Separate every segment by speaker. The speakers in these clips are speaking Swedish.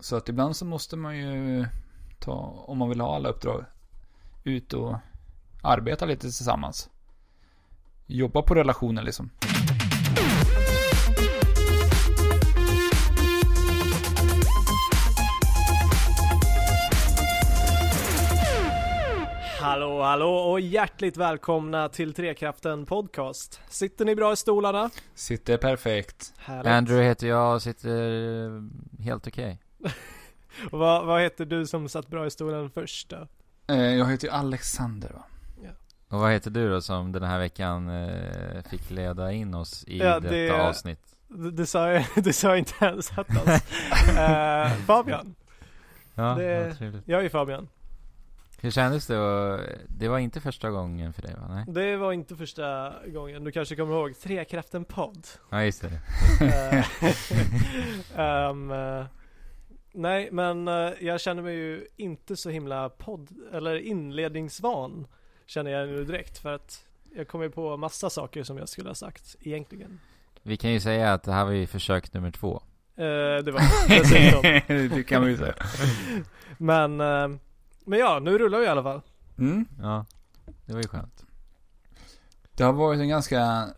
Speaker 1: Så att ibland så måste man ju ta, om man vill ha alla uppdrag, ut och arbeta lite tillsammans. Jobba på relationen liksom.
Speaker 2: Hallå, hallå och hjärtligt välkomna till Trekraften Podcast. Sitter ni bra i stolarna?
Speaker 1: Sitter perfekt.
Speaker 2: Härligt.
Speaker 3: Andrew heter jag och sitter eh, helt okej.
Speaker 2: Och Vad, vad heter du som satt bra i stolen först då?
Speaker 1: Eh, Jag heter ju Alexander va?
Speaker 3: Och vad heter du då som den här veckan eh, fick leda in oss i
Speaker 2: Ja,
Speaker 3: detta
Speaker 2: det-
Speaker 3: avsnitt?
Speaker 2: Du, du, sa, ju- du sa inte ens att alltså. Eh, Fabian.
Speaker 3: Ja,
Speaker 2: det-
Speaker 3: vad trevligt.
Speaker 2: Jag är Fabian.
Speaker 3: Hur kändes det? att- Det var inte första gången för dig va? Nej?
Speaker 2: Det var inte första gången. Du kanske kommer ihåg Trekraften Podd.
Speaker 3: Ja, just det.
Speaker 2: Eh, ehm, eh, nej, men eh, jag känner mig ju inte så himla podd eller inledningsvan känner jag nu direkt för att jag kommer ju på massa saker som jag skulle ha sagt egentligen.
Speaker 3: Vi kan ju säga att det här var ju försök nummer två.
Speaker 2: Eh, det var dessutom.
Speaker 1: det kan man ju säga.
Speaker 2: Men, eh, men ja, nu rullar vi i alla fall.
Speaker 1: Mm.
Speaker 3: Ja, det var ju skönt.
Speaker 1: Det har varit en ganska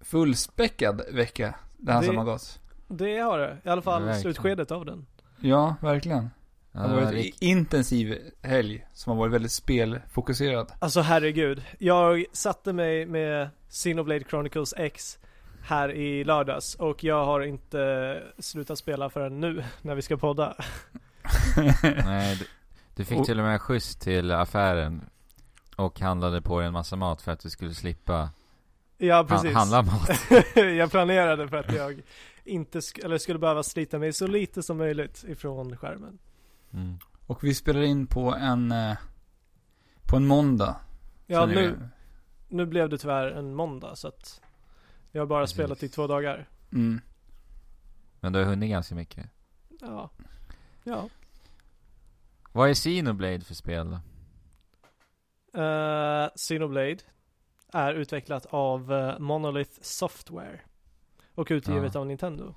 Speaker 1: fullspäckad vecka, det här
Speaker 2: Det-
Speaker 1: som har gått.
Speaker 2: Det har det. I alla fall
Speaker 3: Verkligen.
Speaker 2: slutskedet av den.
Speaker 1: Ja, verkligen.
Speaker 3: Ja,
Speaker 1: Det har
Speaker 3: det var
Speaker 1: varit en
Speaker 3: rikt-
Speaker 1: intensiv helg som har varit väldigt spelfokuserad.
Speaker 2: Alltså herregud. Jag satte mig med Xenoblade Chronicles X här i lördags och jag har inte slutat spela förrän nu när vi ska podda.
Speaker 3: Nej, du, du fick
Speaker 1: Och-
Speaker 3: till och med skjuts till affären och handlade på dig en massa mat för att du skulle slippa
Speaker 2: Ja
Speaker 3: han,
Speaker 2: precis.
Speaker 3: handla mat.
Speaker 2: jag planerade för att jag inte sk- eller skulle behöva slita mig så lite som möjligt ifrån skärmen.
Speaker 3: Mm.
Speaker 1: Och vi spelar in på en, eh, på en måndag.
Speaker 2: Ja
Speaker 1: Så det är-
Speaker 2: nu, nu blev det tyvärr en måndag så att jag har bara
Speaker 3: Precis.
Speaker 2: spelat i två dagar.
Speaker 1: Mm.
Speaker 3: Men du har hunnit ganska mycket.
Speaker 2: Ja. Ja.
Speaker 3: Vad är Xenoblade för spel då?
Speaker 2: Uh, Xenoblade är utvecklat av eh, Monolith Software och utgivet
Speaker 3: Ja.
Speaker 2: av Nintendo.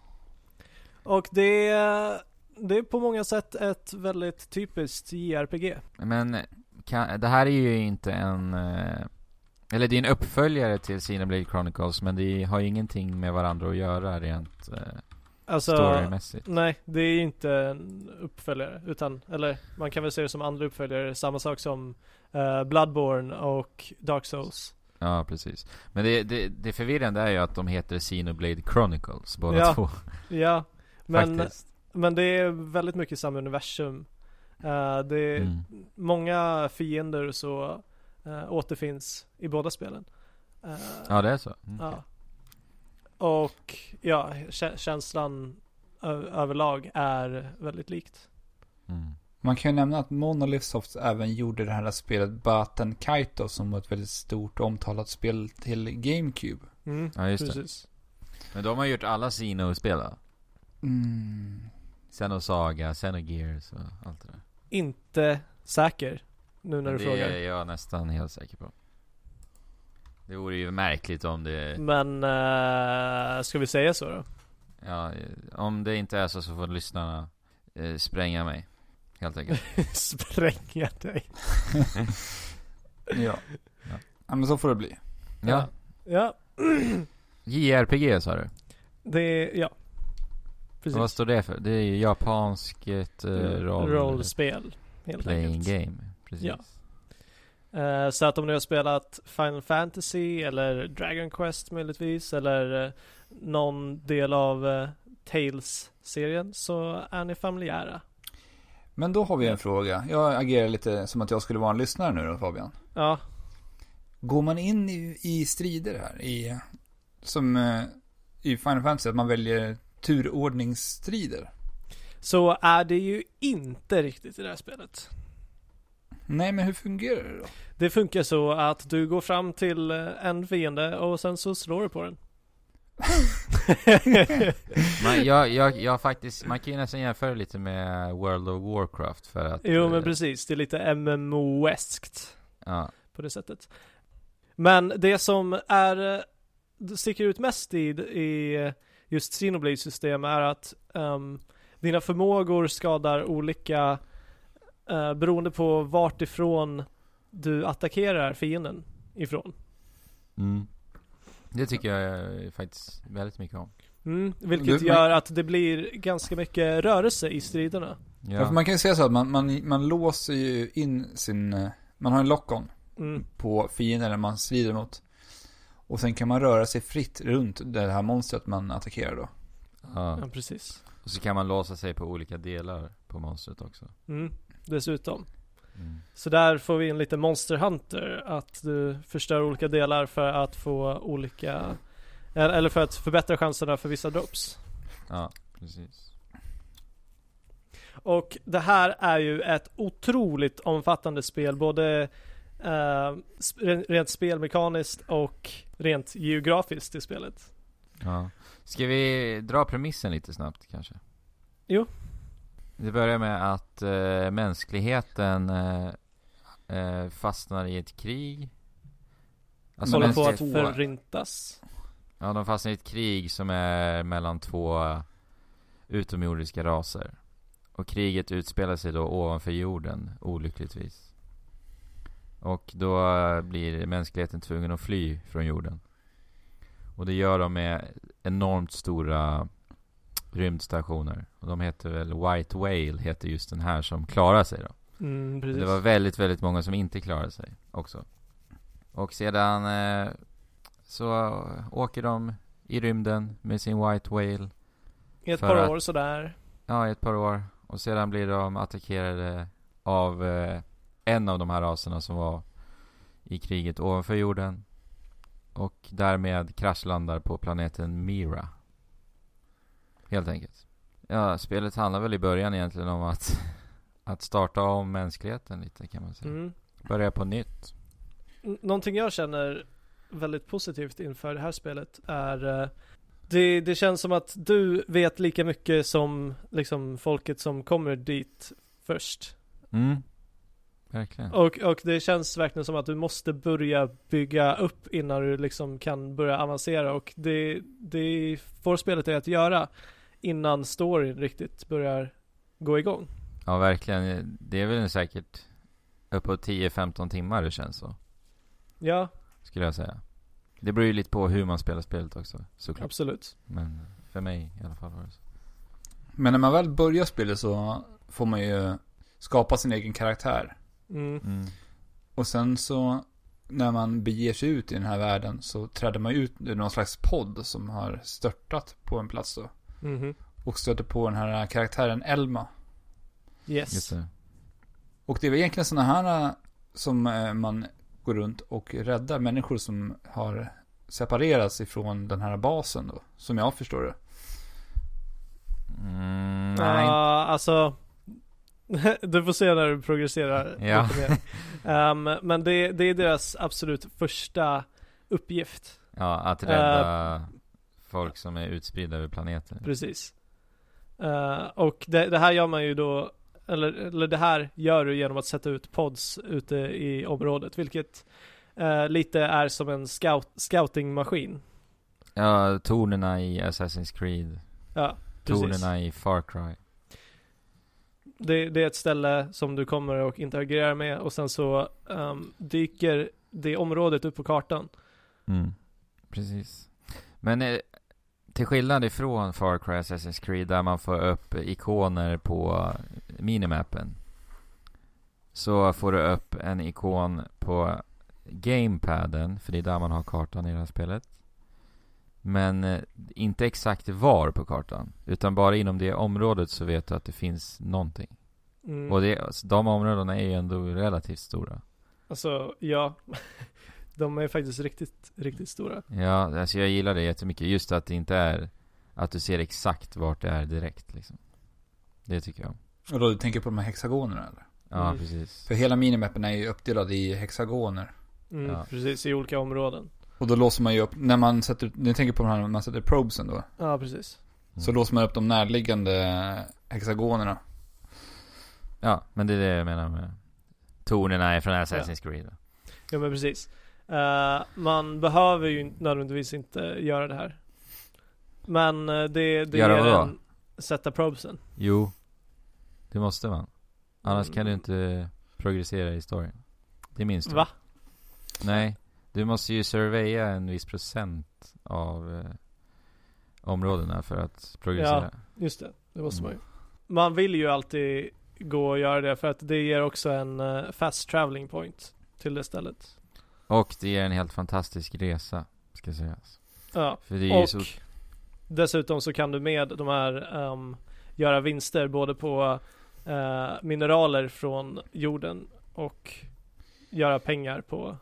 Speaker 2: Och det, är- det är på många sätt ett väldigt typiskt JRPG.
Speaker 3: Men kan, det här är ju inte en... eh, Eller det är en uppföljare till Xenoblade Chronicles, men det har ju ingenting med varandra att göra rent eh,
Speaker 2: Alltså,
Speaker 3: storymässigt.
Speaker 2: nej, det är ju inte en uppföljare utan, eller man kan väl se det som andra uppföljare, samma sak som eh, Bloodborne och Dark Souls.
Speaker 3: Ja, precis. Men det, det, det förvirrande är ju att de heter Xenoblade Chronicles, båda
Speaker 2: Ja,
Speaker 3: två.
Speaker 2: Ja, men,
Speaker 3: faktiskt.
Speaker 2: men det är väldigt mycket samma universum. Eh, det,
Speaker 3: Mm.
Speaker 2: många fiender så eh, återfinns i båda spelen. Eh,
Speaker 3: Ja, det är så. Mm.
Speaker 2: ja. Och ja, kä- känslan ö- överlag är väldigt likt.
Speaker 3: Mm.
Speaker 1: Man kan ju nämna att Monolith Soft även gjorde det här spelet Baten Kaito som var ett väldigt stort och omtalat spel till GameCube.
Speaker 2: Mm,
Speaker 3: ja, just det.
Speaker 2: precis.
Speaker 3: Men de har gjort alla Xeno-spel va?
Speaker 1: Mm.
Speaker 3: Xenosaga, Xenogears och allt det där.
Speaker 2: Inte säker nu när du
Speaker 3: det
Speaker 2: frågar.
Speaker 3: är jag nästan helt säker på. Det vore ju märkligt om det...
Speaker 2: Men eh, ska vi säga så då?
Speaker 3: Ja, eh, om det inte är så så får lyssnarna eh, spränga mig. Helt enkelt.
Speaker 2: Spränga dig.
Speaker 1: Ja. ja. men så får det bli.
Speaker 3: Ja.
Speaker 2: Ja,
Speaker 3: JRPG sa du.
Speaker 2: det är, ja. Precis.
Speaker 3: Vad står det för? Det är ju japanskt eh, roll...
Speaker 2: Rollspel, helt
Speaker 3: Playing
Speaker 2: enkelt.
Speaker 3: game. Precis.
Speaker 2: Ja. Eh, Så att om ni har spelat Final Fantasy eller Dragon Quest möjligtvis eller eh, någon del av eh, Tales-serien så är ni familjära.
Speaker 1: Men då har vi en fråga. Jag agerar lite som att jag skulle vara en lyssnare nu då Fabian.
Speaker 2: Ja,
Speaker 1: Går man in i, i strider här i, som eh, i Final Fantasy, att man väljer turordningsstrider?
Speaker 2: så är det ju inte riktigt i det här spelet.
Speaker 1: Nej, men hur fungerar det då?
Speaker 2: Det funkar så att du går fram till eh, en fiende och sen så slår du på den.
Speaker 3: Man, jag, jag, jag faktiskt, man kan ju nästan jämföra lite med World of Warcraft för att...
Speaker 2: jo
Speaker 3: eh,
Speaker 2: men precis, det är lite MMO-eskt.
Speaker 3: Ja.
Speaker 2: på det sättet. Men det som är, eh, det sticker ut mest i, i just Xenoblade system är att ehm, dina förmågor skadar olika eh, beroende på vart ifrån du attackerar fienden ifrån.
Speaker 3: Mm. Det tycker jag eh, faktiskt väldigt mycket om.
Speaker 2: Mm, vilket
Speaker 1: Du-
Speaker 2: gör att det blir ganska mycket rörelse i striderna.
Speaker 1: Ja. för
Speaker 3: Ja.
Speaker 1: man kan ju säga så att man, man, man låser ju in sin, eh, man har en lock-on
Speaker 2: Mm,
Speaker 1: på fienden man strider mot. Och sen kan man röra sig fritt runt det här monstret man attackerar då.
Speaker 2: ja,
Speaker 3: Ja.
Speaker 2: precis.
Speaker 3: Och så kan man låsa sig på olika delar på monstret också.
Speaker 2: Mm, dessutom.
Speaker 3: Mm.
Speaker 2: Så där får vi in lite Monster Hunter, att du förstör olika delar för att få olika, el- eller för att förbättra chanserna för vissa drops.
Speaker 3: Ja, precis.
Speaker 2: Och det här är ju ett otroligt omfattande spel, både eh, sp- ren- rent spelmekaniskt och rent geografiskt i spelet.
Speaker 3: Ja. Ska vi dra premissen lite snabbt kanske?
Speaker 2: Jo.
Speaker 3: Det börjar med att eh, mänskligheten eh, eh, fastnar i ett krig. Alltså
Speaker 2: Håller
Speaker 1: men-
Speaker 2: på
Speaker 3: mänsklig-
Speaker 2: att förintas.
Speaker 3: Ja, de fastnar i ett krig som är mellan två utomjordiska raser. Och kriget utspelar sig då ovanför jorden, olyckligtvis. Och då eh, blir mänskligheten tvungen att fly från jorden. Och det gör de med enormt stora rymdstationer. Och de heter väl White Whale, heter just den här som klarar sig då.
Speaker 2: Mm, precis.
Speaker 3: Det var väldigt, väldigt många som inte klarade sig också. Och sedan eh, så åker de i rymden med sin White Whale,
Speaker 2: I ett
Speaker 3: för
Speaker 2: par
Speaker 3: att-
Speaker 2: år sådär.
Speaker 3: ja i ett par år. Och sedan blir de attackerade av eh, en av de här raserna som var i kriget ovanför jorden. Och därmed kraschlandar på planeten Mira. Helt enkelt. Ja, spelet handlar väl i början egentligen om att, att starta om mänskligheten lite kan man säga.
Speaker 2: Mm.
Speaker 3: Börja på nytt.
Speaker 2: N- Någonting jag känner väldigt positivt inför det här spelet är eh, det, det känns som att du vet lika mycket som liksom folket som kommer dit först.
Speaker 3: Mm. Verkligen.
Speaker 2: Och, och det känns verkligen som att du måste börja bygga upp innan du liksom kan börja avancera och det, det får spelet dig att göra innan storyn riktigt börjar gå igång.
Speaker 3: Ja, verkligen. Det är väl säkert uppåt 10-15 timmar det känns så,
Speaker 2: Ja,
Speaker 3: skulle jag säga. Det beror ju lite på hur man spelar spelet också, såklart.
Speaker 2: absolut.
Speaker 3: Men för mig i alla fall var det så.
Speaker 1: Men när man väl börjar spelet så får man ju skapa sin egen karaktär.
Speaker 2: Mm.
Speaker 3: Mm.
Speaker 1: Och sen så när man beger sig ut i den här världen så träder man ut ur någon slags podd som har störtat på en plats då.
Speaker 2: Mhm.
Speaker 1: Och stöter på den här karaktären Elma.
Speaker 3: Just
Speaker 2: Yes.
Speaker 3: det.
Speaker 1: Och det är väl egentligen sådana här eh, som eh, man går runt och räddar människor som har separerats ifrån den här basen då. Som jag förstår det.
Speaker 3: Mm,
Speaker 2: Nej.
Speaker 3: nej.
Speaker 2: alltså, du får se när du progresserar
Speaker 3: Ja.
Speaker 2: lite mer. Ehm, men det, det är deras absolut första uppgift.
Speaker 3: Ja, att rädda folk som är utspridda över planeten.
Speaker 2: Precis. Eh, och det, det här gör man ju då, eller, eller det här gör du genom att sätta ut pods ute i området, vilket eh, lite är som en scout, scoutingmaskin.
Speaker 3: Ja, tornerna i Assassin's Creed.
Speaker 2: Ja, precis.
Speaker 3: Tornerna i Far Cry.
Speaker 2: Det, det är ett ställe som du kommer och interagerar med och sen så ehm, dyker det området upp på kartan.
Speaker 3: Mm. Precis. Men eh, till skillnad ifrån Far Cry Assassin's Creed där man får upp ikoner på minimappen. Så får du upp en ikon på gamepaden, för det är där man har kartan i det här spelet. Men eh, inte exakt var på kartan, utan bara inom det området så vet du att det finns någonting.
Speaker 2: Mm.
Speaker 3: Och det, alltså, de områdena är ju ändå relativt stora.
Speaker 2: Alltså, ja. De är faktiskt riktigt, riktigt stora.
Speaker 3: Ja, alltså jag gillar det jättemycket. Just att det inte är att du ser exakt vart det är direkt liksom. Det tycker jag.
Speaker 1: Och då du tänker på de här hexagonerna eller?
Speaker 3: Ja,
Speaker 2: Mm.
Speaker 3: precis.
Speaker 1: För hela minimappen är ju uppdelad i hexagoner.
Speaker 2: Mm,
Speaker 3: Ja.
Speaker 2: Precis, i olika områden.
Speaker 1: Och då låser man ju upp, när man sätter ut, ni tänker på de här, när man sätter probesen då.
Speaker 2: Ja, precis.
Speaker 3: Mm.
Speaker 1: Så låser man upp de närliggande hexagonerna.
Speaker 3: Ja, men det är det jag menar med tonerna är från Assassin's Creed. då.
Speaker 2: Ja, men precis. Eh, man behöver ju nödvändigtvis inte göra det här. Men eh, det, det
Speaker 3: Göra
Speaker 2: ger
Speaker 3: vad då?
Speaker 2: en... sätta probesen.
Speaker 3: Jo, det måste man. Annars kan du
Speaker 2: Mm.
Speaker 3: inte progressera i storyn. Det minns du.
Speaker 2: Va?
Speaker 3: Nej, du måste ju surveya en viss procent av eh, områdena för att progressera.
Speaker 2: Just det, det måste man ju.
Speaker 3: Mm.
Speaker 2: Man vill ju alltid gå och göra det för att det ger också en eh, fast traveling point till det stället.
Speaker 3: Och det är en helt fantastisk resa, ska sägas.
Speaker 2: Ja.
Speaker 3: För det är ju
Speaker 2: Och
Speaker 3: så...
Speaker 2: dessutom så kan du med de här ehm, göra vinster både på eh, mineraler från jorden och göra pengar på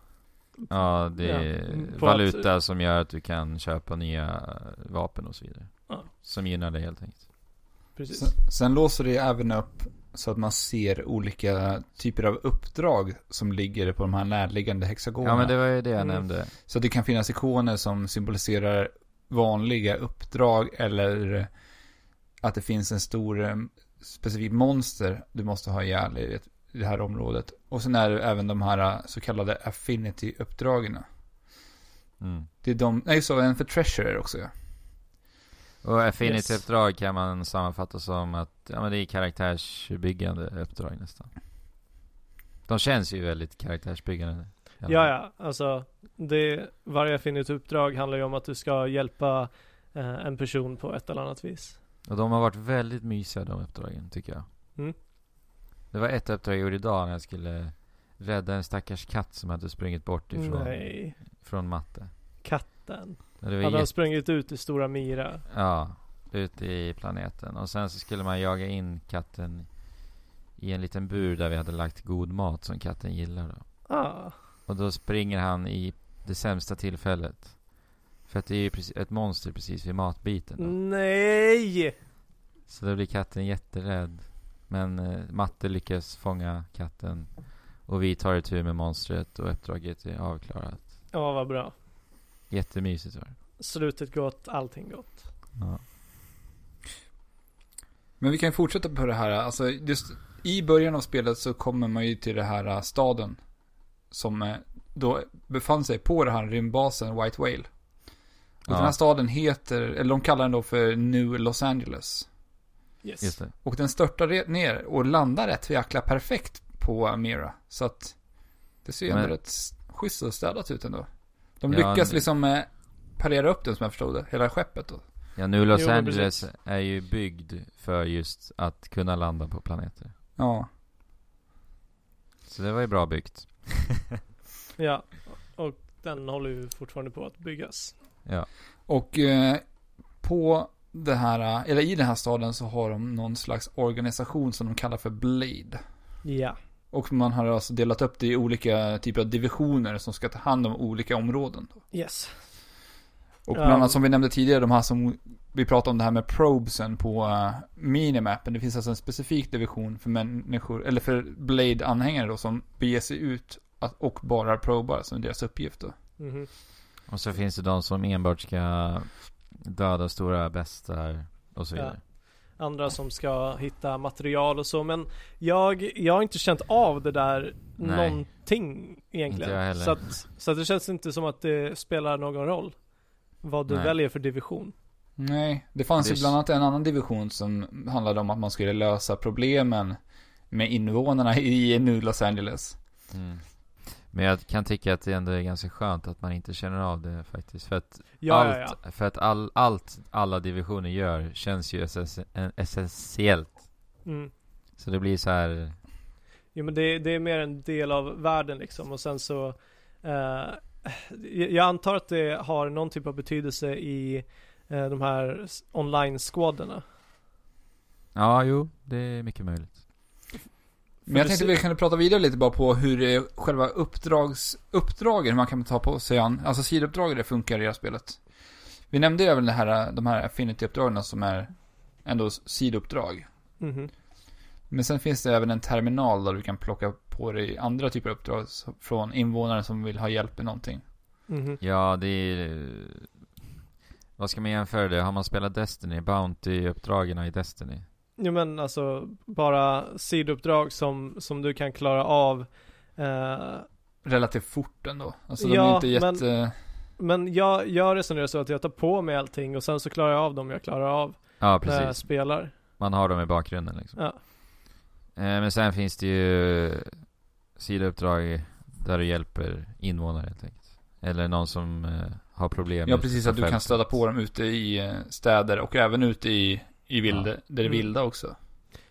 Speaker 3: Ja, det
Speaker 2: Ja,
Speaker 3: är
Speaker 2: mm, på
Speaker 3: valuta som gör att du kan köpa nya vapen och så vidare.
Speaker 2: Ja.
Speaker 3: Som gynnar dig helt enkelt.
Speaker 2: precis.
Speaker 1: Sen, sen låser det även upp så att man ser olika typer av uppdrag som ligger på de här närliggande hexagonerna.
Speaker 3: Ja, men det var ju det jag
Speaker 2: Mm.
Speaker 3: nämnde.
Speaker 1: Så att det kan finnas ikoner som symboliserar vanliga uppdrag eller att det finns en stor eh, specifik monster du måste ha ihjäl i ett- i det här området. Och sen är det även de här eh, så kallade affinity-uppdragen.
Speaker 3: Mm.
Speaker 1: Det är de, nej så en för treasure också ja.
Speaker 3: Och affinity-uppdrag kan man sammanfatta som att, ja men det är karaktärsbyggande uppdrag nästan. De känns ju väldigt karaktärsbyggande.
Speaker 2: Ja, ja, alltså det, varje affinity uppdrag handlar ju om att du ska hjälpa eh, en person på ett eller annat vis.
Speaker 3: Och de har varit väldigt mysiga de uppdragen, tycker jag.
Speaker 2: Mm.
Speaker 3: Det var ett uppdrag jag gjorde idag när jag skulle rädda en stackars katt som hade sprungit bort ifrån
Speaker 2: Nej,
Speaker 3: från matte.
Speaker 2: katten.
Speaker 3: Och det var
Speaker 2: Hade han
Speaker 3: jätte-
Speaker 2: sprungit ut i Stora Mira?
Speaker 3: Ja, ute i planeten. Och sen så skulle man jaga in katten i en liten bur där vi hade lagt god mat som katten gillar då.
Speaker 2: Ah,
Speaker 3: Och då springer han i det sämsta tillfället. För att det är ju precis, ett monster precis vid matbiten då.
Speaker 2: Mm. nej!
Speaker 3: Så då blir katten jätterädd. Men eh, Matte lyckas fånga katten. Och vi tar itu med monstret och uppdraget är avklarat.
Speaker 2: Ja, vad bra.
Speaker 3: Jättemysigt var det.
Speaker 2: Slutet gott, allting gott.
Speaker 3: Ja.
Speaker 1: Men vi kan fortsätta på det här, alltså just i början av spelet så kommer man ju till den här eh, staden. Som eh, då befann sig på den här rymdbasen White Whale. Och den här
Speaker 3: ja
Speaker 1: staden heter, eller de kallar den då för New Los Angeles.
Speaker 2: Yes.
Speaker 3: just det.
Speaker 1: Och den störtar re- ner och landar rätt jäkla perfekt på Mira. Så att det ser ju ändå
Speaker 3: Men-
Speaker 1: rätt s- schysst och städat ut ändå. De
Speaker 3: Ja,
Speaker 1: lyckas
Speaker 3: nu-
Speaker 1: liksom eh, parera upp den som jag förstod det, hela skeppet då.
Speaker 3: Ja, nu Los
Speaker 2: Jo, men
Speaker 3: Angeles
Speaker 2: precis.
Speaker 3: är ju byggd för just att kunna landa på planeter.
Speaker 1: Ja,
Speaker 3: Så det var ju bra byggt.
Speaker 2: Ja, och den håller ju fortfarande på att byggas.
Speaker 3: Ja.
Speaker 1: och eh, på det här, eh, eller i den här staden så har de någon slags organisation som de kallar för Blade.
Speaker 2: Ja.
Speaker 1: Och man har alltså delat upp det i olika typer av divisioner som ska ta hand om olika områden.
Speaker 2: Yes.
Speaker 1: Och
Speaker 2: Ja.
Speaker 1: bland annat som vi nämnde tidigare, de här som vi pratade om det här med probesen på eh, minimappen. Det finns alltså en specifik division för människor, eller för Blade-anhängare då, som beger sig ut att, och bara probar som är deras uppgift då.
Speaker 2: Mhm.
Speaker 3: Och så finns det de som enbart ska döda stora bestar och så
Speaker 2: Ja.
Speaker 3: vidare.
Speaker 2: Andra som ska hitta material och så, men jag, jag har inte känt av det där
Speaker 3: Nej.
Speaker 2: någonting egentligen.
Speaker 3: Inte jag heller.
Speaker 2: Så, att, så att det känns inte som att det spelar någon roll vad du
Speaker 3: Nej.
Speaker 2: väljer för division.
Speaker 1: Nej, det fanns
Speaker 3: Det
Speaker 1: ju
Speaker 3: är
Speaker 1: bland annat en annan division som handlade om att man skulle lösa problemen med invånarna i nu Los Angeles.
Speaker 3: Mm. Men jag kan tycka att det ändå är ganska skönt att man inte känner av det faktiskt. För att
Speaker 2: Ja, ja, ja.
Speaker 3: allt, För att all, allt alla divisioner gör känns ju essentie- en- essentiellt.
Speaker 2: Mm.
Speaker 3: Så det blir så här,
Speaker 2: Jo men det, det är mer en del av världen liksom och sen så eh, Jag antar att det har någon typ av betydelse i eh, de här s- online-squaderna.
Speaker 3: ja jo, det är mycket möjligt.
Speaker 1: Men jag
Speaker 2: du
Speaker 1: tänkte
Speaker 2: ser-
Speaker 1: vi kunde prata vidare lite bara på hur det, själva uppdrags, uppdragen, hur man kan ta på sig an, alltså sidouppdragen det funkar i det här spelet. Vi nämnde ju även det här, de här affinity-uppdragen som är ändå sidouppdrag.
Speaker 2: Mhm.
Speaker 1: Men sen finns det även en terminal där du kan plocka på dig andra typer av uppdrag så- från invånare som vill ha hjälp med någonting.
Speaker 2: Mhm.
Speaker 3: Ja, det är eh, Vad ska man jämföra det? Har man spelat Destiny? Bounty-uppdragen i Destiny?
Speaker 2: Jo men alltså bara sidouppdrag som, som du kan klara av eh,
Speaker 1: Relativt fort ändå. Alltså de
Speaker 2: Ja,
Speaker 1: är inte jätte...
Speaker 2: Men jag, jag resonerar så att jag tar på mig allting och sen så klarar jag av dem jag klarar av
Speaker 3: Ja,
Speaker 2: när jag
Speaker 3: precis.
Speaker 2: spelar.
Speaker 3: Man har dem i bakgrunden liksom.
Speaker 2: Ja.
Speaker 3: Eh, Men sen finns det ju sidouppdrag där du hjälper invånare helt enkelt. Eller någon som eh, har problem.
Speaker 1: Ja,
Speaker 3: med
Speaker 1: precis. Att du kan
Speaker 3: fältet.
Speaker 1: stöta på dem ute i eh, städer och även ute i, i vilde, där det är
Speaker 2: Mm.
Speaker 1: vilda också.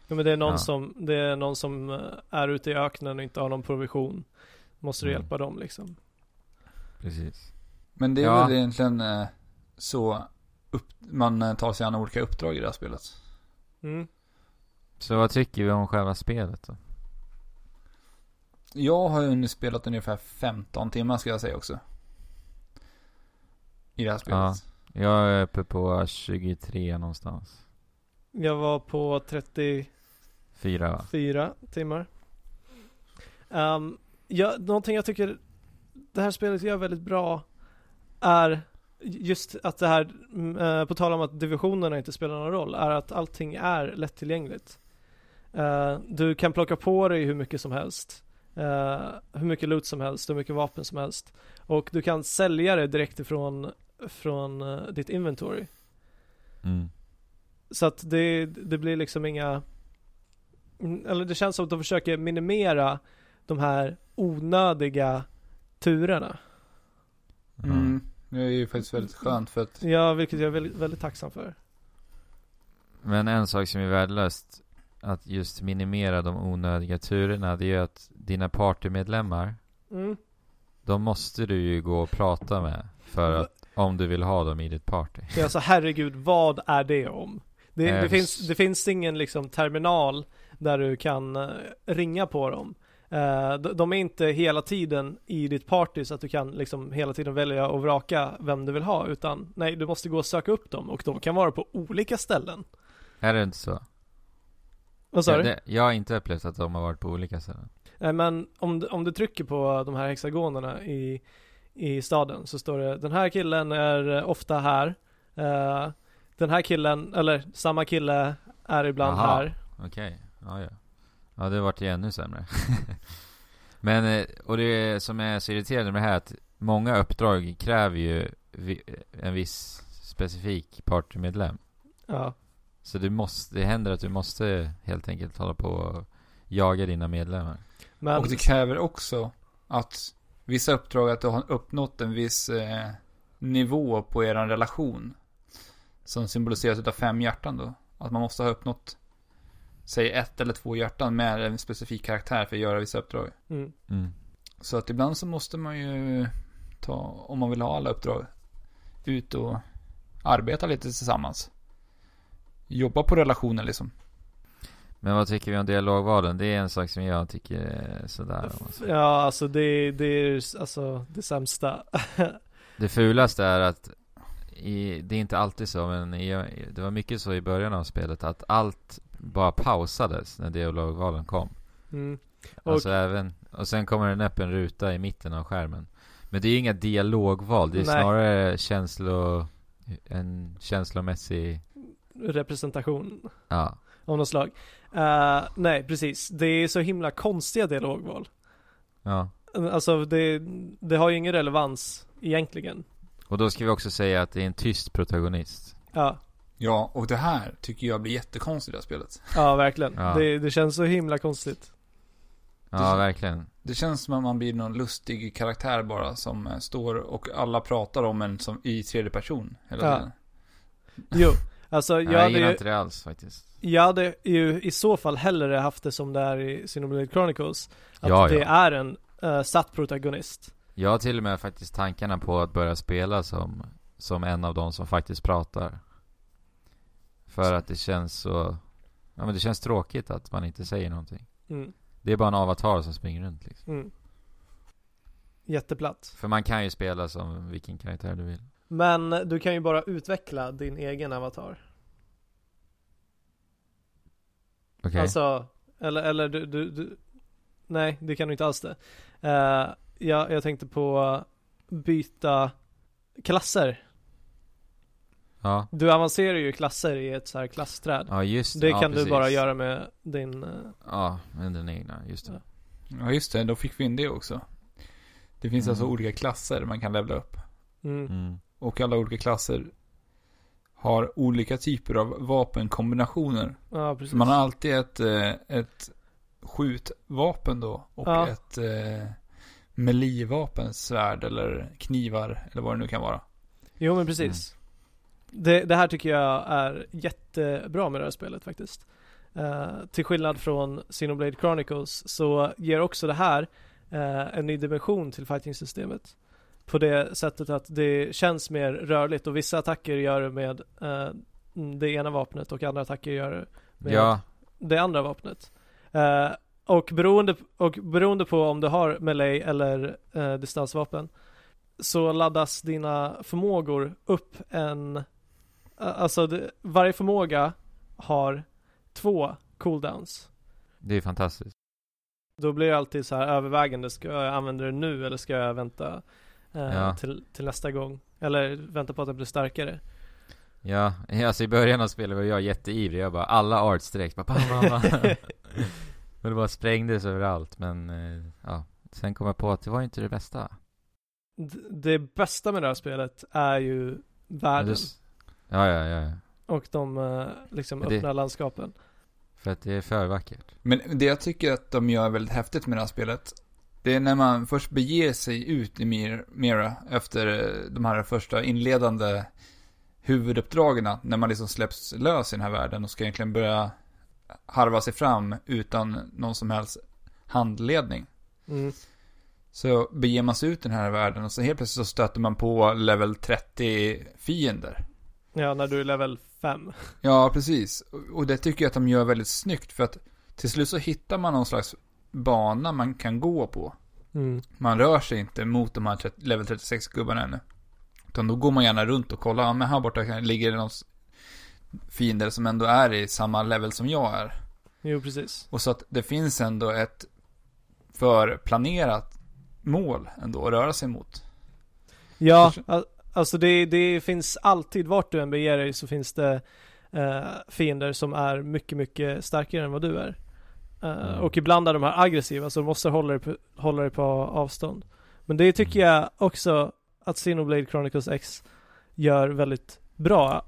Speaker 2: Jo, men det är någon
Speaker 3: Ja.
Speaker 2: som, det är någon som eh, är ute i öknen och inte har någon provision. Måste du
Speaker 3: Mm.
Speaker 2: hjälpa dem liksom?
Speaker 3: Precis.
Speaker 1: Men det är
Speaker 3: Ja.
Speaker 1: väl egentligen eh, så upp, man eh, tar sig an olika uppdrag i det här spelet.
Speaker 2: Mm.
Speaker 3: Så vad tycker vi om själva spelet då?
Speaker 1: Jag har ju nu spelat ungefär 15 timmar ska jag säga också. I det här spelet.
Speaker 3: Ja. Jag är uppe på 23 någonstans.
Speaker 2: Jag var på 34
Speaker 3: Fyra va?
Speaker 2: timmar. Ehm, jag, någonting jag tycker det här spelet gör väldigt bra är just att det här, mm, eh, på tal om att divisionerna inte spelar någon roll, är att allting är lättillgängligt. Eh, du kan plocka på dig hur mycket som helst, eh, hur mycket loot som helst, hur mycket vapen som helst och du kan sälja det direkt ifrån från eh, ditt inventory.
Speaker 3: Mm.
Speaker 2: Så att det, det blir liksom inga Mm, Eller det känns som att de försöker minimera de här onödiga turerna.
Speaker 1: Mm. Det är ju faktiskt väldigt skönt för att
Speaker 2: Ja, vilket jag är väldigt, väldigt tacksam för.
Speaker 3: Men en sak som är värdelöst att just minimera de onödiga turerna det är ju att dina partymedlemmar
Speaker 2: Mm.
Speaker 3: de måste du ju gå och prata med för att om du vill ha dem i ditt party.
Speaker 2: Det är alltså herregud, vad är det om? Det,
Speaker 3: Eh,
Speaker 2: det, finns, det finns ingen liksom terminal där du kan eh, ringa på dem. Eh, de- De är inte hela tiden i ditt party så att du kan liksom hela tiden välja och vraka vem du vill ha utan nej, du måste gå och söka upp dem och de kan vara på olika ställen.
Speaker 3: Är det inte så?
Speaker 2: Vad sa
Speaker 3: jag,
Speaker 2: du?
Speaker 3: det, jag har inte upplevt att de har varit på olika ställen.
Speaker 2: Nej Eh, men om, du- om du trycker på de här hexagonerna i, i staden så står det den här killen är eh, ofta här. Eh, den här killen, eller samma kille är ibland
Speaker 3: Aha.
Speaker 2: här.
Speaker 3: Okej, ja ja. Ja det vart ju ännu sämre. Men, eh, och det som är så irriterande med det här är att många uppdrag kräver ju vi- en viss specifik partymedlem.
Speaker 2: Ja.
Speaker 3: Så du måste, det händer att du måste helt enkelt hålla på och jaga dina medlemmar.
Speaker 2: Men,
Speaker 1: Och det kräver också att vissa uppdrag att du har uppnått en viss eh, nivå på er relation. Som symboliseras utav fem hjärtan då. Att man måste ha uppnått, säg ett eller två hjärtan med en specifik karaktär för att göra vissa uppdrag.
Speaker 2: mm,
Speaker 3: Mm.
Speaker 1: Så att ibland så måste man ju ta, om man vill ha alla uppdrag, ut och arbeta lite tillsammans. Jobba på relationen liksom.
Speaker 3: Men vad tycker vi om dialogvalen? Det är en sak som jag tycker är sådär. om man säger.
Speaker 2: ja alltså det, det är alltså det sämsta.
Speaker 3: Det fulaste är att i, det är inte alltid så, men i, det var mycket så i början av spelet att allt bara pausades när dialogvalen kom.
Speaker 2: Mm. Och-
Speaker 3: Alltså även, och sen kommer den upp en ruta i mitten av skärmen. Men det är ju inga dialogval, det är
Speaker 2: Nej.
Speaker 3: snarare känslo, en känslomässig,
Speaker 2: Representation
Speaker 3: ja.
Speaker 2: av något slag. Eh, nej precis, det är så himla konstiga dialogval.
Speaker 3: ja.
Speaker 2: Alltså det, det har ju ingen relevans egentligen.
Speaker 3: Och då ska vi också säga att det är en tyst protagonist.
Speaker 2: Ja.
Speaker 1: Ja, och det här tycker jag blir jättekonstigt i det här spelet.
Speaker 2: Ja, verkligen.
Speaker 3: Ja.
Speaker 2: Det, det känns så himla konstigt.
Speaker 3: Ja,
Speaker 1: Det-
Speaker 3: verkligen.
Speaker 1: Det känns som att man blir någon lustig karaktär bara som eh, står och alla pratar om en som i tredje person hela
Speaker 2: Ja.
Speaker 1: tiden.
Speaker 2: Jo, alltså
Speaker 3: Jag,
Speaker 2: jag hade,
Speaker 3: gillar
Speaker 2: ju,
Speaker 3: inte det alls faktiskt.
Speaker 2: jag hade ju i så fall hellre haft det som det är i Xenoblade Chronicles. Att
Speaker 3: Ja, ja.
Speaker 2: det är en eh, satt protagonist.
Speaker 3: Jag har till och med faktiskt tankarna på att börja spela som, som en av de som faktiskt pratar. För att det känns så, ja men det känns tråkigt att man inte säger någonting.
Speaker 2: Mm,
Speaker 3: Det är bara en avatar som springer runt liksom.
Speaker 2: mm. Jätteplatt.
Speaker 3: För man kan ju spela som vilken karaktär du vill.
Speaker 2: Men du kan ju bara utveckla din egen avatar.
Speaker 3: Okej.
Speaker 2: Alltså, eller, eller du, du, du, nej det kan du inte alls det. Eh, jag, jag tänkte på byta klasser.
Speaker 3: Ja.
Speaker 2: Du avancerar ju klasser i ett så här klassträd.
Speaker 3: Ja just
Speaker 2: Det
Speaker 3: ja,
Speaker 2: kan
Speaker 3: precis.
Speaker 2: du bara göra med din... eh,
Speaker 3: Ja, med den egna, just det.
Speaker 1: Ja, just det. Då fick vi in det också. Det finns
Speaker 3: Mm.
Speaker 1: alltså olika klasser man kan levla upp.
Speaker 2: Mm.
Speaker 3: Mm.
Speaker 1: Och alla olika klasser har olika typer av vapenkombinationer.
Speaker 2: Ja, precis.
Speaker 1: Så man har alltid ett, eh, ett skjutvapen då och
Speaker 2: Ja.
Speaker 1: ett eh, melee-vapen, svärd eller knivar eller vad det nu kan vara.
Speaker 2: Jo men precis.
Speaker 1: Mm.
Speaker 2: Det, det här tycker jag är jättebra med det här spelet faktiskt. Eh, till skillnad från Xenoblade Chronicles så ger också det här eh, en ny dimension till fighting-systemet. På det sättet att det känns mer rörligt och vissa attacker gör det med eh, det ena vapnet och andra attacker gör det med
Speaker 3: Ja,
Speaker 2: det andra vapnet. Eh, och, beroende, och beroende på om du har melee eller eh, distansvapen så laddas dina förmågor upp en... a- alltså det, varje förmåga har två cooldowns.
Speaker 3: det är fantastiskt.
Speaker 2: Då blir det alltid så här övervägande, ska jag använda det nu eller ska jag vänta eh,
Speaker 3: Ja.
Speaker 2: till, till nästa gång? Eller vänta på att den blir starkare.
Speaker 3: Ja, alltså i början av spelet var jag jätteivrig. Jag bara, alla arts direkt. Bara, bam, bam, bam. men det bara sprängdes överallt. Men eh, ja, sen kom jag på att det var ju inte det bästa.
Speaker 2: D- det bästa med det här spelet är ju
Speaker 3: Men
Speaker 2: världen.
Speaker 3: det s- Ja, ja, ja. ja.
Speaker 2: Och de eh, liksom
Speaker 3: Men det-
Speaker 2: öppna landskapen.
Speaker 3: För att det är för vackert.
Speaker 1: Men det jag tycker att de gör väldigt häftigt med det här spelet, det är när man först beger sig ut i Mir- Mira efter eh, de här första inledande huvuduppdragen, när man liksom släpps lös i den här världen och ska egentligen börja harva sig fram utan någon som helst handledning.
Speaker 2: Mm.
Speaker 1: Så beger man sig ut i den här världen och så helt plötsligt så stöter man på level 30 fiender.
Speaker 2: Ja, när du är level 5.
Speaker 1: Ja, precis. Och- Och det tycker jag att de gör väldigt snyggt för att till slut så hittar man någon slags bana man kan gå på.
Speaker 2: Mm.
Speaker 1: Man rör sig inte mot de här 30, level 36-gubbarna ännu. Utan då går man gärna runt och kollar, ja men här borta kan- ligger det någon s- fiender som ändå är i samma level som jag är.
Speaker 2: Jo, precis.
Speaker 1: Och så att det finns ändå ett förplanerat mål ändå att röra sig mot.
Speaker 2: Ja,
Speaker 1: Förs-
Speaker 2: al- alltså det, det finns alltid, vart du än beger dig så finns det eh, fiender som är mycket, mycket starkare än vad du är. Eh,
Speaker 3: Mm.
Speaker 2: Och ibland är de här aggressiva, så du måste hålla dig på, hålla dig på avstånd. Men det tycker
Speaker 3: Mm.
Speaker 2: jag också att Xenoblade Chronicles X gör väldigt bra.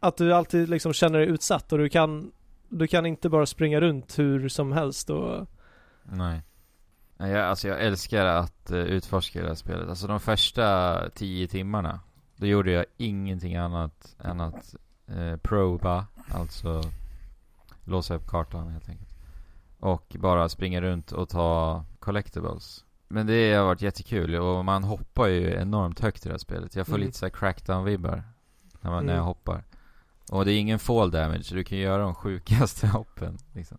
Speaker 2: Att du alltid liksom känner dig utsatt och du kan, du kan inte bara springa runt hur som helst och
Speaker 3: Nej. Nej, Jag, alltså jag älskar att eh, utforska det här spelet. Alltså de första tio timmarna, då gjorde jag ingenting annat än att eh, proba, alltså låsa upp kartan helt enkelt. Och bara springa runt och ta collectibles. Men det har varit jättekul och man hoppar ju enormt högt i det här spelet. Jag får
Speaker 2: Mm.
Speaker 3: lite så här crackdown-vibbar när, man, när jag
Speaker 2: Mm.
Speaker 3: hoppar. Och det är ingen fall damage, så du kan göra de sjukaste hoppen liksom.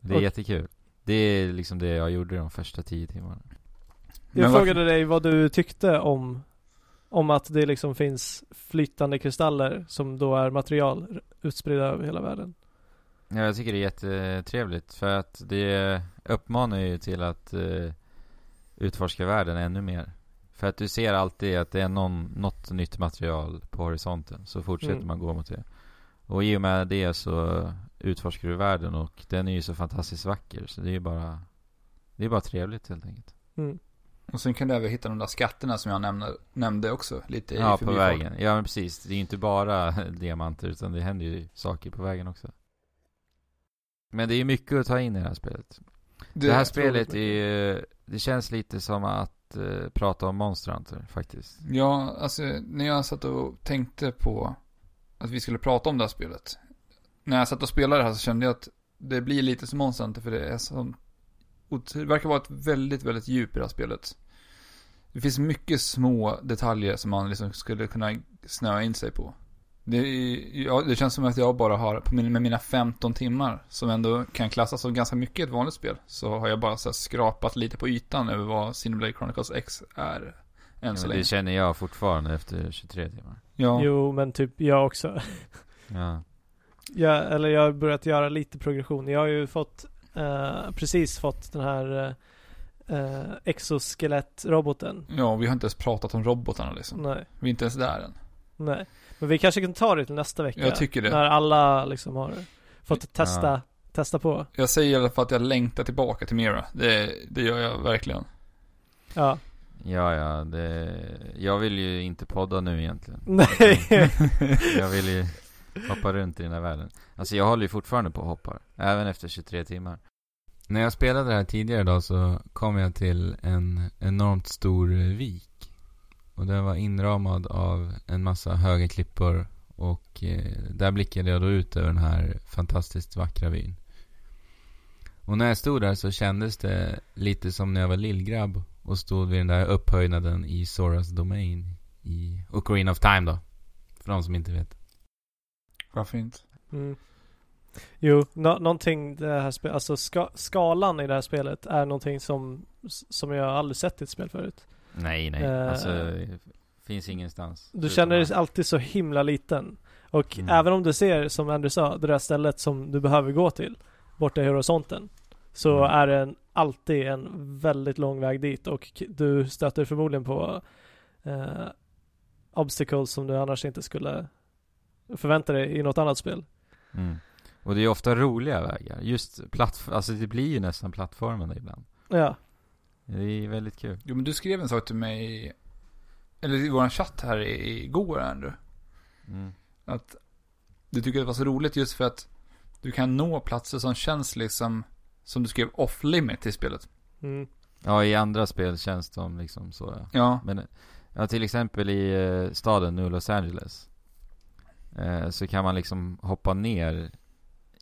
Speaker 3: Det är
Speaker 2: Och-
Speaker 3: jättekul. Det är liksom det jag gjorde de första tio timmarna.
Speaker 2: Jag
Speaker 1: Men varför-
Speaker 2: frågade dig vad du tyckte om, om att det liksom finns flytande kristaller som då är material r- utspridda över hela världen.
Speaker 3: Ja, jag tycker det är jättetrevligt för att det uppmanar ju till att eh, utforska världen ännu mer. För att du ser alltid att det är någon, något nytt material på horisonten så fortsätter
Speaker 2: Mm.
Speaker 3: man gå mot det. Och i och med det så utforskar du världen och den är ju så fantastiskt vacker så det är ju bara, det är bara trevligt helt enkelt.
Speaker 1: Och sen kan du även hitta de där skatterna som jag nämnde, nämnde också. Lite i
Speaker 3: Ja, på
Speaker 1: förbifarten.
Speaker 3: vägen. Ja, men precis. Det är ju inte bara diamanter, utan det händer ju saker på vägen också. Men det är ju mycket att ta in i det här spelet. Det, här spelet är ju, det känns lite som att eh, prata om Monster Hunter, faktiskt.
Speaker 1: Ja, alltså när jag satt och tänkte på att vi skulle prata om det här spelet. När jag satt och spelade det här så kände jag att det blir lite som Monster Hunter för det är som... Det verkar vara ett väldigt, väldigt djup i det här spelet. Det finns mycket små detaljer som man liksom skulle kunna snöa in sig på. Det, är, ja, det känns som att jag bara har, på min, med mina 15 timmar, som ändå kan klassas som ganska mycket i ett vanligt spel, så har jag bara så här skrapat lite på ytan över vad Cineblade Chronicles X är än så
Speaker 3: Men
Speaker 1: länge.
Speaker 3: det känner jag fortfarande efter 23 timmar.
Speaker 1: Ja.
Speaker 2: Jo, men typ jag också.
Speaker 3: Ja.
Speaker 2: Jag, eller jag har börjat göra lite progression. Jag har ju fått, eh, precis fått den här eh, eh, exoskelettroboten.
Speaker 1: Ja, vi har inte ens pratat om robotarna liksom.
Speaker 2: Nej,
Speaker 1: Vi är inte ens där än.
Speaker 2: nej. Men vi kanske kan ta det till nästa vecka.
Speaker 1: Jag tycker det.
Speaker 2: När alla liksom har fått testa, testa på.
Speaker 1: Jag säger i alla fall att jag längtar tillbaka till Mira. Det, det gör jag verkligen.
Speaker 2: Ja.
Speaker 3: Ja, ja, det... Jag vill ju inte podda nu egentligen.
Speaker 2: Nej.
Speaker 3: Jag vill ju hoppa runt i den här världen. Alltså jag håller ju fortfarande på och hoppar. Även efter 23 timmar.
Speaker 4: När jag spelade det här tidigare idag så kom jag till en enormt stor vik. Och den var inramad av en massa höga klippor. Och eh, där blickade jag då ut över den här fantastiskt vackra vyn. Och när jag stod där så kändes det lite som när jag var lillgrabb och stod vid den där upphöjnaden i Soras Domain i Ocarina of Time då. För de som inte vet.
Speaker 1: Varför inte?
Speaker 2: Mm. Jo, nå- någonting det här spelet, alltså ska- skalan i det här spelet är någonting som, som jag aldrig sett i ett spel förut.
Speaker 3: Nej, nej.
Speaker 2: Eh.
Speaker 3: Alltså, finns ingenstans.
Speaker 2: Du
Speaker 3: Förutom
Speaker 2: känner
Speaker 3: här.
Speaker 2: dig alltid så himla liten. Och
Speaker 3: Mm.
Speaker 2: även om du ser, som Andrew sa, det där stället som du behöver gå till, borta i horisonten, så
Speaker 3: Mm.
Speaker 2: är det en, alltid en väldigt lång väg dit och k- du stöter förmodligen på eh, obstacles som du annars inte skulle förvänta dig i något annat spel.
Speaker 3: Mm. Och det är ofta roliga vägar. Just plattform, alltså det blir ju nästan plattformande ibland.
Speaker 2: Ja.
Speaker 3: Det är väldigt kul.
Speaker 1: Jo, men du skrev en sak till mig, eller i vår chatt här i- igår, Andrew.
Speaker 3: Mm.
Speaker 1: Att du tycker att det var så roligt just för att du kan nå platser som känns liksom, som du skrev off limit i spelet.
Speaker 2: Mm.
Speaker 3: Ja, i andra spel känns de liksom så ja.
Speaker 1: Ja,
Speaker 3: Men, ja till exempel i eh, staden nu Los Angeles. Eh, så kan man liksom hoppa ner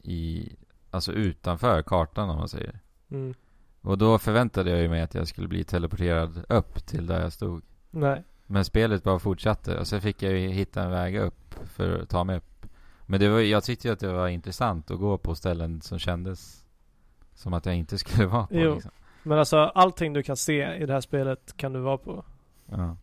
Speaker 3: i, alltså utanför kartan om man säger.
Speaker 2: Mm.
Speaker 3: Och då förväntade jag ju mig att jag skulle bli teleporterad upp till där jag stod.
Speaker 2: Nej.
Speaker 3: Men spelet bara fortsatte och sen fick jag ju hitta en väg upp för att ta mig upp. Men det var, jag tyckte ju att det var intressant att gå på ställen som kändes som att jag inte skulle vara på
Speaker 2: Jo.
Speaker 3: liksom.
Speaker 2: Men alltså allting du kan se i det här spelet kan du vara på.
Speaker 3: Ja.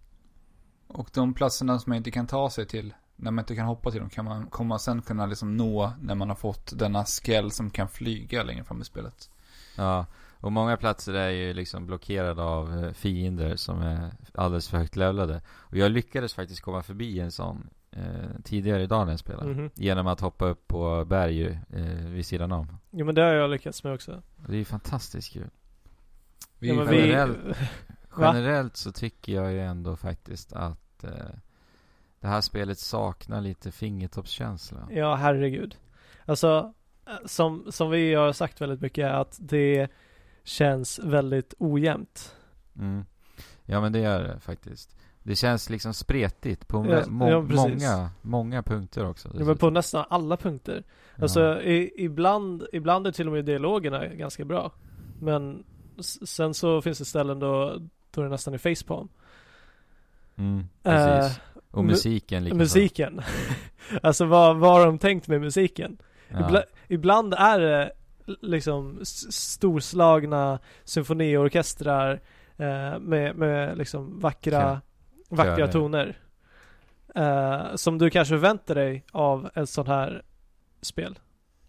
Speaker 1: och de platserna som man inte kan ta sig till, när man inte kan hoppa till dem, kan man, kommer man sen kunna liksom nå när man har fått denna skell som kan flyga längre fram i spelet.
Speaker 3: ja. Och många platser är ju liksom blockerade av eh, fiender som är alldeles för högt levlade. Och jag lyckades faktiskt komma förbi en sån eh, tidigare idag när jag spelade.
Speaker 2: Mhm.
Speaker 3: Genom att hoppa upp på berg eh, vid sidan om.
Speaker 2: Jo men det har jag lyckats med också.
Speaker 3: Och Det är ju fantastiskt kul.
Speaker 1: Vi,
Speaker 2: ja, men
Speaker 1: vi...
Speaker 3: generellt-
Speaker 2: Va?
Speaker 3: Generellt så tycker jag ju ändå faktiskt att eh, det här spelet saknar lite fingertoppskänsla.
Speaker 2: Ja, herregud. Alltså, eh, som, som vi har sagt väldigt mycket är att det känns väldigt ojämnt.
Speaker 3: Mm. Ja men det gör det faktiskt. Det känns liksom spretigt på
Speaker 2: Ja,
Speaker 3: vä- må-
Speaker 2: ja, precis.
Speaker 3: många, många punkter också.
Speaker 2: Det var på nästan alla punkter.
Speaker 3: Ja.
Speaker 2: Alltså, i, ibland, ibland är till och med dialogerna ganska bra. Men s- sen så finns det ställen då, då det nästan är facepalm.
Speaker 3: Mm,
Speaker 2: Eh,
Speaker 3: precis. Och
Speaker 2: mu-
Speaker 3: musiken liksom likaså.
Speaker 2: musiken. alltså vad, vad har de tänkt med musiken? Ibla,
Speaker 3: Ja.
Speaker 2: ibland är det liksom s- storslagna symfoniorkestrar eh, med, med liksom vackra,
Speaker 3: Kö-
Speaker 2: vackra
Speaker 3: körer.
Speaker 2: toner. Eh, som du kanske förväntar dig av ett sånt här spel.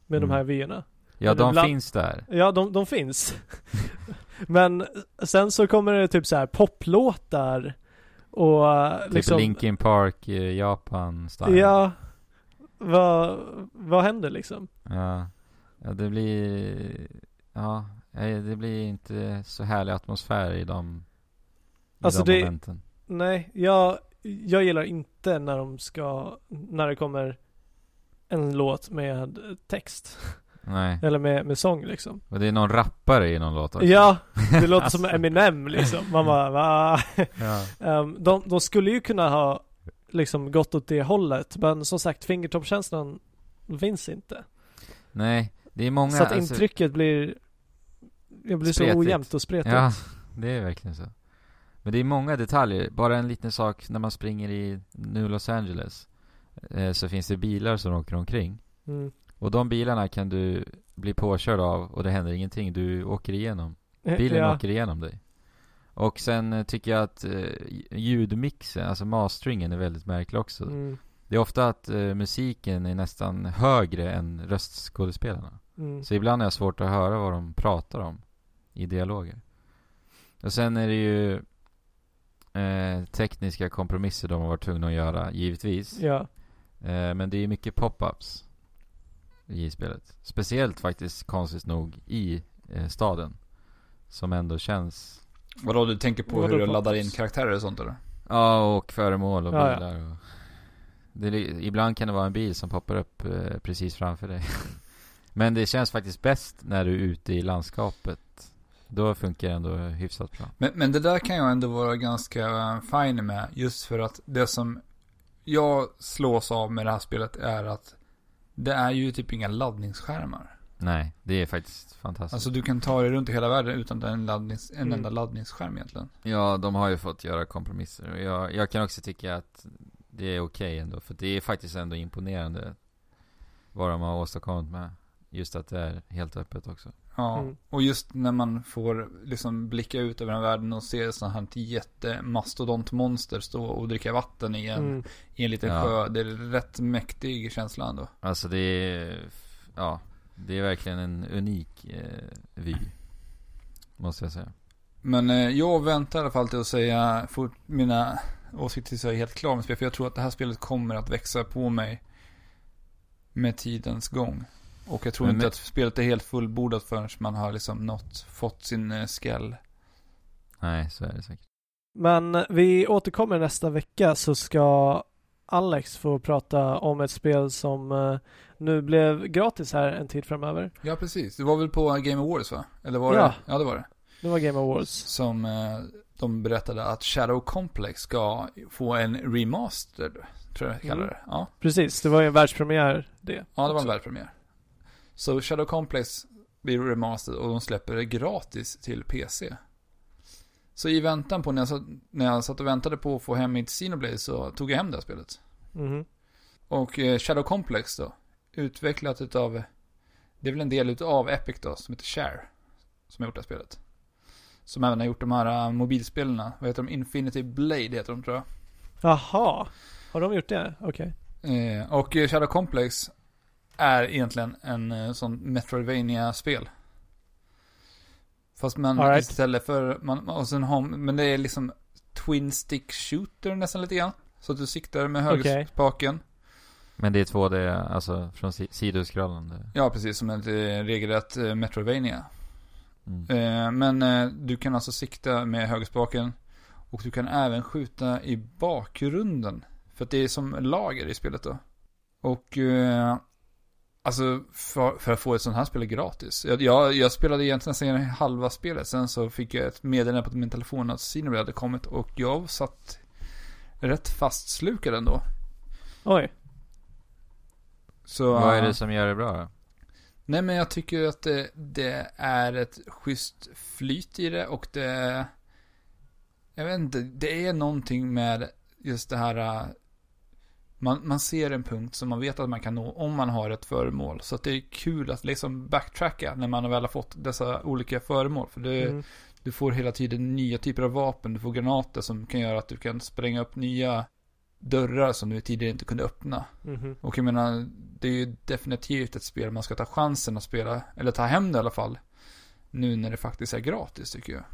Speaker 2: Med
Speaker 3: Mm.
Speaker 2: de här vyerna.
Speaker 3: ja de
Speaker 2: ibland-
Speaker 3: finns där.
Speaker 2: Ja, de, de finns. Men sen så kommer det typ så här poplåtar och eh,
Speaker 3: Typ
Speaker 2: liksom...
Speaker 3: Linkin Park, eh, Japan style.
Speaker 2: Ja. Vad, vad händer liksom?
Speaker 3: ja. Ja, det blir... Ja, eh, det blir inte så härlig atmosfär i de, i
Speaker 2: Alltså,
Speaker 3: de
Speaker 2: det-
Speaker 3: momenten.
Speaker 2: Nej, jag, jag gillar inte när de ska, när det kommer en låt med text.
Speaker 3: Nej.
Speaker 2: Eller med, med sång liksom.
Speaker 3: Och det är någon rappare i någon låt också.
Speaker 2: Ja, det låter som Eminem liksom. Man bara va?
Speaker 3: ja.
Speaker 2: Ehm, de, de skulle ju kunna ha liksom gått åt det hållet. Men som sagt, fingertoppkänslan finns inte.
Speaker 3: Nej, det är många...
Speaker 2: så att
Speaker 3: alltså-
Speaker 2: intrycket blir, det blir
Speaker 3: Spretigt.
Speaker 2: så ojämnt och spretigt.
Speaker 3: Ja, det är verkligen så. Men det är många detaljer. Bara en liten sak när man springer i New Los Angeles. Eh, så finns det bilar som åker omkring.
Speaker 2: Mm.
Speaker 3: Och de bilarna kan du bli påkörd av och det händer ingenting. Du åker igenom. Bilen
Speaker 2: Eh, ja.
Speaker 3: åker igenom dig. Och sen eh, tycker jag att eh, ljudmixen, alltså masteringen är väldigt märklig också.
Speaker 2: Mm.
Speaker 3: Det är ofta att eh, musiken är nästan högre än röstskådespelarna.
Speaker 2: Mm.
Speaker 3: Så ibland är det svårt att höra vad de pratar om i dialoger. Och sen är det ju eh, tekniska kompromisser de har varit tvungna att göra, givetvis.
Speaker 2: Ja.
Speaker 3: Eh, men det är mycket pop-ups i spelet. Speciellt faktiskt konstigt nog i eh, staden. Som ändå känns
Speaker 1: Vadå, du tänker på
Speaker 2: Vadå
Speaker 1: hur du
Speaker 2: på-
Speaker 1: laddar in karaktärer och sånt eller?
Speaker 3: Ja, och föremål och
Speaker 2: Ja, ja.
Speaker 3: bilar och... Det, li- ibland kan det vara en bil som poppar upp eh, precis framför dig. Men det känns faktiskt bäst när du är ute i landskapet. Då funkar det ändå hyfsat bra.
Speaker 1: Men, men det där kan jag ändå vara ganska fine med. Just för att det som jag slås av med det här spelet är att det är ju typ inga laddningsskärmar.
Speaker 3: Nej, det är faktiskt fantastiskt.
Speaker 1: Alltså du kan ta dig runt i hela världen utan en, laddnings, en
Speaker 2: Mm.
Speaker 1: enda laddningsskärm egentligen.
Speaker 3: Ja, de har ju fått göra kompromisser. Och jag, jag kan också tycka att det är okej ändå. För det är faktiskt ändå imponerande vad de har åstadkommit med. Just att det är helt öppet också.
Speaker 1: Ja,
Speaker 2: Mm.
Speaker 1: och just när man får liksom blicka ut över den världen och se sådana här jättemastodontmonster stå och dricka vatten i en,
Speaker 2: Mm.
Speaker 1: i en liten
Speaker 3: Ja.
Speaker 1: sjö. Det är rätt mäktig känsla ändå.
Speaker 3: Alltså det är, ja, det är verkligen en unik eh, vy. Måste jag säga.
Speaker 1: Men eh, jag väntar i alla fall till att säga, fort, mina åsikter tills jag är helt klar med spelet. För jag tror att det här spelet kommer att växa på mig med tidens gång. Och jag tror
Speaker 3: Men
Speaker 1: inte
Speaker 3: med-
Speaker 1: att spelet är helt fullbordat förrän man har liksom nått, fått sin eh, skäll.
Speaker 3: Nej, så är det säkert.
Speaker 2: Men vi återkommer nästa vecka så ska Alex få prata om ett spel som eh, nu blev gratis här en tid framöver.
Speaker 1: Ja, precis. Det var väl på Game Awards va? Eller var
Speaker 2: Ja.
Speaker 1: det? Ja, det var det.
Speaker 2: Det var Game Awards.
Speaker 1: Som eh, de berättade att Shadow Complex ska få en remastered, tror jag de kallar
Speaker 2: Mm.
Speaker 1: det. Ja.
Speaker 2: Precis, det var ju en världspremiär det.
Speaker 1: Ja, det var en
Speaker 2: också.
Speaker 1: världspremiär. Så Shadow Complex blir remastered och de släpper det gratis till PC. Så i väntan på, när jag, satt, när jag satt och väntade på att få hem mitt Xenoblade så tog jag hem det här spelet.
Speaker 2: Mhm.
Speaker 1: Och eh, Shadow Complex då, utvecklat utav, det är väl en del utav Epic då, som heter Share, som har gjort det här spelet. Som även har gjort de här eh, mobilspelarna, vad heter de? Infinity Blade heter de tror jag.
Speaker 2: Jaha, har de gjort det? Okej.
Speaker 1: Eh, och eh, Shadow Complex är egentligen en eh, sån Metroidvania-spel. Fast man
Speaker 2: All right.
Speaker 1: istället för, man, och sen har, men det är liksom Twin Stick Shooter nästan lite grann. Så att du siktar med
Speaker 2: Okej.
Speaker 1: högerspaken.
Speaker 3: Men det är 2D, alltså från si- sidoskrollande.
Speaker 1: Ja, precis som ett eh, regelrätt eh, Metroidvania.
Speaker 3: Mm.
Speaker 1: Eh, men eh, du kan alltså sikta med högerspaken. Och du kan även skjuta i bakgrunden. För att det är som lager i spelet då. Och eh, alltså för, för att få ett sånt här spel gratis. Jag, jag, jag spelade egentligen nästan halva spelet. Sen så fick jag ett meddelande på min telefon att Cinebread hade kommit. Och jag satt rätt fastslukad ändå.
Speaker 2: Oj.
Speaker 1: Så,
Speaker 3: Vad är det som gör det bra då?
Speaker 1: Nej men jag tycker att det, det är ett schysst flyt i det och det... Jag vet inte, det är någonting med just det här... äh, Man, man ser en punkt som man vet att man kan nå om man har ett föremål. Så att det är kul att liksom backtracka när man väl har fått dessa olika föremål. För det,
Speaker 2: Mm.
Speaker 1: du får hela tiden nya typer av vapen, du får granater som kan göra att du kan spränga upp nya dörrar som du tidigare inte kunde öppna.
Speaker 2: Mhm.
Speaker 1: Och jag menar, det är ju definitivt ett spel man ska ta chansen att spela, eller ta hem det i alla fall. Nu när det faktiskt är gratis tycker jag.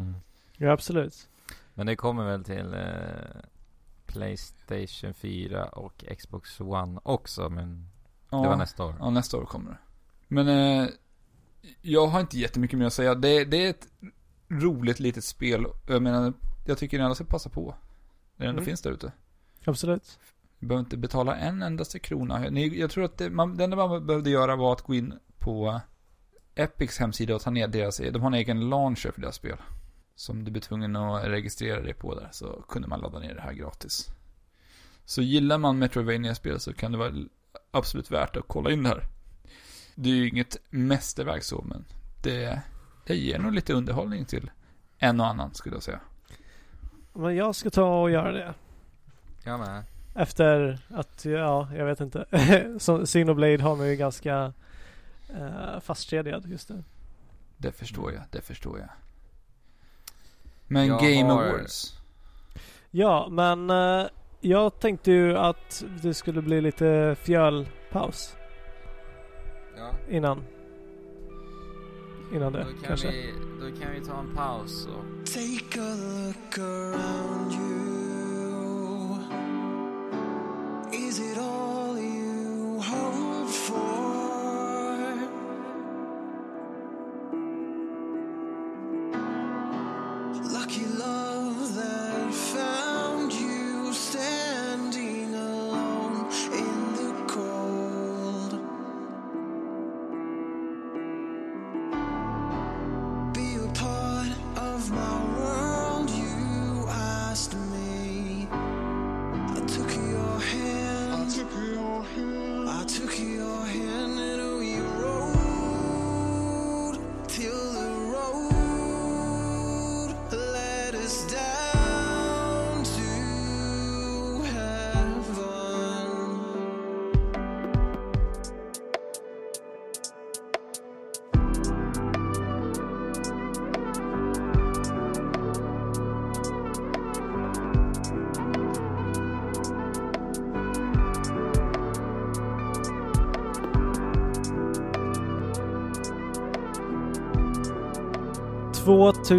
Speaker 3: Mm.
Speaker 2: Ja, absolut.
Speaker 3: Men det kommer väl till eh, Playstation 4 och Xbox One också, men
Speaker 1: Ja,
Speaker 3: det var nästa år.
Speaker 1: ja, nästa år kommer det. Men eh, jag har inte jättemycket mer att säga. Det, det är ett roligt litet spel. Jag menar, jag tycker ni alla ska passa på. När det ändå
Speaker 2: Mm.
Speaker 1: finns där ute.
Speaker 2: Absolut.
Speaker 1: Du behöver inte betala en endaste krona. Ni, jag tror att det, man, det enda man behövde göra var att gå in på Epics hemsida och ta ner deras, de har en egen launcher för deras spel. Som du blir tvungen att registrera dig på där, så kunde man ladda ner det här gratis. Så gillar man metroidvania spel så kan det vara absolut värt att kolla in det här. Det är ju inget mästerverk så, men det, det ger nog lite underhållning till en och annan skulle jag säga.
Speaker 2: Men jag ska ta och göra det.
Speaker 3: Jag med.
Speaker 2: Efter att, ja, jag vet inte. Som Signoblade har man ju ganska eh, fastkedjad just nu.
Speaker 1: Det förstår jag, det förstår jag. Men
Speaker 3: Jag
Speaker 1: Game
Speaker 3: har-
Speaker 1: Awards.
Speaker 2: Ja, men eh, jag tänkte ju att det skulle bli lite fjölpaus
Speaker 3: Ja,
Speaker 2: innan. Innan det, kanske.
Speaker 3: vi, då kan vi ta en paus och
Speaker 5: Take a look around you. Is it all you hoped for?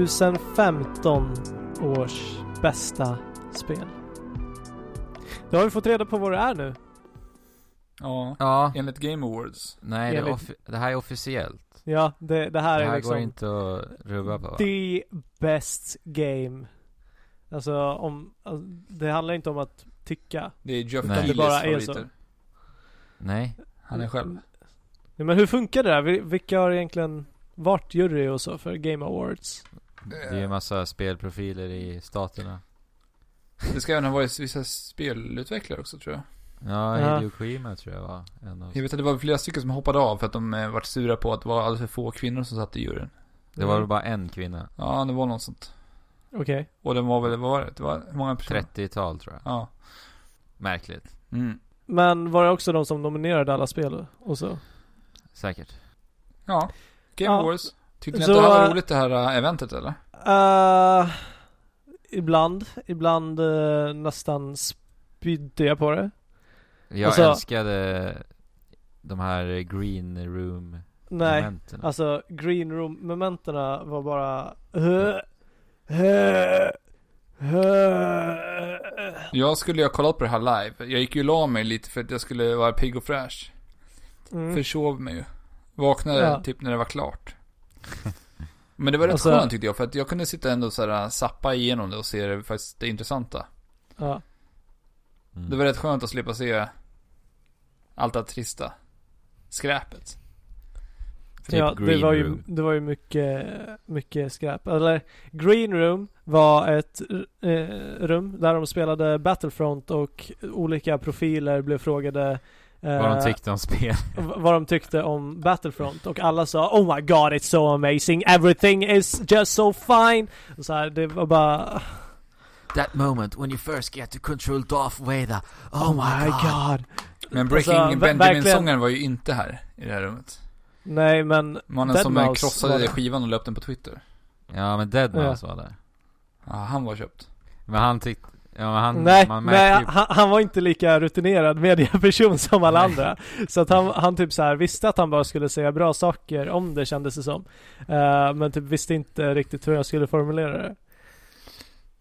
Speaker 2: 2015 års bästa spel. Då har vi fått reda på vad det är nu.
Speaker 1: Ja,
Speaker 3: Ja,
Speaker 1: enligt Game Awards.
Speaker 3: nej det, är
Speaker 2: Enligt-
Speaker 3: offi- det här är officiellt.
Speaker 2: Ja, det, det här
Speaker 3: Det
Speaker 2: är
Speaker 3: här
Speaker 2: liksom...
Speaker 3: går inte att rubba på. va?
Speaker 2: The best game. Alltså om, alltså, det handlar inte om att tycka.
Speaker 1: Det är Jeff
Speaker 3: Nej.
Speaker 1: Keelys
Speaker 2: Det bara är
Speaker 1: favoriter.
Speaker 2: så.
Speaker 3: Nej.
Speaker 1: Han är själv.
Speaker 2: Nej, men hur funkar det där? Vil- Vilka har egentligen varit jury och så för Game Awards?
Speaker 3: Det är ju en massa spelprofiler i staterna.
Speaker 1: Det ska även ha varit vissa spelutvecklare också tror jag.
Speaker 3: Ja,
Speaker 2: Ja.
Speaker 3: Hideo Kojima tror jag var en av
Speaker 1: Jag vet att det var flera stycken som hoppade av för att de eh, vart sura på att det var alldeles för få kvinnor som satt i juryn.
Speaker 3: Det var väl bara en kvinna.
Speaker 1: Ja, det var något sånt.
Speaker 2: Okej.
Speaker 1: Och den var väl, vad var det? Det var hur många personer?
Speaker 3: 30-tal tror jag.
Speaker 1: Ja.
Speaker 3: Märkligt.
Speaker 1: Mm.
Speaker 2: Men var det också de som nominerade alla spel och så?
Speaker 3: Säkert.
Speaker 1: Ja. Game
Speaker 2: Ja.
Speaker 1: Awards. Tyckte ni
Speaker 2: Så,
Speaker 1: att det här
Speaker 2: eh,
Speaker 1: var roligt det här eh, eventet eller?
Speaker 2: Eh, ibland. Ibland eh, nästan spydde jag på det.
Speaker 3: Jag
Speaker 2: Alltså-
Speaker 3: älskade de här green room
Speaker 2: Nej.
Speaker 3: momenten.
Speaker 2: Alltså green room momenterna var bara... "Hö, hö, hö."
Speaker 1: Jag skulle ju ha kollat på det här live. Jag gick ju och la mig lite för att jag skulle vara pigg och fräsch.
Speaker 2: Mm.
Speaker 1: Försov mig ju. Vaknade
Speaker 2: Ja.
Speaker 1: typ när det var klart. Men det var rätt
Speaker 2: Alltså-
Speaker 1: skönt tyckte jag för att jag kunde sitta ändå så här äh, sappa igenom det och se det, faktiskt det intressanta.
Speaker 2: Ja.
Speaker 3: Mm.
Speaker 1: Det var rätt skönt att slippa se allt det här trista. Skräpet.
Speaker 3: Typ
Speaker 2: ja, det
Speaker 3: green
Speaker 2: var, ju,
Speaker 3: room.
Speaker 2: det var ju mycket, mycket skräp. Eller, Green Room var ett eh, rum där de spelade Battlefront och olika profiler blev frågade eh,
Speaker 3: Vad de tyckte om spel.
Speaker 2: v- vad de tyckte om Battlefront och alla sa Oh my god it's so amazing, everything is just so fine. Och så här, det var bara
Speaker 6: That moment when you first get to control Darth Vader. Oh, my god.
Speaker 2: god.
Speaker 1: Men Breaking
Speaker 2: Alltså, ver-
Speaker 1: Benjamin-sångaren var ju inte här i det här rummet.
Speaker 2: Nej men
Speaker 1: Mannen
Speaker 2: Dead
Speaker 1: som
Speaker 2: Mouse var
Speaker 1: krossade
Speaker 2: det.
Speaker 1: skivan och löpte den på Twitter.
Speaker 3: Ja, men Deadmau5 var där.
Speaker 1: Ja, han var köpt.
Speaker 3: Men han tyckte... Ja, men han...
Speaker 2: nej,
Speaker 3: man märkte
Speaker 2: nej
Speaker 3: ju...
Speaker 2: han, han var inte lika rutinerad mediaperson som alla
Speaker 3: Nej.
Speaker 2: andra. Så att han, han typ så här visste att han bara skulle säga bra saker om det kändes det som. Eh, men typ visste inte riktigt hur jag skulle formulera det.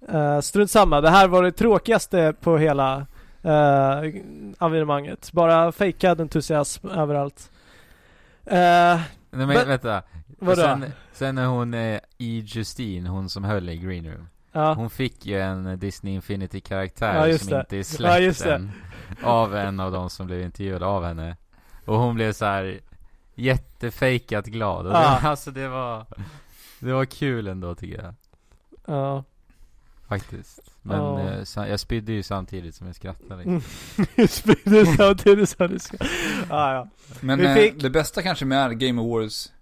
Speaker 2: Eh, strunt samma, det här var det tråkigaste på hela uh, evenemanget. Bara fejkad entusiasm överallt. Uh,
Speaker 3: Nej, men,
Speaker 2: Men-
Speaker 3: vänta. Och
Speaker 2: vadå?
Speaker 3: Sen, sen när hon eh, i Justine, hon som höll i Green Room.
Speaker 2: ja.
Speaker 3: Hon fick ju en Disney Infinity-karaktär
Speaker 2: Ja, just
Speaker 3: som
Speaker 2: det.
Speaker 3: inte är släppt
Speaker 2: Ja, just det.
Speaker 3: än. Av en av de som blev intervjuade av henne. Och hon blev så här jättefejkat glad. Och
Speaker 2: Ja.
Speaker 3: det, var- alltså det var... Det var kul ändå tycker jag.
Speaker 2: ja.
Speaker 3: Faktiskt. Men
Speaker 2: Ja.
Speaker 3: eh, sa- jag spydde ju samtidigt som jag skrattade.
Speaker 2: Mm. Sprider samtidigt som du ska. Ja, ja.
Speaker 1: Men
Speaker 2: Vi
Speaker 1: eh,
Speaker 2: fick-
Speaker 1: det bästa kanske med Game Awards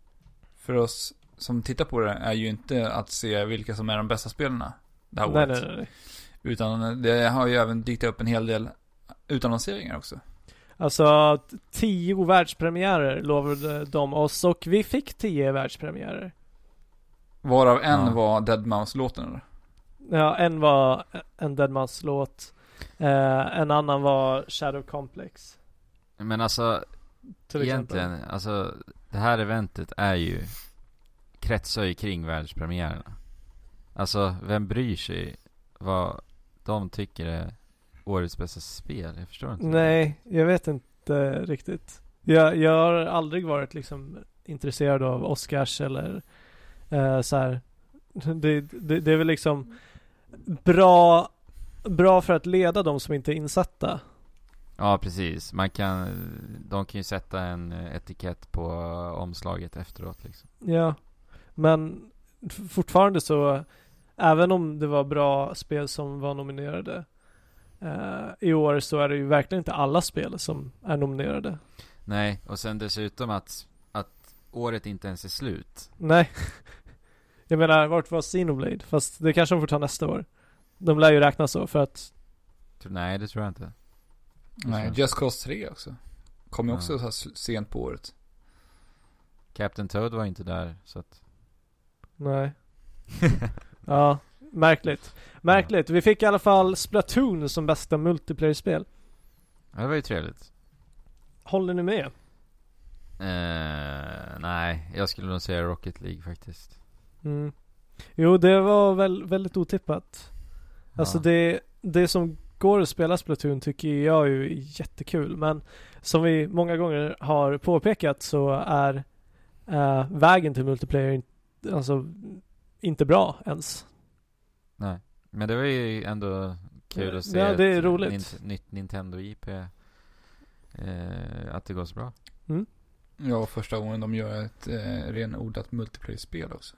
Speaker 1: för oss som tittar på det är ju inte att se vilka som är de bästa spelarna det här
Speaker 2: Nej,
Speaker 1: året.
Speaker 2: nej, nej. nej.
Speaker 1: Utan det har ju även dykt upp en hel del utannonseringar också.
Speaker 2: Alltså t- tio världspremiärer lovade de oss och vi fick tio världspremiärer.
Speaker 1: Varav en
Speaker 3: Ja.
Speaker 1: var deadmau låten eller?
Speaker 2: Ja, en var en Deadmans låt. Eh, en annan var Shadow Complex.
Speaker 3: Men alltså,
Speaker 2: Till
Speaker 3: egentligen,
Speaker 2: exempel.
Speaker 3: alltså det här eventet är ju kretsar ju kring världspremiärerna. Alltså, vem bryr sig vad de tycker är årets bästa spel? Jag förstår inte.
Speaker 2: Nej, jag vet inte riktigt. Jag, jag har aldrig varit liksom intresserad av Oscars eller eh, så här. Det, det, det är väl liksom bra, bra för att leda de som inte är insatta.
Speaker 3: Ja, precis. Man kan, de kan ju sätta en eh, etikett på omslaget efteråt liksom.
Speaker 2: Ja, men f- fortfarande så, även om det var bra spel som var nominerade eh, i år så är det ju verkligen inte alla spel som är nominerade.
Speaker 3: Nej, och sen dessutom att, att året inte ens är slut.
Speaker 2: Nej. Jag menar, vart var Xenoblade? Fast det kanske de får ta nästa år. De lär ju räkna så för att,
Speaker 3: Tror- Nej, det tror jag inte.
Speaker 1: Nej,
Speaker 3: Just det.
Speaker 1: Just Cause 3 också. Kom ju
Speaker 3: Ja.
Speaker 1: också så här s- sent på året.
Speaker 3: Captain Toad var inte där, så att...
Speaker 2: nej. ja, märkligt. Märkligt. Vi fick i alla fall Splatoon som bästa multiplayer-spel.
Speaker 3: Ja, det var ju trevligt.
Speaker 2: Håller ni med?
Speaker 3: Eh, nej, jag skulle nog säga Rocket League faktiskt.
Speaker 2: Mm. Jo, det var väl, väldigt otippat. Alltså
Speaker 3: Ja.
Speaker 2: det, det som går att spela Splatoon tycker jag ju är jättekul. Men som vi många gånger har påpekat så är eh, vägen till multiplayer in- alltså, inte bra ens.
Speaker 3: Nej. Men det var ju ändå kul
Speaker 2: Ja,
Speaker 3: att se
Speaker 2: ja, det är
Speaker 3: ett
Speaker 2: roligt.
Speaker 3: nint- nytt Nintendo IP. Eh, att det går så bra.
Speaker 1: Ja, första gången de gör ett eh, renodlat multiplayer-spel också.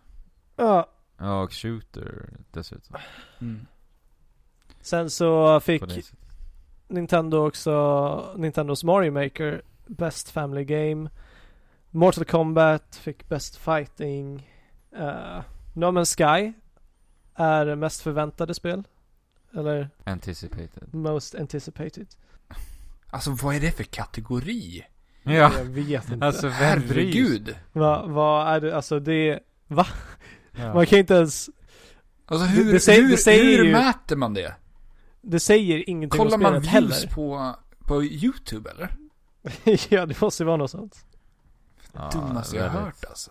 Speaker 2: Ja,
Speaker 3: Ja, och Shooter dessutom.
Speaker 1: Mm.
Speaker 2: sen så
Speaker 3: På det
Speaker 2: fick
Speaker 3: sättet.
Speaker 2: Nintendo också Nintendos Mario Maker Best Family Game Mortal Kombat fick Best Fighting uh, No Man's Sky är mest förväntade spel eller
Speaker 3: Anticipated.
Speaker 2: Most Anticipated
Speaker 1: Alltså vad är det för kategori?
Speaker 3: Ja,
Speaker 2: Jag vet inte
Speaker 3: alltså vem bryr sig?
Speaker 1: Herregud!
Speaker 2: Vad vad är det, alltså det
Speaker 3: Ja.
Speaker 2: Man kan inte ens
Speaker 1: Alltså
Speaker 2: Det-
Speaker 1: hur,
Speaker 2: det säger-
Speaker 1: hur,
Speaker 2: det säger
Speaker 1: hur
Speaker 2: ju-
Speaker 1: mäter man det?
Speaker 2: Det säger ingenting
Speaker 1: Kollar
Speaker 2: om
Speaker 1: man
Speaker 2: spelet
Speaker 1: views
Speaker 2: heller
Speaker 1: på, på YouTube eller?
Speaker 2: Ja det måste ju vara något sånt
Speaker 3: Ja,
Speaker 1: Dummaste jag har
Speaker 3: väldigt.
Speaker 1: hört alltså.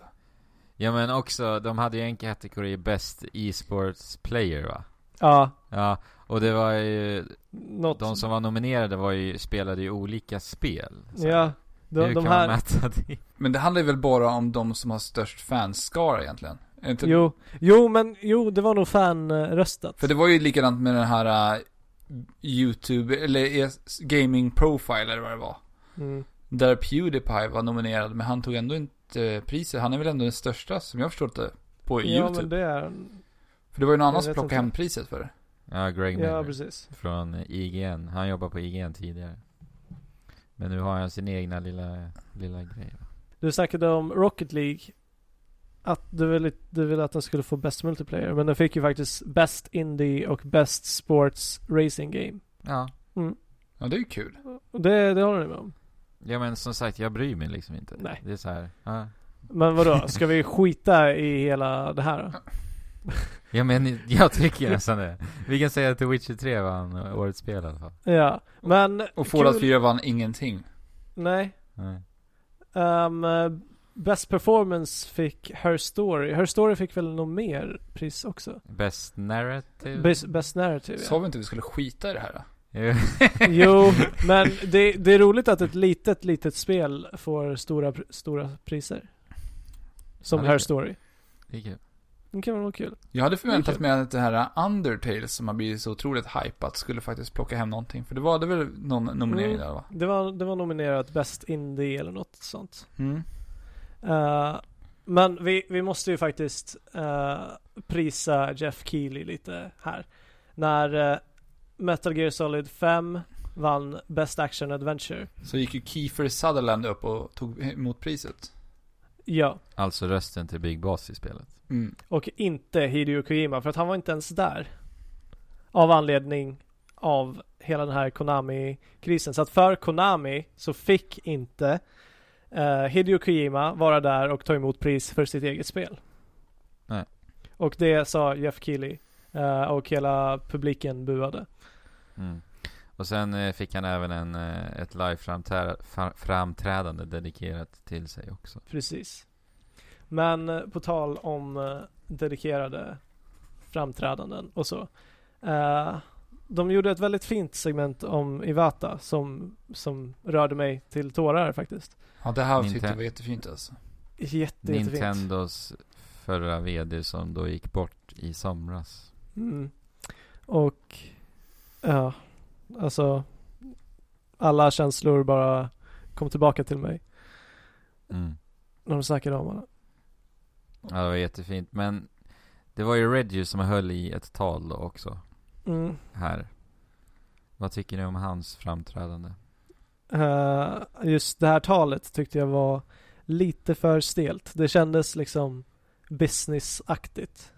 Speaker 3: Ja men också, de hade ju en kategori Best e-sports player va?
Speaker 2: Ja
Speaker 3: Ja, och det var ju,
Speaker 2: Något
Speaker 3: de som var nominerade var ju, spelade ju olika spel. Så
Speaker 2: Ja
Speaker 3: Hur
Speaker 2: de, de
Speaker 3: kan
Speaker 2: här
Speaker 3: man mäta det?
Speaker 1: Men det handlar ju väl bara om de som har störst fanskara egentligen? Är Inte,
Speaker 2: Jo, jo men jo det var nog fanröstat.
Speaker 1: För det var ju likadant med den här eh, YouTube, eller ES Gaming Profile eller vad det var.
Speaker 2: Mm.
Speaker 1: Där Pewdiepie var nominerad, men han tog ändå inte eh, priset. Han är väl ändå den största, som jag förstått det, på
Speaker 2: Ja
Speaker 1: YouTube.
Speaker 2: men det är
Speaker 1: För det var ju någon annan
Speaker 2: Jag
Speaker 1: som
Speaker 2: vet
Speaker 1: plockade
Speaker 2: inte.
Speaker 1: hem priset för det.
Speaker 3: Ja, Greg
Speaker 2: Ja
Speaker 3: Miller
Speaker 2: precis.
Speaker 3: från IGN. Han jobbade på IGN tidigare. Men nu har han sin egna lilla, lilla grej. va?
Speaker 2: Du snackade om Rocket League. Att du ville, du ville att den skulle få bäst multiplayer. Men den fick ju faktiskt bäst indie och bäst sports racing game.
Speaker 3: Ja.
Speaker 1: Ja, det är ju kul.
Speaker 2: Och det, det håller ni med om?
Speaker 3: Ja men som sagt, jag bryr mig liksom inte.
Speaker 2: Nej.
Speaker 3: Det är så här. Ja.
Speaker 2: Men vadå, ska vi skita i hela det här då?
Speaker 3: ja men jag tycker nästan det. Vi kan säga att The Witcher 3 vann årets spel i alla fall.
Speaker 2: Ja, men...
Speaker 1: Och
Speaker 2: kul-
Speaker 1: Fallout 4 vann ingenting.
Speaker 2: Nej.
Speaker 3: Nej.
Speaker 2: Ehm, eh, best performance fick Her Story. Her Story fick väl något mer pris också?
Speaker 3: Best narrative?
Speaker 2: Best, best narrative ja.
Speaker 1: Eh, Sa vi inte att vi skulle skita i det här? då?
Speaker 3: Jo.
Speaker 2: Jo, men det, det är roligt att ett litet, litet spel får stora, pr- stora priser. Som
Speaker 3: Ja, det är
Speaker 2: Her
Speaker 3: kul.
Speaker 2: Story.
Speaker 3: Det är kul.
Speaker 2: Det kan väl vara kul.
Speaker 1: Jag hade förväntat
Speaker 2: kul.
Speaker 1: mig att det här äh, Undertale som har blivit så otroligt hypat skulle faktiskt plocka hem någonting. För det var det väl någon nominering
Speaker 2: Mm.
Speaker 1: där va?
Speaker 2: Det var, det var nominerat Best Indie eller något sånt.
Speaker 1: Mm.
Speaker 2: Eh, men vi, vi måste ju faktiskt eh, prisa Jeff Keely lite här. När eh, Metal Gear Solid 5 vann Best Action Adventure.
Speaker 1: Så gick ju Kiefer Sutherland upp och tog emot priset.
Speaker 2: Ja,
Speaker 3: Alltså rösten till Big Boss i spelet.
Speaker 1: Mm.
Speaker 2: och inte Hideo Kojima för att han var inte ens där. Av anledning av hela den här Konami-krisen. Så att för Konami så fick inte eh, Hideo Kojima vara där och ta emot pris för sitt eget spel.
Speaker 3: Nej.
Speaker 2: Och det sa Jeff Keely eh, och hela publiken buade.
Speaker 3: Mm. Och sen eh, fick han även en, eh, ett live-framträdande dedikerat till sig också.
Speaker 2: Precis. Men eh, på tal om eh, dedikerade framträdanden och så. Eh, de gjorde ett väldigt fint segment om Iwata som, som rörde mig till tårar faktiskt.
Speaker 1: Ja, det här
Speaker 3: Ninte-
Speaker 1: tyckte jag var jättefint alltså.
Speaker 2: Jätte, jättefint.
Speaker 3: Nintendos förra VD som då gick bort i somras.
Speaker 2: Mm. Och ja, alltså alla känslor bara kom tillbaka till mig
Speaker 3: Mm.
Speaker 2: när de snackade om honom.
Speaker 3: Ja, det var jättefint. Men det var ju Reggie som höll i ett tal då också,
Speaker 2: Mm.
Speaker 3: här. Vad tycker ni om hans framträdande?
Speaker 2: Eh, just det här talet tyckte jag var lite för stelt. Det kändes liksom businessaktigt.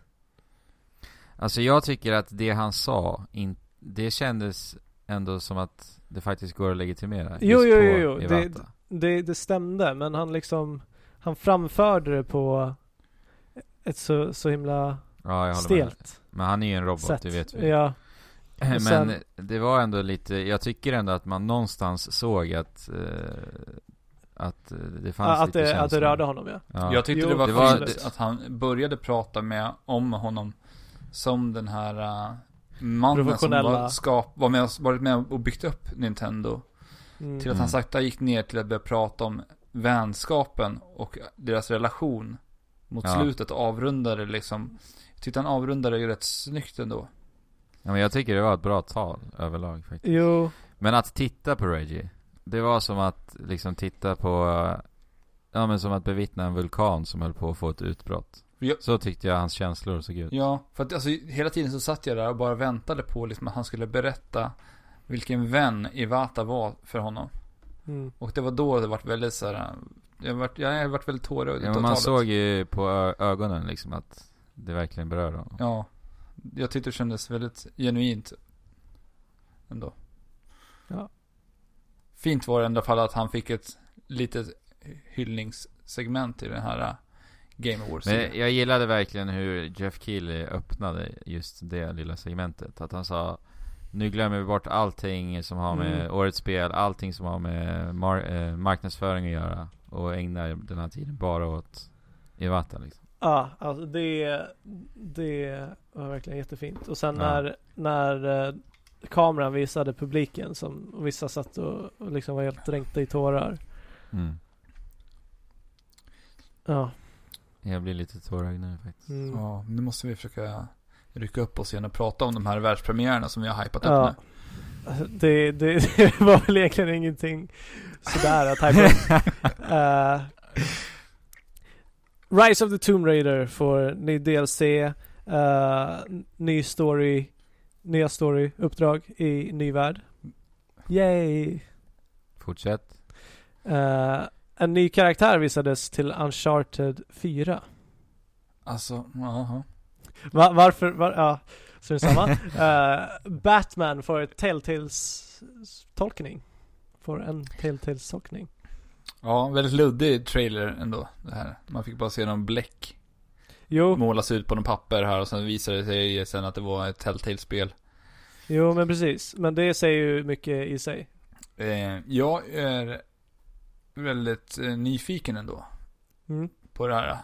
Speaker 3: Alltså jag tycker att det han sa, in, det kändes ändå som att det faktiskt går att legitimera.
Speaker 2: Jo,
Speaker 3: just
Speaker 2: jo,
Speaker 3: på
Speaker 2: jo, jo. Det-
Speaker 3: Iwata.
Speaker 2: Det, det stämde, men han liksom, han framförde det på ett så, så himla
Speaker 3: ja, jag håller med. Typ.
Speaker 2: stelt
Speaker 3: Men han är ju en robot,
Speaker 2: sätt.
Speaker 3: det vet vi.
Speaker 2: Ja,
Speaker 3: Men
Speaker 2: Och sen-
Speaker 3: det var ändå lite, jag tycker ändå att man någonstans såg att eh, Att eh, det
Speaker 2: Ja,
Speaker 3: fanns
Speaker 2: att,
Speaker 3: lite
Speaker 2: det, att det
Speaker 3: känslor.
Speaker 2: rörde honom ja.
Speaker 3: Ja.
Speaker 1: Jag tyckte
Speaker 2: Jo,
Speaker 1: det var
Speaker 3: det var-
Speaker 1: fint
Speaker 2: det-
Speaker 1: att han började prata med, om honom som den här äh, mannen som
Speaker 2: Professionella.
Speaker 1: var, skap, var med, och- varit med och byggt upp Nintendo.
Speaker 2: Mm.
Speaker 1: Till att
Speaker 3: Mm.
Speaker 1: han sakta gick ner till att börja prata om vänskapen och deras relation mot
Speaker 3: Ja.
Speaker 1: slutet och avrundade liksom. Jag tyckte han avrundade ju rätt snyggt ändå.
Speaker 3: ja, men jag tycker det var ett bra tal överlag faktiskt.
Speaker 2: Jo,
Speaker 3: Men att titta på Reggie, det var som att liksom titta på, eh, ja men som att bevittna en vulkan som höll på att få ett utbrott.
Speaker 1: Ja.
Speaker 3: Så tyckte jag hans känslor såg ut.
Speaker 1: Ja, för att alltså, hela tiden så satt jag där och bara väntade på liksom, att han skulle berätta vilken vän Iwata var för honom.
Speaker 2: mm.
Speaker 1: Och det var då det vart väldigt så här. Jag har varit, jag har varit väldigt tårögd
Speaker 3: Ja,
Speaker 1: utav
Speaker 3: men man
Speaker 1: talet.
Speaker 3: såg ju på ö- ögonen liksom att det verkligen berör honom.
Speaker 1: Ja. Jag tyckte det kändes väldigt genuint. Ändå.
Speaker 2: Ja.
Speaker 1: Fint var det i alla fall att han fick ett litet hyllningssegment i den här äh, Game Awards.
Speaker 3: Men jag gillade verkligen hur Jeff Keely öppnade just det lilla segmentet. Att han sa nu glömmer vi bort allting som har med
Speaker 2: Mm.
Speaker 3: årets spel, allting som har med mar- eh, marknadsföring att göra och ägnar den här tiden bara åt Iwata liksom.
Speaker 2: Ja, alltså det, det var verkligen jättefint. Och sen
Speaker 3: Ja.
Speaker 2: när, när eh, kameran visade publiken som och vissa satt och, och liksom var helt dränkta i tårar. Ja.
Speaker 3: Jag blir lite tårögd nu faktiskt.
Speaker 2: Mm.
Speaker 1: Ja, nu måste vi försöka rycka upp oss igen och prata om de här världspremiärerna som vi har hypat
Speaker 2: Ja.
Speaker 1: upp nu.
Speaker 2: Alltså, Det, det, det var väl egentligen ingenting sådär att hypa upp. Eh, Rise of the Tomb Raider får ny DLC, eh, ny story, nya story-uppdrag i ny värld. Yay!
Speaker 3: Fortsätt.
Speaker 2: Eh, en ny karaktär visades till Uncharted 4.
Speaker 1: Alltså, jaha.
Speaker 2: Va, varför? Var, ja, så är det samma. Eh, Batman får ett Telltales-tolkning. Får en Telltales-tolkning.
Speaker 1: Ja, väldigt luddig trailer ändå. Det här. Man fick bara se någon bläck
Speaker 2: Jo,
Speaker 1: målas ut på någon papper här och sen visade det sig sen att det var ett Telltale-spel.
Speaker 2: jo, men precis. Men det säger ju mycket i sig.
Speaker 1: Eh, jag är väldigt eh, nyfiken ändå
Speaker 2: Mm.
Speaker 1: på det här.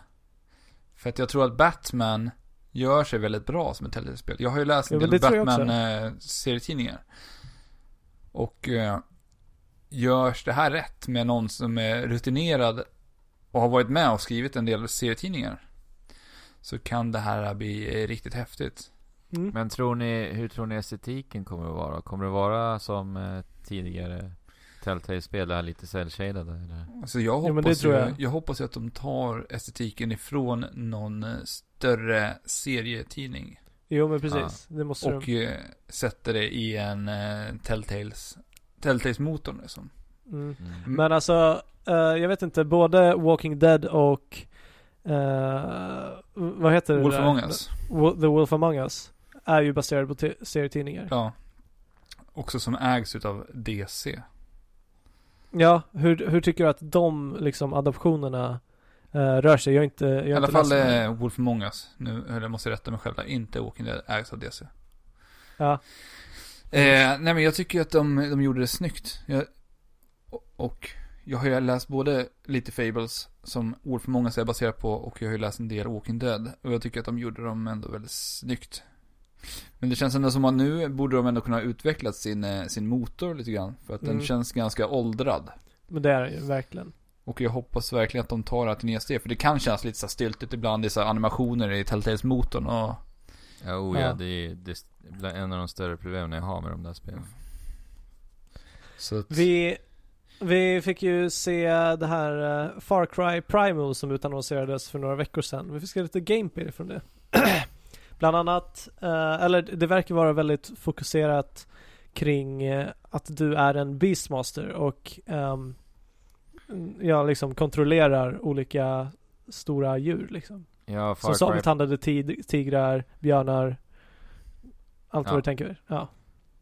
Speaker 1: För att jag tror att Batman gör sig väldigt bra som ett Telltale-spel. Jag har ju läst en
Speaker 2: Ja, men
Speaker 1: del
Speaker 2: det tror jag
Speaker 1: Batman-serietidningar. Och eh, görs det här rätt med någon som är rutinerad och har varit med och skrivit en del serietidningar så kan det här bli eh, riktigt häftigt.
Speaker 2: Mm.
Speaker 3: Men tror ni, hur tror ni estetiken kommer att vara? Kommer det vara som eh, tidigare Telltale-spel, det här lite cell-shaded eller?
Speaker 1: Alltså jag hoppas,
Speaker 2: Jo, men det tror
Speaker 1: Ju,
Speaker 2: jag.
Speaker 1: jag hoppas ju att de tar estetiken ifrån någon eh, större serietidning.
Speaker 2: Jo, men precis. Det måste
Speaker 1: Och eh, sätter det i en eh, Telltales, Telltales-motorn liksom.
Speaker 2: de. Mm.
Speaker 1: Mm.
Speaker 2: Men alltså, eh, jag vet inte. Både Walking Dead och eh, vad heter det
Speaker 1: Wolf
Speaker 2: där?
Speaker 1: Among Us.
Speaker 2: Wo- The Wolf Among Us är ju baserad på te- serietidningar. Ja,
Speaker 1: Ja. Också som ägs utav DC.
Speaker 2: hur, hur tycker du att de liksom adoptionerna eh, rör sig? Jag har inte, jag har
Speaker 1: I alla
Speaker 2: inte
Speaker 1: fall
Speaker 2: läst dem.
Speaker 1: eh, Wolf Among Us. Nu eller, jag måste jag rätta mig själv där. Inte Walking Dead ägs av DC.
Speaker 2: Ja.
Speaker 1: Eh, nej men jag tycker ju att de, de gjorde det snyggt. Jag, och jag har ju läst både lite Fables som Wolf Among Us är baserat på och jag har ju läst en del Walking Dead. Och jag tycker att de gjorde dem ändå väldigt snyggt. Men det känns ändå som att nu borde de ändå kunna ha utvecklat sin, eh, sin motor lite grann. För att den
Speaker 2: Mm.
Speaker 1: känns ganska åldrad.
Speaker 2: Men det är den ju verkligen.
Speaker 1: Och jag hoppas verkligen att de tar det här till nästa steg. För det kan kännas lite så här styltigt ibland. Det är så här animationer i Telltales-motorn och...
Speaker 3: Ja, oh, ja.
Speaker 2: Ja.
Speaker 3: Det, är, det är st- bland- en av de större problemen jag har med de där spelen.
Speaker 1: Så att,
Speaker 2: Vi, vi fick ju se det här eh, Far Cry Primal som utannonserades för några veckor sedan. Vi fick se lite gameplay från det. Bland annat, eh, eller det verkar vara väldigt fokuserat kring eh, att du är en Beastmaster och ehm, ja, liksom kontrollerar olika stora djur liksom.
Speaker 3: Ja,
Speaker 2: Som
Speaker 3: Far Cry,
Speaker 2: sabeltandade tid- tigrar, björnar, allt
Speaker 3: Ja.
Speaker 2: vad du tänker. Ja.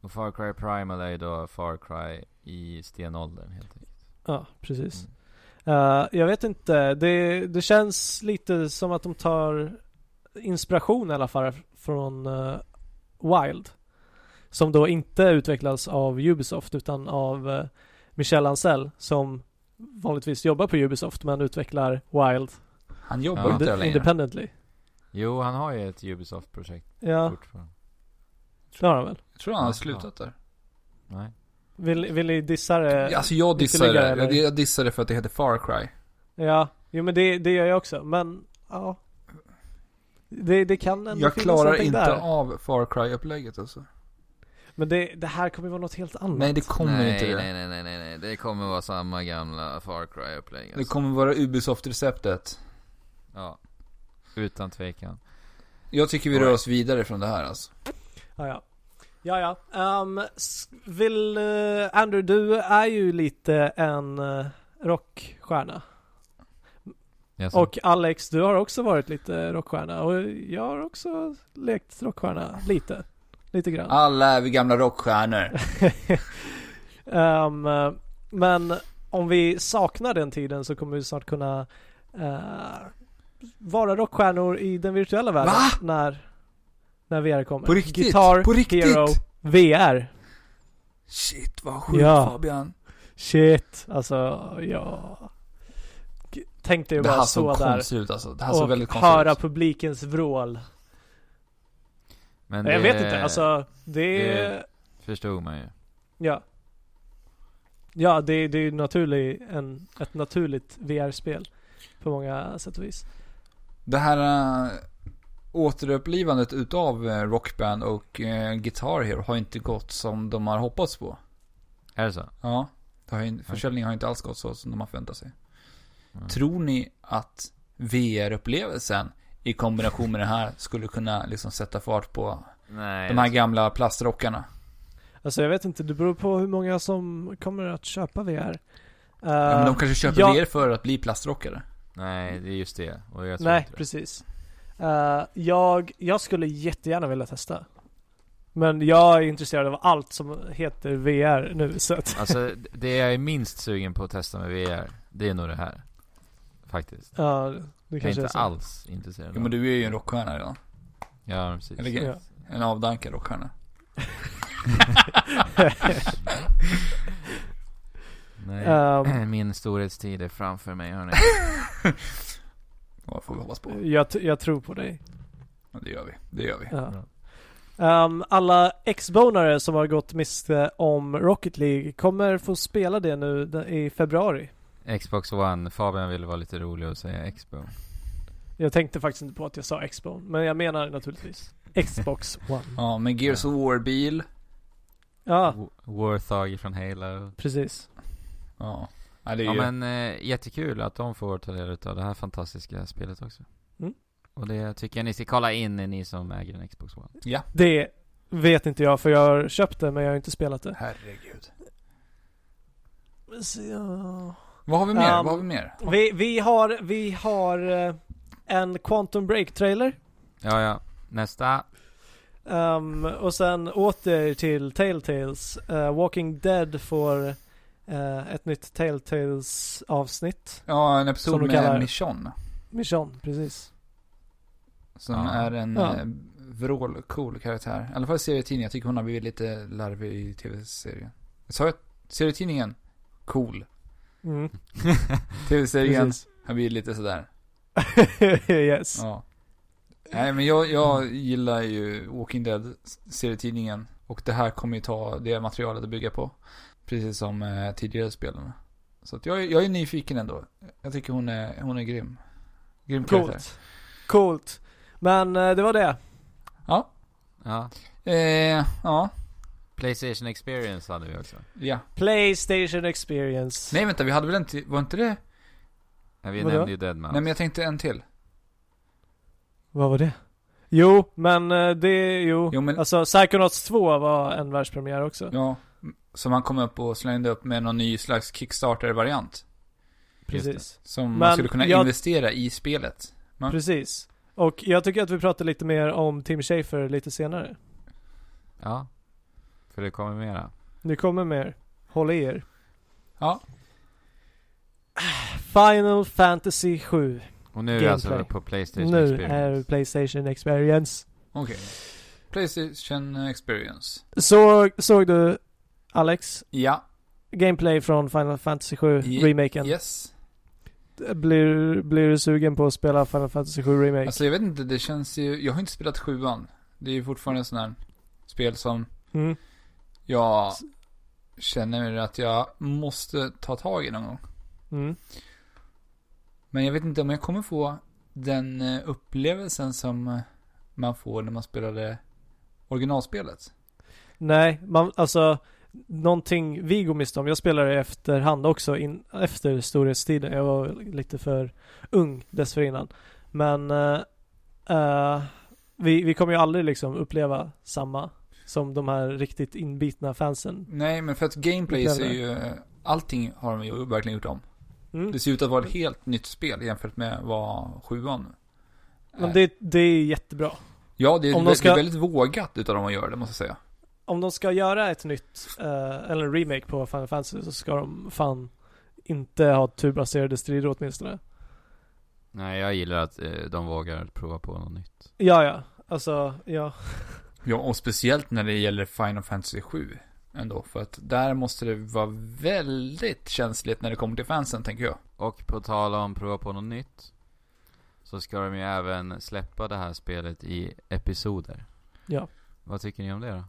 Speaker 3: och Far Cry Primal är ju då Far Cry i stenåldern helt enkelt. Mm.
Speaker 2: Ja, precis. Eh, jag vet inte, det, det känns lite som att de tar inspiration i alla fall från eh, Wild. Som då inte utvecklas av Ubisoft utan av eh, Michel Ancel som vanligtvis jobbar på Ubisoft men utvecklar Wild
Speaker 1: Han jobbar
Speaker 3: Ja.
Speaker 1: inte där
Speaker 2: inde-
Speaker 1: längre.
Speaker 2: independently.
Speaker 3: Jo, han har ju ett Ubisoft-projekt
Speaker 2: Ja,
Speaker 3: fortfarande.
Speaker 2: det har han väl.
Speaker 1: Jag tror han har slutat där.
Speaker 3: Nej.
Speaker 2: Vill, vill ni dissa Eh, det?
Speaker 1: Alltså jag dissar
Speaker 2: Ytterligare,
Speaker 1: det.
Speaker 2: eller?
Speaker 1: Jag dissar det för att det heter Far Cry.
Speaker 2: Ja, jo men det, det gör jag också. Men ja. Det, det kan ändå
Speaker 1: Jag
Speaker 2: finnas
Speaker 1: klarar
Speaker 2: någonting
Speaker 1: inte
Speaker 2: där.
Speaker 1: av Far Cry-upplägget alltså.
Speaker 2: Men det, det här kommer ju vara något helt annat.
Speaker 1: Nej, det kommer
Speaker 3: nej,
Speaker 1: inte det.
Speaker 3: Nej, nej, nej, nej, nej. Det kommer vara samma gamla Far Cry-upplägg.
Speaker 1: Det
Speaker 3: Alltså.
Speaker 1: kommer vara Ubisoft-receptet.
Speaker 3: Ja. Utan tvekan.
Speaker 1: Jag tycker vi rör oss vidare från det här alltså.
Speaker 2: Ja, ja. ja, ja. Ehm, s- vill, eh, Andrew, du är ju lite en eh, rockstjärna.
Speaker 3: Yes.
Speaker 2: Och Alex, du har också varit lite rockstjärna. Och jag har också lekt rockstjärna, lite. Lite grann.
Speaker 1: Alla är vi gamla rockstjärnor.
Speaker 2: Ehm, men om vi saknar den tiden så kommer vi snart kunna eh, vara rockstjärnor i den virtuella världen.
Speaker 1: Va?
Speaker 2: När, när VR kommer.
Speaker 1: På riktigt?
Speaker 2: Guitar
Speaker 1: På riktigt?
Speaker 2: Hero VR.
Speaker 1: Shit vad sjukt
Speaker 2: Ja.
Speaker 1: Fabian.
Speaker 2: Shit, alltså ja. G- Tänk dig att
Speaker 1: Det här
Speaker 2: bara
Speaker 1: såg
Speaker 2: stå där
Speaker 1: konstigt ut alltså. Det här såg
Speaker 2: och
Speaker 1: väldigt konstigt
Speaker 2: höra
Speaker 1: ut.
Speaker 2: publikens vrål.
Speaker 3: Men
Speaker 2: Jag
Speaker 3: det-
Speaker 2: vet inte, alltså det är,
Speaker 3: det- Förstod man ju.
Speaker 2: ja. Ja, det, det är ju naturlig, en, ett naturligt VR-spel på många sätt och vis.
Speaker 1: Det här äh, återupplivandet utav eh, Rockband och äh, Guitar Hero har inte gått som de har hoppats på.
Speaker 3: Är det så?
Speaker 1: Ja, det har ju, försäljningen har inte alls gått så som de har förväntat sig.
Speaker 3: Mm.
Speaker 1: Tror ni att VR-upplevelsen i kombination med det här skulle kunna liksom sätta fart på
Speaker 3: Nej. alltså-
Speaker 1: de här gamla plastrockarna?
Speaker 2: Alltså jag vet inte, det beror på hur många som kommer att köpa VR. Eh,
Speaker 1: ja, men de kanske köper
Speaker 2: ja.
Speaker 1: VR för att bli plastrockare.
Speaker 3: Nej, det är just det. Och jag tror
Speaker 2: Nej,
Speaker 3: inte det.
Speaker 2: precis. Eh, jag, jag skulle jättegärna vilja testa. Men jag är intresserad av allt som heter VR nu så att,
Speaker 3: Alltså, det jag är minst sugen på att testa med VR, det är nog det här. Faktiskt.
Speaker 2: ja, det
Speaker 3: Jag är
Speaker 2: kanske
Speaker 3: inte
Speaker 2: är så.
Speaker 3: alls intresserad
Speaker 1: Jo men du är ju en rockstjärna redan.
Speaker 3: Ja, precis.
Speaker 1: Eller grej.
Speaker 2: Ja.
Speaker 1: En avdankad rockstjärna.
Speaker 3: Nej.
Speaker 2: Ehm,
Speaker 3: Min storhetstid är framför mig, hörni.
Speaker 1: Ja, det får vi hoppas på.
Speaker 2: jag, t- jag tror på dig.
Speaker 1: Ja, Det gör vi. Det gör vi.
Speaker 2: Ja. Ehm, alla ex-bonare som har gått miste om Rocket League kommer få spela det nu de- i februari.
Speaker 3: Xbox One. Fabian ville vara lite rolig och säga Xbox.
Speaker 2: Jag tänkte faktiskt inte på att jag sa X-Bone, men jag menar naturligtvis Xbox One.
Speaker 1: Ja, men Gears of War-bil.
Speaker 2: Ja,
Speaker 3: W- Warthog från Halo.
Speaker 2: precis.
Speaker 1: Ja. ja, det är
Speaker 3: Ja
Speaker 1: ju...
Speaker 3: men eh, jättekul att de får ta del av det här fantastiska spelet också.
Speaker 2: Mm.
Speaker 3: Och det tycker jag ni ska kolla in, ni som äger en Xbox One.
Speaker 2: Det vet inte jag för jag har köpt det men jag har inte spelat det.
Speaker 1: Herregud.
Speaker 2: Så, ja.
Speaker 1: Vad har vi mer?
Speaker 2: Um,
Speaker 1: Vad har vi mer?
Speaker 2: vi, vi har, vi har eh, en Quantum Break-trailer.
Speaker 3: Ja, ja. Nästa.
Speaker 2: Ehm, och sen åter till Telltales. Eh, Walking Dead får eh, ett nytt Telltales avsnitt.
Speaker 1: Ja, en
Speaker 2: som
Speaker 1: episod
Speaker 2: de
Speaker 1: med
Speaker 2: kallar-
Speaker 1: Michonne.
Speaker 2: Mission, precis.
Speaker 1: Som
Speaker 3: Ja.
Speaker 1: är en
Speaker 2: Ja.
Speaker 1: ja. vrålcool karaktär. I alla fall i serietidningen. Jag tycker hon har blivit lite larvig i tv-serien. Sa jag serietidningen? Cool.
Speaker 2: Mm.
Speaker 1: Tv-serien
Speaker 2: Precis.
Speaker 1: har blivit lite sådär.
Speaker 2: yes.
Speaker 1: Ja. Nej men jag, jag gillar ju Walking Dead serietidningen. Och det här kommer ju ta det materialet att bygga på. Precis som eh, tidigare spelarna. Så att jag, är- jag är nyfiken ändå. Jag tycker hon är, hon är grym. Grym karaktär.
Speaker 2: Coolt. Coolt. Men eh, det var det.
Speaker 1: Ja.
Speaker 3: Ja.
Speaker 1: Eh, ja.
Speaker 3: Playstation Experience hade vi också.
Speaker 1: Ja.
Speaker 2: Playstation Experience.
Speaker 1: Nej vänta, vi hade väl en till, var inte det?
Speaker 3: Ja, vi
Speaker 2: Vadå?
Speaker 3: nämnde ju Deadman.
Speaker 1: Nej men jag tänkte en till.
Speaker 2: Vad var det? Jo, men eh, det, jo.
Speaker 1: Jo, men-
Speaker 2: Alltså Psychonauts 2 var en världspremiär också.
Speaker 1: Ja. Som han kom upp och slängde upp med någon ny slags Kickstarter-variant.
Speaker 2: precis.
Speaker 1: Som man
Speaker 2: Men
Speaker 1: skulle kunna
Speaker 2: jag-
Speaker 1: investera i spelet. Ja.
Speaker 2: Precis. Och jag tycker att vi pratar lite mer om Tim Schafer lite senare.
Speaker 3: Ja. För det kommer mera.
Speaker 2: Nu kommer mer. Håll i er.
Speaker 1: Ja.
Speaker 2: Final Fantasy 7.
Speaker 3: Och nu är vi alltså
Speaker 2: Gameplay.
Speaker 3: på Playstation
Speaker 2: Nu
Speaker 3: Experience.
Speaker 2: är Playstation Experience.
Speaker 1: Okej. Playstation Experience.
Speaker 2: Så, såg du Alex?
Speaker 1: Ja.
Speaker 2: gameplay från Final Fantasy 7
Speaker 1: Ye-
Speaker 2: remaken.
Speaker 1: Yes.
Speaker 2: Blir, blir du sugen på att spela Final Fantasy 7 remake?
Speaker 1: Alltså jag vet inte, det känns ju, jag har inte spelat sjuan. Det är ju fortfarande en sån här spel som
Speaker 2: Mm.
Speaker 1: jag
Speaker 2: S-
Speaker 1: känner att jag måste ta tag i någon gång.
Speaker 2: Mm.
Speaker 1: Men jag vet inte om jag kommer få den eh, upplevelsen som eh, man får när man spelade originalspelet.
Speaker 2: Nej, man, alltså någonting vi går miste om. Jag spelade i efterhand också, in, efter storhetstiden. Jag var lite för ung dessförinnan. Men eh, eh, vi, vi kommer ju aldrig liksom uppleva samma som de här riktigt inbitna fansen.
Speaker 1: Nej, men för att gameplay
Speaker 2: Upplever
Speaker 1: ser
Speaker 2: det.
Speaker 1: ju, eh, allting har de ju verkligen gjort om.
Speaker 2: Mm.
Speaker 1: Det ser ut att vara ett helt nytt spel jämfört med vad sjuan
Speaker 2: Men
Speaker 1: är.
Speaker 2: det, det är jättebra.
Speaker 1: Ja, det är,
Speaker 2: om de
Speaker 1: vä- det
Speaker 2: ska-
Speaker 1: är väldigt vågat utav dem att göra det, måste jag säga.
Speaker 2: Om de ska göra ett nytt, eh, eller en remake på Final Fantasy så ska de fan inte ha turbaserade strider åtminstone.
Speaker 4: Nej, jag gillar att eh, de vågar prova på något nytt.
Speaker 2: Ja, ja. Alltså, ja.
Speaker 1: Ja, och speciellt när det gäller Final Fantasy 7 ändå. För att där måste det vara väldigt känsligt när det kommer till fansen, tänker jag.
Speaker 4: Och på tal om prova på något nytt.
Speaker 3: Så ska de ju även släppa det här spelet i episoder.
Speaker 2: Ja.
Speaker 3: Vad tycker ni om det då?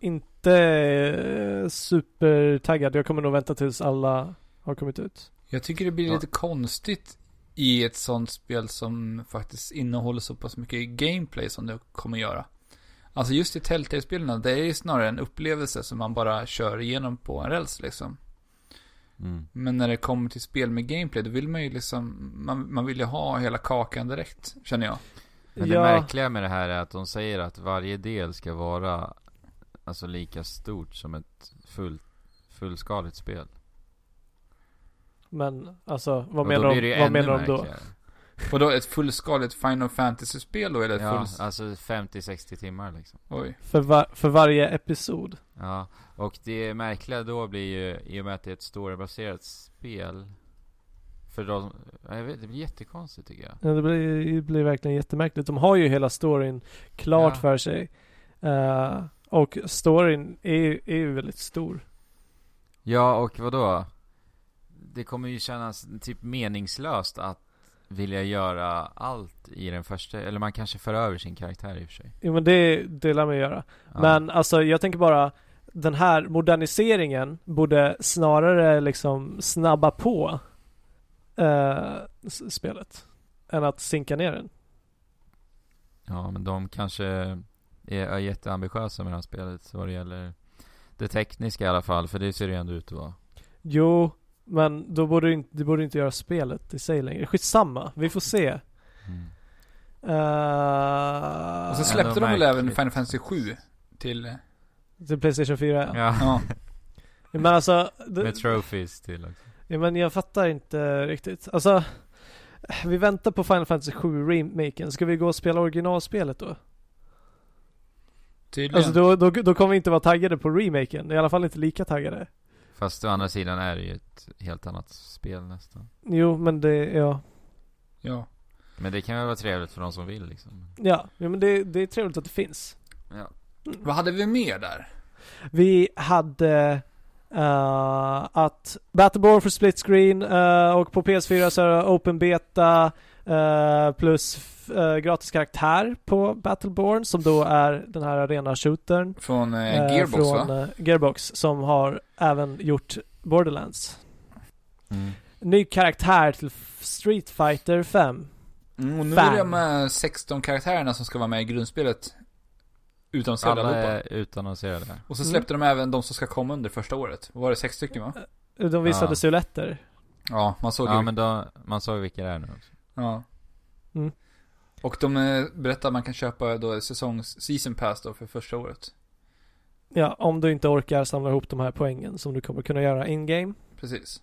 Speaker 2: Inte eh, supertaggad. Jag kommer nog vänta tills alla har kommit ut.
Speaker 1: Jag tycker det blir
Speaker 3: Ja.
Speaker 1: lite konstigt i ett sånt spel som faktiskt innehåller så pass mycket gameplay som det kommer göra. Alltså just i Telltale-spelen, det är ju snarare en upplevelse som man bara kör igenom på en räls liksom.
Speaker 3: Mm.
Speaker 1: Men när det kommer till spel med gameplay, då vill man ju liksom, man, man vill ju ha hela kakan direkt, känner jag.
Speaker 3: Men
Speaker 2: ja,
Speaker 3: det märkliga med det här är att de säger att varje del ska vara alltså lika stort som ett full, fullskaligt spel.
Speaker 2: men alltså vad
Speaker 3: Och
Speaker 2: menar
Speaker 3: blir det ju
Speaker 2: de, vad
Speaker 3: ännu
Speaker 2: menar de då?
Speaker 3: märkligare.
Speaker 1: Och då ett fullskaligt Final Fantasy-spel då, eller
Speaker 3: Ja,
Speaker 1: fulls...
Speaker 3: alltså 50-60 timmar liksom.
Speaker 1: Oj.
Speaker 2: För, va- för varje episod?
Speaker 3: Ja, och det märkliga då blir ju i och med att det är ett storybaserat spel. För de, ja, jag vet, det blir jättekonstigt tycker jag.
Speaker 2: Ja, det blir, det blir verkligen jättemärkligt. De har ju hela storyn klart
Speaker 3: Ja.
Speaker 2: för sig. Eh, och storyn är, ju- är ju väldigt stor.
Speaker 3: Ja, och vad då? Det kommer ju kännas typ meningslöst att vilja göra allt i den första, eller man kanske för över sin karaktär i och för sig.
Speaker 2: Jo men det, det lär man ju göra.
Speaker 3: Ja.
Speaker 2: Men alltså jag tänker bara den här moderniseringen borde snarare liksom snabba på eh, s- spelet. Än att sinka ner den.
Speaker 3: Ja, men de kanske är, är jätteambitiösa med det här spelet så vad det gäller det tekniska i alla fall, för det ser det ju ändå ut att vara.
Speaker 2: Jo, men då borde det inte, det borde inte göra spelet i sig längre. Skitsamma, vi får se.
Speaker 3: Mm.
Speaker 2: Eh,
Speaker 1: Och så släppte
Speaker 3: Ändå
Speaker 1: de väl även
Speaker 3: märkligt.
Speaker 1: Final Fantasy 7 till...
Speaker 2: Till Playstation 4 ja.
Speaker 3: Ja,
Speaker 1: Ja.
Speaker 2: Men alltså, det,
Speaker 3: med trophies till också.
Speaker 2: ja, men jag fattar inte riktigt. Alltså, vi väntar på Final Fantasy 7 remaken. Ska vi gå och spela originalspelet då?
Speaker 1: Tydligen.
Speaker 2: Alltså då, då, då kommer vi inte vara taggade på remaken. I alla fall inte lika taggade.
Speaker 3: Fast å andra sidan är det ju ett helt annat spel nästan.
Speaker 2: Jo, men det, ja.
Speaker 1: Ja.
Speaker 3: Men det kan väl vara trevligt för de som vill liksom.
Speaker 2: Ja, ja men det, det är trevligt att det finns.
Speaker 3: Ja.
Speaker 1: Vad hade vi mer där?
Speaker 2: Vi hade eh, att Battleborn för split screen eh, och på PS4 så är det open beta eh, plus f- eh, gratis karaktär på Battleborn som då är den här arena-shootern.
Speaker 1: Från eh,
Speaker 2: eh,
Speaker 1: Gearbox
Speaker 2: från
Speaker 1: va?
Speaker 2: eh, Gearbox som har även gjort Borderlands.
Speaker 3: Mm.
Speaker 2: Ny karaktär till F- Street Fighter 5.
Speaker 1: Mm, och nu
Speaker 2: Fan.
Speaker 1: är det de här 16 karaktärerna som ska vara med i grundspelet. Utan att
Speaker 3: Alla eh,
Speaker 1: allihopa.
Speaker 3: är utannonserade.
Speaker 1: Och så
Speaker 2: Mm.
Speaker 1: släppte de även de som ska komma under första året. Var det sex stycken
Speaker 2: Eh,
Speaker 1: va?
Speaker 2: De visade
Speaker 3: Ah.
Speaker 2: silhuetter.
Speaker 1: Ja, man såg
Speaker 3: Ja
Speaker 1: ju.
Speaker 3: men då, man såg vilka det är nu också.
Speaker 1: Ja.
Speaker 2: Mm.
Speaker 1: Och de eh, berättar att man kan köpa då säsongs, season pass då för första året.
Speaker 2: Ja, om du inte orkar samla ihop de här poängen som du kommer kunna göra in-game.
Speaker 1: Precis.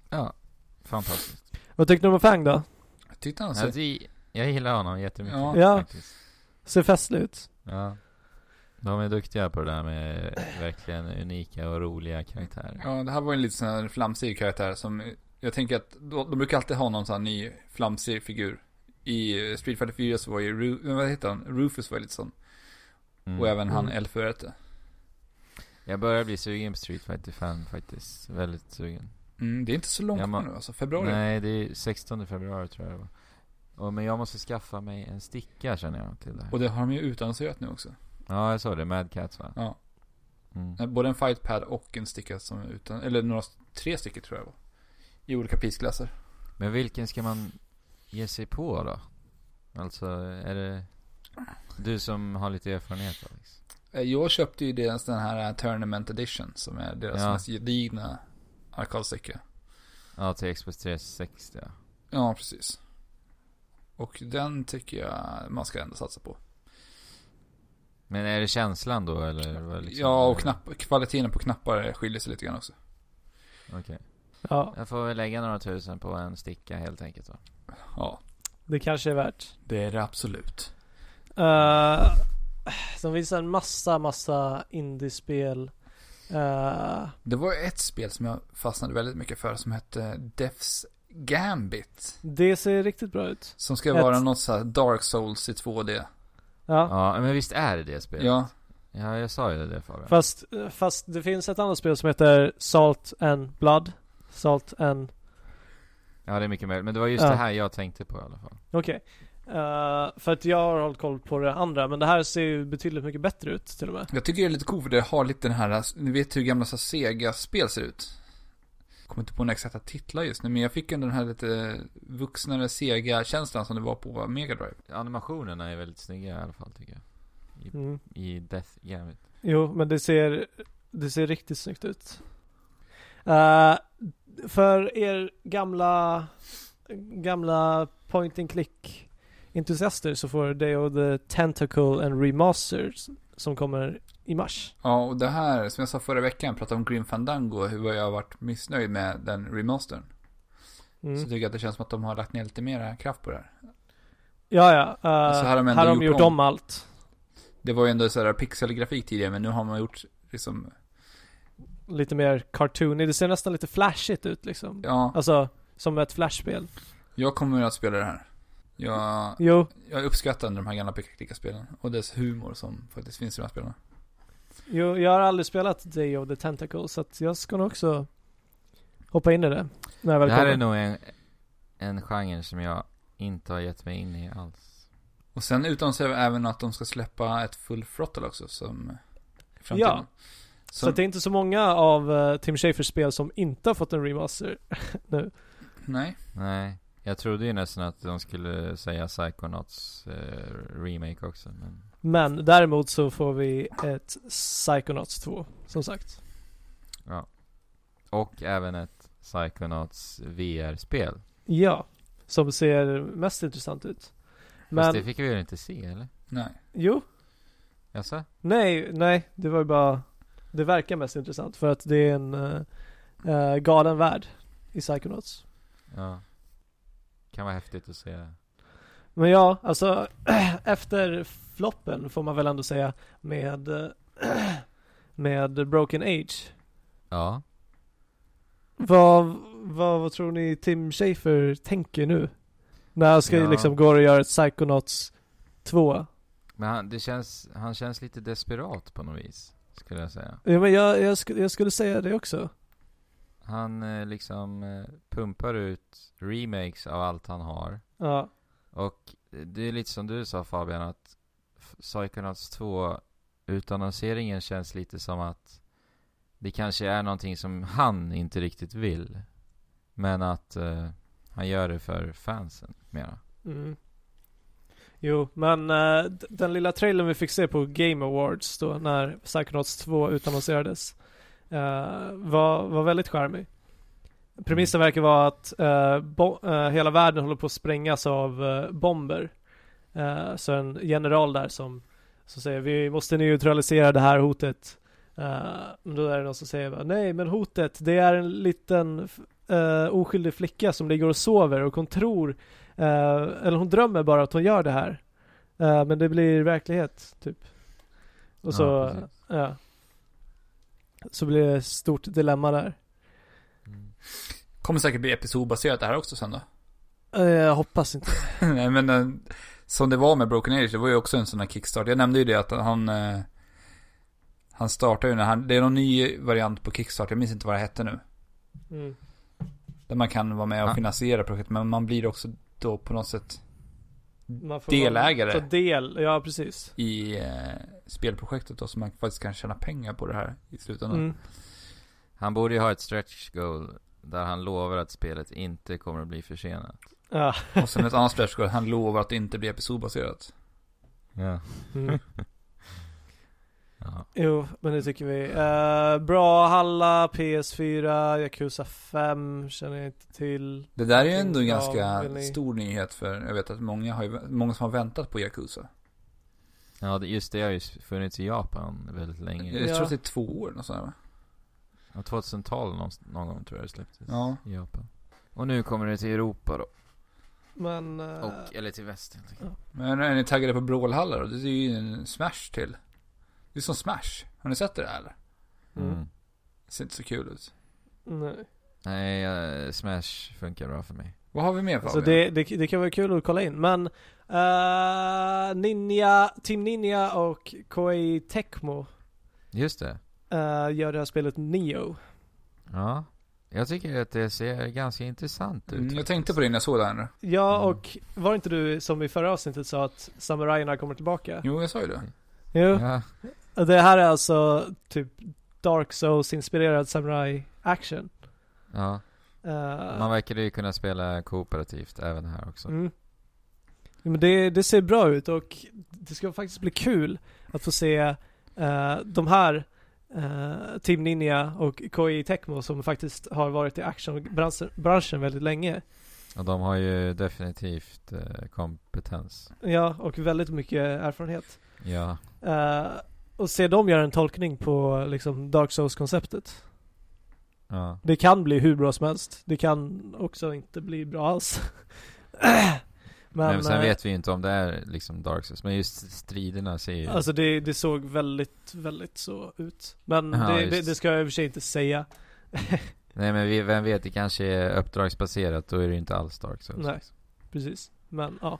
Speaker 3: Fantastiskt.
Speaker 2: Vad tyckte du om Fang då?
Speaker 1: Jag Tyckte han så.
Speaker 3: Alltså, jag gillar honom jättemycket
Speaker 1: Ja.
Speaker 2: Ja.
Speaker 3: faktiskt.
Speaker 2: Ser festlig ut.
Speaker 3: Ja. De är duktiga på det där med verkligen unika och roliga karaktärer.
Speaker 1: Ja, det här var ju en lite sån här flamsig karaktär som, eh, jag tänker att, då- de brukar alltid ha någon sån här ny flamsig figur. I eh, Street Fighter 4 så var ju, Ru, vad heter han? Rufus var ju lite sån.
Speaker 3: Mm.
Speaker 1: Och även han
Speaker 2: Mm.
Speaker 1: Elfurete.
Speaker 3: Jag börjar bli sugen på Street Fighter 5 faktiskt. Väldigt sugen.
Speaker 1: Mm, det är inte så långt
Speaker 3: Ja,
Speaker 1: kvar
Speaker 3: man-
Speaker 1: nu alltså. Februari.
Speaker 3: Nej, det är 16 februari tror jag det var. Och, men jag måste skaffa mig en sticka känner jag till det här.
Speaker 1: Och det har de ju utannonserat nu också.
Speaker 3: Ja, jag sa det. Mad Cats va?
Speaker 1: Ja.
Speaker 3: Mm.
Speaker 1: Nej, Både en fightpad och en sticka som är utan, eller några, tre stycken tror jag det var. I olika prisklasser.
Speaker 3: Men vilken ska man ge sig på då? Alltså, är det du som har lite erfarenhet Alex?
Speaker 1: Eh, Jag köpte ju deras den här eh, Tournament Edition som är deras
Speaker 3: Ja.
Speaker 1: mest gedigna arkadstycke.
Speaker 3: Ja, till Xbox 360 ja.
Speaker 1: Ja, precis. Och den tycker jag man ska ändå satsa på.
Speaker 3: Men är det känslan då eller? vad liksom-
Speaker 1: ja, eh, och knapp, kvaliteten på knappar skiljer sig lite grann också.
Speaker 3: Okej.
Speaker 2: Ja,
Speaker 3: Jag får väl lägga några tusen på en sticka helt enkelt då.
Speaker 1: Ja,
Speaker 2: det kanske är värt.
Speaker 1: det är det absolut.
Speaker 2: Uh, som visar en massa, massa indiespel. Eh,
Speaker 1: Det var ett spel som jag fastnade väldigt mycket för som hette Death's Gambit.
Speaker 2: det ser riktigt bra ut.
Speaker 1: Som ska
Speaker 2: Ett-
Speaker 1: vara något så här Dark Souls i 2D.
Speaker 2: Ja.
Speaker 3: Ja, men visst är det det spelet?
Speaker 1: Ja,
Speaker 3: Ja, jag sa ju det Fabian.
Speaker 2: Fast, fast det finns ett annat spel som heter Salt and Blood. Salt and...
Speaker 3: Ja, det är mycket möjligt. Men det var just
Speaker 2: Ja.
Speaker 3: det här jag tänkte på i alla fall.
Speaker 2: Okej. Eh, för att jag har hållit koll på det andra, men det här ser ju betydligt mycket bättre ut till och med.
Speaker 1: jag tycker det är lite coolt för det har lite den här, ni vet hur gamla så här Sega-spel ser ut. Kommer inte på några exakta titlar just nu, men jag fick ändå den här lite vuxnare Sega-känslan som det var på Mega Drive.
Speaker 3: Animationerna är väldigt snygga i alla fall tycker jag. I,
Speaker 2: Mm.
Speaker 3: i Death Gambit.
Speaker 2: Jo, men det ser, det ser riktigt snyggt ut. Eh, för er gamla, gamla point and click entusiaster så får Day of the Tentacle and Remastered som kommer i mars.
Speaker 1: Ja, och det här, som jag sa förra veckan, pratade om Grim Fandango, och hur jag har varit missnöjd med den remastern.
Speaker 2: Mm.
Speaker 1: Så tycker jag att det känns som att de har lagt ner lite mer kraft på det här.
Speaker 2: Ja, ja. eh,
Speaker 1: Alltså, här har de ändå
Speaker 2: de
Speaker 1: gjort
Speaker 2: gjort om,
Speaker 1: om.
Speaker 2: allt.
Speaker 1: Det var ju ändå så här pixelgrafik tidigare, men nu har man gjort liksom,
Speaker 2: Lite mer cartoony. Det ser nästan lite flashigt ut liksom.
Speaker 1: ja,
Speaker 2: Alltså, som ett flashspel.
Speaker 1: jag kommer att spela det här. Jag,
Speaker 2: Jo,
Speaker 1: jag uppskattar de här gamla picka-klicka-spelen och dess humor som faktiskt finns i de här spelen.
Speaker 2: jo, jag har aldrig spelat Day of the Tentacle så att jag ska nog också hoppa in i det. När jag väl
Speaker 3: Det här
Speaker 2: kommer.
Speaker 3: är nog en, en genre som jag inte har gett mig in i alls.
Speaker 1: Och sen utom sig även att de ska släppa ett full throttle också som i framtiden.
Speaker 2: Ja. Så
Speaker 1: Som,
Speaker 2: att det är inte så många av eh, Tim Schafers spel som inte har fått en remaster.
Speaker 1: Nej,
Speaker 3: Nej. Jag trodde ju nästan att de skulle säga Psychonauts eh, remake också. Men
Speaker 2: Men däremot så får vi ett Psychonauts 2, som sagt.
Speaker 3: Och även ett Psychonauts VR-spel.
Speaker 2: Ja, som ser mest intressant ut.
Speaker 3: Fast
Speaker 2: Men,
Speaker 3: det fick vi ju inte se eller?
Speaker 1: nej.
Speaker 2: jo,
Speaker 3: Jaså?
Speaker 2: nej, nej, det var ju bara, det verkar mest intressant för att det är en eh, eh, galen värld i Psychonauts.
Speaker 3: Ja. Kan vara häftigt att se.
Speaker 2: Men ja, alltså efter floppen får man väl ändå säga med, med Broken Age.
Speaker 3: Ja.
Speaker 2: Vad, vad, vad tror ni Tim Schafer tänker nu? När han ska
Speaker 3: Ja.
Speaker 2: liksom gå och göra ett Psychonauts 2.
Speaker 3: Men han, det känns, han känns lite desperat på något vis. Skulle jag säga.
Speaker 2: Ja, men jag, jag, sk- jag skulle säga det också.
Speaker 3: Han eh, liksom eh, pumpar ut remakes av allt han har.
Speaker 2: Ja,
Speaker 3: Och det är lite som du sa Fabian att F- Psychonauts 2 utannonseringen känns lite som att det kanske är någonting som han inte riktigt vill. Men att eh, han gör det för fansen mera.
Speaker 2: mm. Jo, men eh, d- den lilla trailern vi fick se på Game Awards då när Psychonauts 2 utannonserades eh, var, var väldigt charmig. Premissen verkar vara att eh, bo- eh, hela världen håller på att sprängas av eh, bomber. Eh, så en general där som, som säger vi måste neutralisera det här hotet. Eh, men då är det någon som säger nej men hotet det är en liten f- eh, oskyldig flicka som ligger och sover och hon tror, eh, eller hon drömmer bara att hon gör det här. Eh, men det blir verklighet typ. Och så,
Speaker 3: Ja, precis.
Speaker 2: ja. Så blir det ett stort dilemma där.
Speaker 3: Mm.
Speaker 1: Kommer säkert bli episodbaserat det här också sen då.
Speaker 2: Eh, Jag hoppas inte.
Speaker 1: Nej men eh, som det var med Broken Age, det var ju också en sån här kickstart. Jag nämnde ju det att han... eh, Han startar ju när han, det är någon ny variant på Kickstarter, jag minns inte vad det hette nu.
Speaker 2: Mm.
Speaker 1: Där man kan vara med och
Speaker 3: Ja.
Speaker 1: finansiera projektet, men man blir också då på något sätt
Speaker 2: Man får
Speaker 1: Delägare.
Speaker 2: Ta del, ja precis.
Speaker 1: i eh, spelprojektet då, så man faktiskt kan tjäna pengar på det här i slutändan.
Speaker 2: Mm.
Speaker 3: Han borde ju ha ett stretch goal där han lovar att spelet inte kommer att bli försenat.
Speaker 2: Ja.
Speaker 1: Och sen ett annat stretch goal, han lovar att det inte blir episodbaserat.
Speaker 3: Ja.
Speaker 2: Mm.
Speaker 3: ja.
Speaker 2: Jo, men det tycker vi. Eh, bra Halla, PS4, Yakuza 5 känner jag inte till.
Speaker 1: Det där är ju ändå en
Speaker 2: Ja,
Speaker 1: ganska
Speaker 2: vill ni-
Speaker 1: stor nyhet för jag vet att många, har ju, många som har väntat på Yakuza.
Speaker 3: ja, det- just det har ju funnits i Japan väldigt länge.
Speaker 1: Jag tror
Speaker 2: Ja.
Speaker 1: att det är två år och sådär va?
Speaker 3: Ja, 2012 någon, någon gång tror jag det släpptes
Speaker 1: Ja.
Speaker 3: i Japan. Och nu kommer det till Europa då.
Speaker 2: Men... eh,
Speaker 3: Och, eller till väst helt enkelt.
Speaker 1: Men är ni taggade på Brawlhalla då? Det är ju en Smash till. Det är som Smash. Har ni sett det där eller?
Speaker 2: Mm.
Speaker 3: Mm.
Speaker 1: Det ser inte så kul ut.
Speaker 2: nej.
Speaker 3: Nej, eh, Smash funkar bra för mig.
Speaker 1: Vad har vi mer Fabian?
Speaker 2: Alltså det, det, det kan vara kul att kolla in. Men eh, Ninja, Team Ninja och Koei Tecmo
Speaker 3: Just det.
Speaker 2: eh, gör det här spelet Neo.
Speaker 3: Ja. Jag tycker att det ser ganska intressant ut.
Speaker 1: Mm, jag
Speaker 3: faktiskt.
Speaker 1: tänkte på det när jag såg det här nu.
Speaker 2: Ja,
Speaker 3: Mm.
Speaker 2: och var det inte du som i förra avsnittet sa att samurajerna kommer tillbaka?
Speaker 1: Jo, jag sa ju
Speaker 2: Mm.
Speaker 1: det.
Speaker 2: Jo.
Speaker 3: Ja.
Speaker 2: Det här är alltså typ Dark Souls-inspirerad samurai-action.
Speaker 3: ja.
Speaker 2: Eh,
Speaker 3: Man verkar ju kunna spela kooperativt även här också.
Speaker 2: Mm. Ja, men det, det ser bra ut och det ska faktiskt bli kul att få se eh, de här eh, Team Ninja och Koei Tecmo som faktiskt har varit i actionbranschen branschen väldigt länge.
Speaker 3: Och de har ju definitivt eh, kompetens.
Speaker 2: Ja, och väldigt mycket erfarenhet.
Speaker 3: Ja.
Speaker 2: Eh, och se dem göra en tolkning på liksom Dark Souls-konceptet.
Speaker 3: Ja.
Speaker 2: Det kan bli hur bra som helst. Det kan också inte bli bra alls.
Speaker 3: Men, sen
Speaker 2: eh,
Speaker 3: vet vi ju inte om det är liksom Dark Souls. Men just striderna ser ju...
Speaker 2: Alltså det, det såg väldigt, väldigt så ut. Men
Speaker 3: Ja,
Speaker 2: det,
Speaker 3: just.
Speaker 2: det, det ska jag i och för sig inte säga.
Speaker 3: Nej men vi, vem vet, det kanske är uppdragsbaserat. Då är det ju inte alls Dark Souls.
Speaker 2: Nej. Precis. Men ja.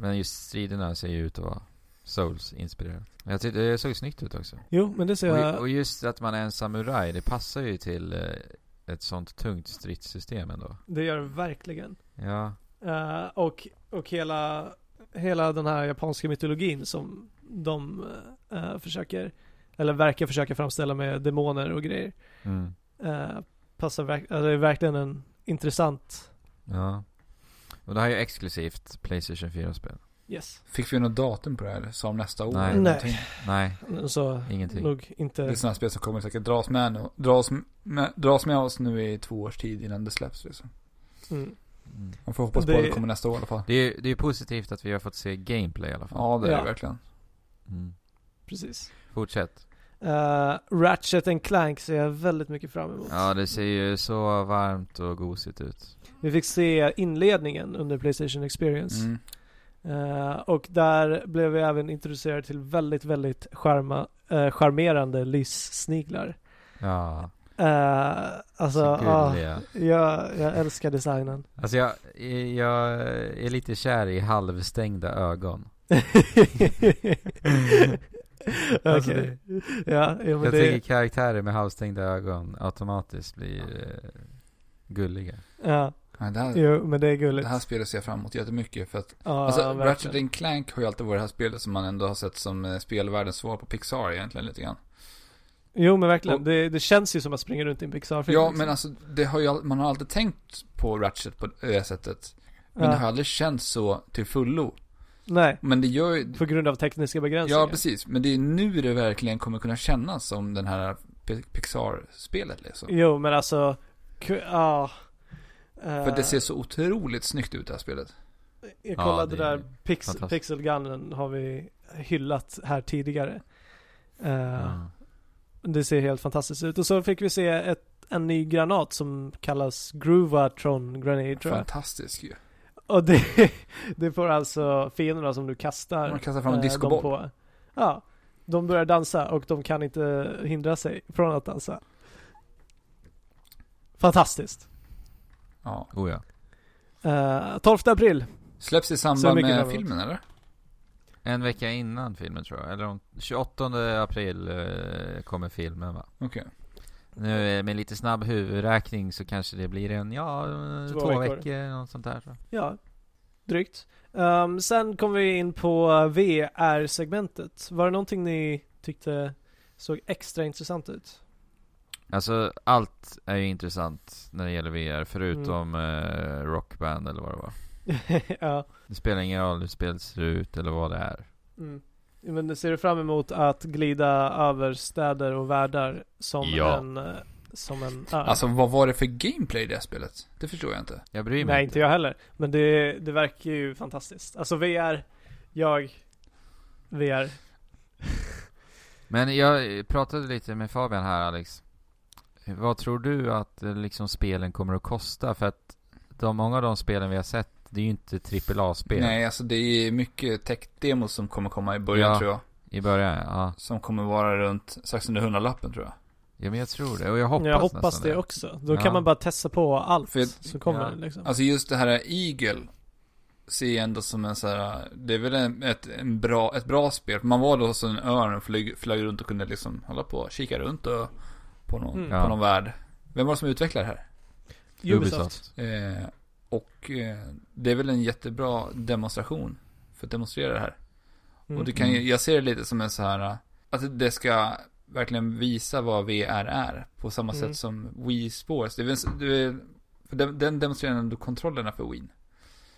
Speaker 3: Men just striderna ser ju ut att vara Souls-inspirerat. Jag tyckte det såg snyggt ut också.
Speaker 2: Jo, men det ser
Speaker 3: Och, och
Speaker 2: jag.
Speaker 3: just att man är en samuraj, det passar ju till eh, ett sånt tungt stridssystem ändå.
Speaker 2: Det gör det verkligen.
Speaker 3: Ja.
Speaker 2: Eh, och, och hela, hela den här japanska mytologin som de eh, försöker, eller verkar försöka framställa med demoner och grejer.
Speaker 3: Mm.
Speaker 2: eh, passar verk- alltså, det är verkligen en intressant,
Speaker 3: Ja. Och det här är ju exklusivt Playstation 4-spel.
Speaker 2: yes.
Speaker 1: Fick vi något datum på det här? eller? Sa om nästa år?
Speaker 3: Nej.
Speaker 1: eller någonting?
Speaker 3: Nej,
Speaker 2: Så
Speaker 3: ingenting.
Speaker 2: nog
Speaker 1: Det är
Speaker 2: inte,
Speaker 1: sådana här spel som kommer säkert dras med, nu, dras, med, dras med oss nu i två års tid innan det släpps. Liksom.
Speaker 2: mm,
Speaker 3: Mm.
Speaker 1: Man får hoppas på
Speaker 2: Det-
Speaker 1: att det kommer nästa år i alla fall.
Speaker 3: Det är ju det är positivt att vi har fått se gameplay i alla fall.
Speaker 1: Ja, det är
Speaker 2: Ja.
Speaker 1: det verkligen.
Speaker 3: Mm.
Speaker 2: precis.
Speaker 3: Fortsätt.
Speaker 2: Eh, Ratchet and Clank ser jag väldigt mycket fram emot.
Speaker 3: Ja, det ser ju så varmt och gosigt ut.
Speaker 2: Vi fick se inledningen under Playstation Experience.
Speaker 1: Mm.
Speaker 2: Eh, och där blev vi även introducerade till väldigt, väldigt charma, eh, charmerande lyssniglar.
Speaker 3: Ja,
Speaker 2: Eh, alltså,
Speaker 3: så
Speaker 2: ah,
Speaker 3: gulliga.
Speaker 2: jag, jag älskar designen.
Speaker 3: Alltså jag, jag är lite kär i halvstängda ögon. Alltså
Speaker 2: Okej. Ja, ja, men
Speaker 3: jag
Speaker 2: det,
Speaker 3: tycker karaktärer med halvstängda ögon automatiskt blir eh, gulliga.
Speaker 2: ja,
Speaker 1: Nej, det, här,
Speaker 2: jo, men det är gulligt.
Speaker 1: det här spelet ser jag fram emot jättemycket. För att,
Speaker 2: Ja,
Speaker 1: alltså,
Speaker 2: verkligen.
Speaker 1: Ratchet and Clank har ju alltid varit det här spelet som man ändå har sett som eh, spelvärldens svar på Pixar egentligen lite grann.
Speaker 2: Jo men verkligen,
Speaker 1: Och-
Speaker 2: det, det känns ju som att springa runt i en Pixar-film.
Speaker 1: Ja,
Speaker 2: liksom.
Speaker 1: men alltså, det har ju, all- man har alltid tänkt på Ratchet på det sättet. Men
Speaker 2: Ja.
Speaker 1: det har aldrig känts så till fullo.
Speaker 2: Nej,
Speaker 1: Men det gör ju,
Speaker 2: på grund av tekniska begränsningar.
Speaker 1: Ja, precis. Men det är nu det verkligen kommer kunna kännas som den här Pi- Pixar-spelet liksom.
Speaker 2: Jo men alltså, ku- ja. Eh,
Speaker 1: För det ser så otroligt snyggt ut det här spelet.
Speaker 2: Jag
Speaker 3: Ja,
Speaker 2: kollade
Speaker 3: det är
Speaker 2: där, pix,
Speaker 3: fantastiskt.
Speaker 2: pixelgunnen har vi hyllat här tidigare. Eh,
Speaker 3: Ja.
Speaker 2: Det ser helt fantastiskt ut. Och så fick vi se ett, en ny granat som kallas Groovatron Grenade tror jag.
Speaker 1: Fantastiskt ju.
Speaker 2: Och det, det får alltså fienderna som du kastar.
Speaker 1: Man kastar fram en
Speaker 2: eh,
Speaker 1: discoboll.
Speaker 2: dem på. Ja. De börjar dansa och de kan inte hindra sig från att dansa. Fantastiskt.
Speaker 1: Ja.
Speaker 3: Oh ja.
Speaker 2: Eh, 12 april.
Speaker 1: Släpps i
Speaker 2: Så
Speaker 1: samband
Speaker 2: mycket fram
Speaker 1: med
Speaker 2: emot.
Speaker 1: filmen eller?
Speaker 3: En vecka innan filmen tror jag. Eller om 28 april eh, kommer filmen va?
Speaker 1: Okej.
Speaker 3: Nu eh, med lite snabb huvudräkning så kanske det blir en, ja, eh,
Speaker 2: Två
Speaker 3: två,
Speaker 2: veckor.
Speaker 3: veckor eller något sånt där. tror jag.
Speaker 2: Ja, drygt. Ehm, sen kom vi in på VR-segmentet. Var det någonting ni tyckte såg extra intressant ut?
Speaker 3: Alltså allt är ju intressant när det gäller VR förutom
Speaker 2: Mm.
Speaker 3: eh, Rockband eller vad det var.
Speaker 2: ja.
Speaker 3: Det spelar ingen roll hur spelet ser ut eller vad det är.
Speaker 2: Mm. Men ser du fram emot att glida över städer och världar som
Speaker 3: Ja.
Speaker 2: en... eh, Som en ö?
Speaker 1: Alltså vad var det för gameplay i det här spelet? Det förstår jag inte.
Speaker 3: Jag bryr mig
Speaker 2: Nej, inte jag heller. Men det, det verkar ju fantastiskt. Alltså VR, jag, VR.
Speaker 3: Men jag pratade lite med Fabian här Alex. Vad tror du att eh, liksom spelen kommer att kosta? För att de, många av de spelen vi har sett, det är ju inte AAA-spel
Speaker 1: Nej, alltså det är mycket tech-demos som kommer komma i början
Speaker 3: Ja.
Speaker 1: tror jag.
Speaker 3: i början. Ja.
Speaker 1: Som kommer vara runt strax under hundralappen tror jag.
Speaker 3: ja, men jag tror det. Och jag hoppas,
Speaker 2: jag hoppas
Speaker 3: nästan
Speaker 2: det också. Då
Speaker 3: Ja.
Speaker 2: kan man bara testa på allt
Speaker 1: För jag-
Speaker 2: som kommer
Speaker 3: ja.
Speaker 2: liksom.
Speaker 1: Alltså just det här Eagle ser jag ändå som en så här, det är väl en, ett, en bra, ett bra spel. Man var då som en örn och flög, flög runt och kunde liksom hålla på och kika runt och på någon,
Speaker 2: Mm.
Speaker 1: på
Speaker 3: Ja.
Speaker 1: någon värld. Vem var det som utvecklade det här?
Speaker 2: Ubisoft.
Speaker 1: Eh, och eh, det är väl en jättebra demonstration för att demonstrera det här.
Speaker 2: Mm.
Speaker 1: Och det kan ju, jag ser det lite som en så här, eh, att det ska verkligen visa vad VR är. På samma
Speaker 2: Mm.
Speaker 1: sätt som Wii Sports. Det är, väl s- det är, för den, den demonstrerar ändå kontrollerna för Wii.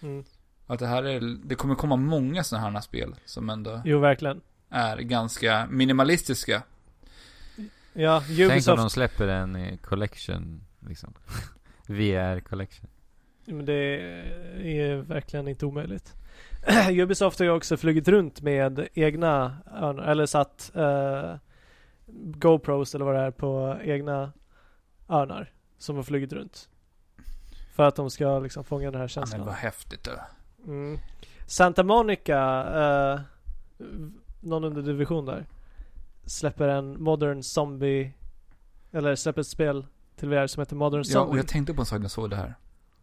Speaker 2: Mm.
Speaker 1: Att det här är, det kommer komma många sådana här spel som ändå
Speaker 2: Jo, verkligen.
Speaker 1: är ganska minimalistiska.
Speaker 2: Ja,
Speaker 3: Tänk om
Speaker 2: Ubisoft.
Speaker 3: de släpper en eh, collection, liksom. VR collection.
Speaker 2: Men det är verkligen inte omöjligt. Ubisoft har ju också flugit runt med egna örnar, eller satt eh, GoPros eller vad det är på egna örnar som har flugit runt. För att de ska liksom fånga den här
Speaker 1: Men
Speaker 2: känslan.
Speaker 1: vad häftigt det
Speaker 2: Mm. Santa Monica, eh, v- någon underdivision där, släpper en modern zombie, eller släpper ett spel till VR som heter Modern
Speaker 1: Ja, och
Speaker 2: Zombie.
Speaker 1: jag tänkte på en sak när jag såg det här.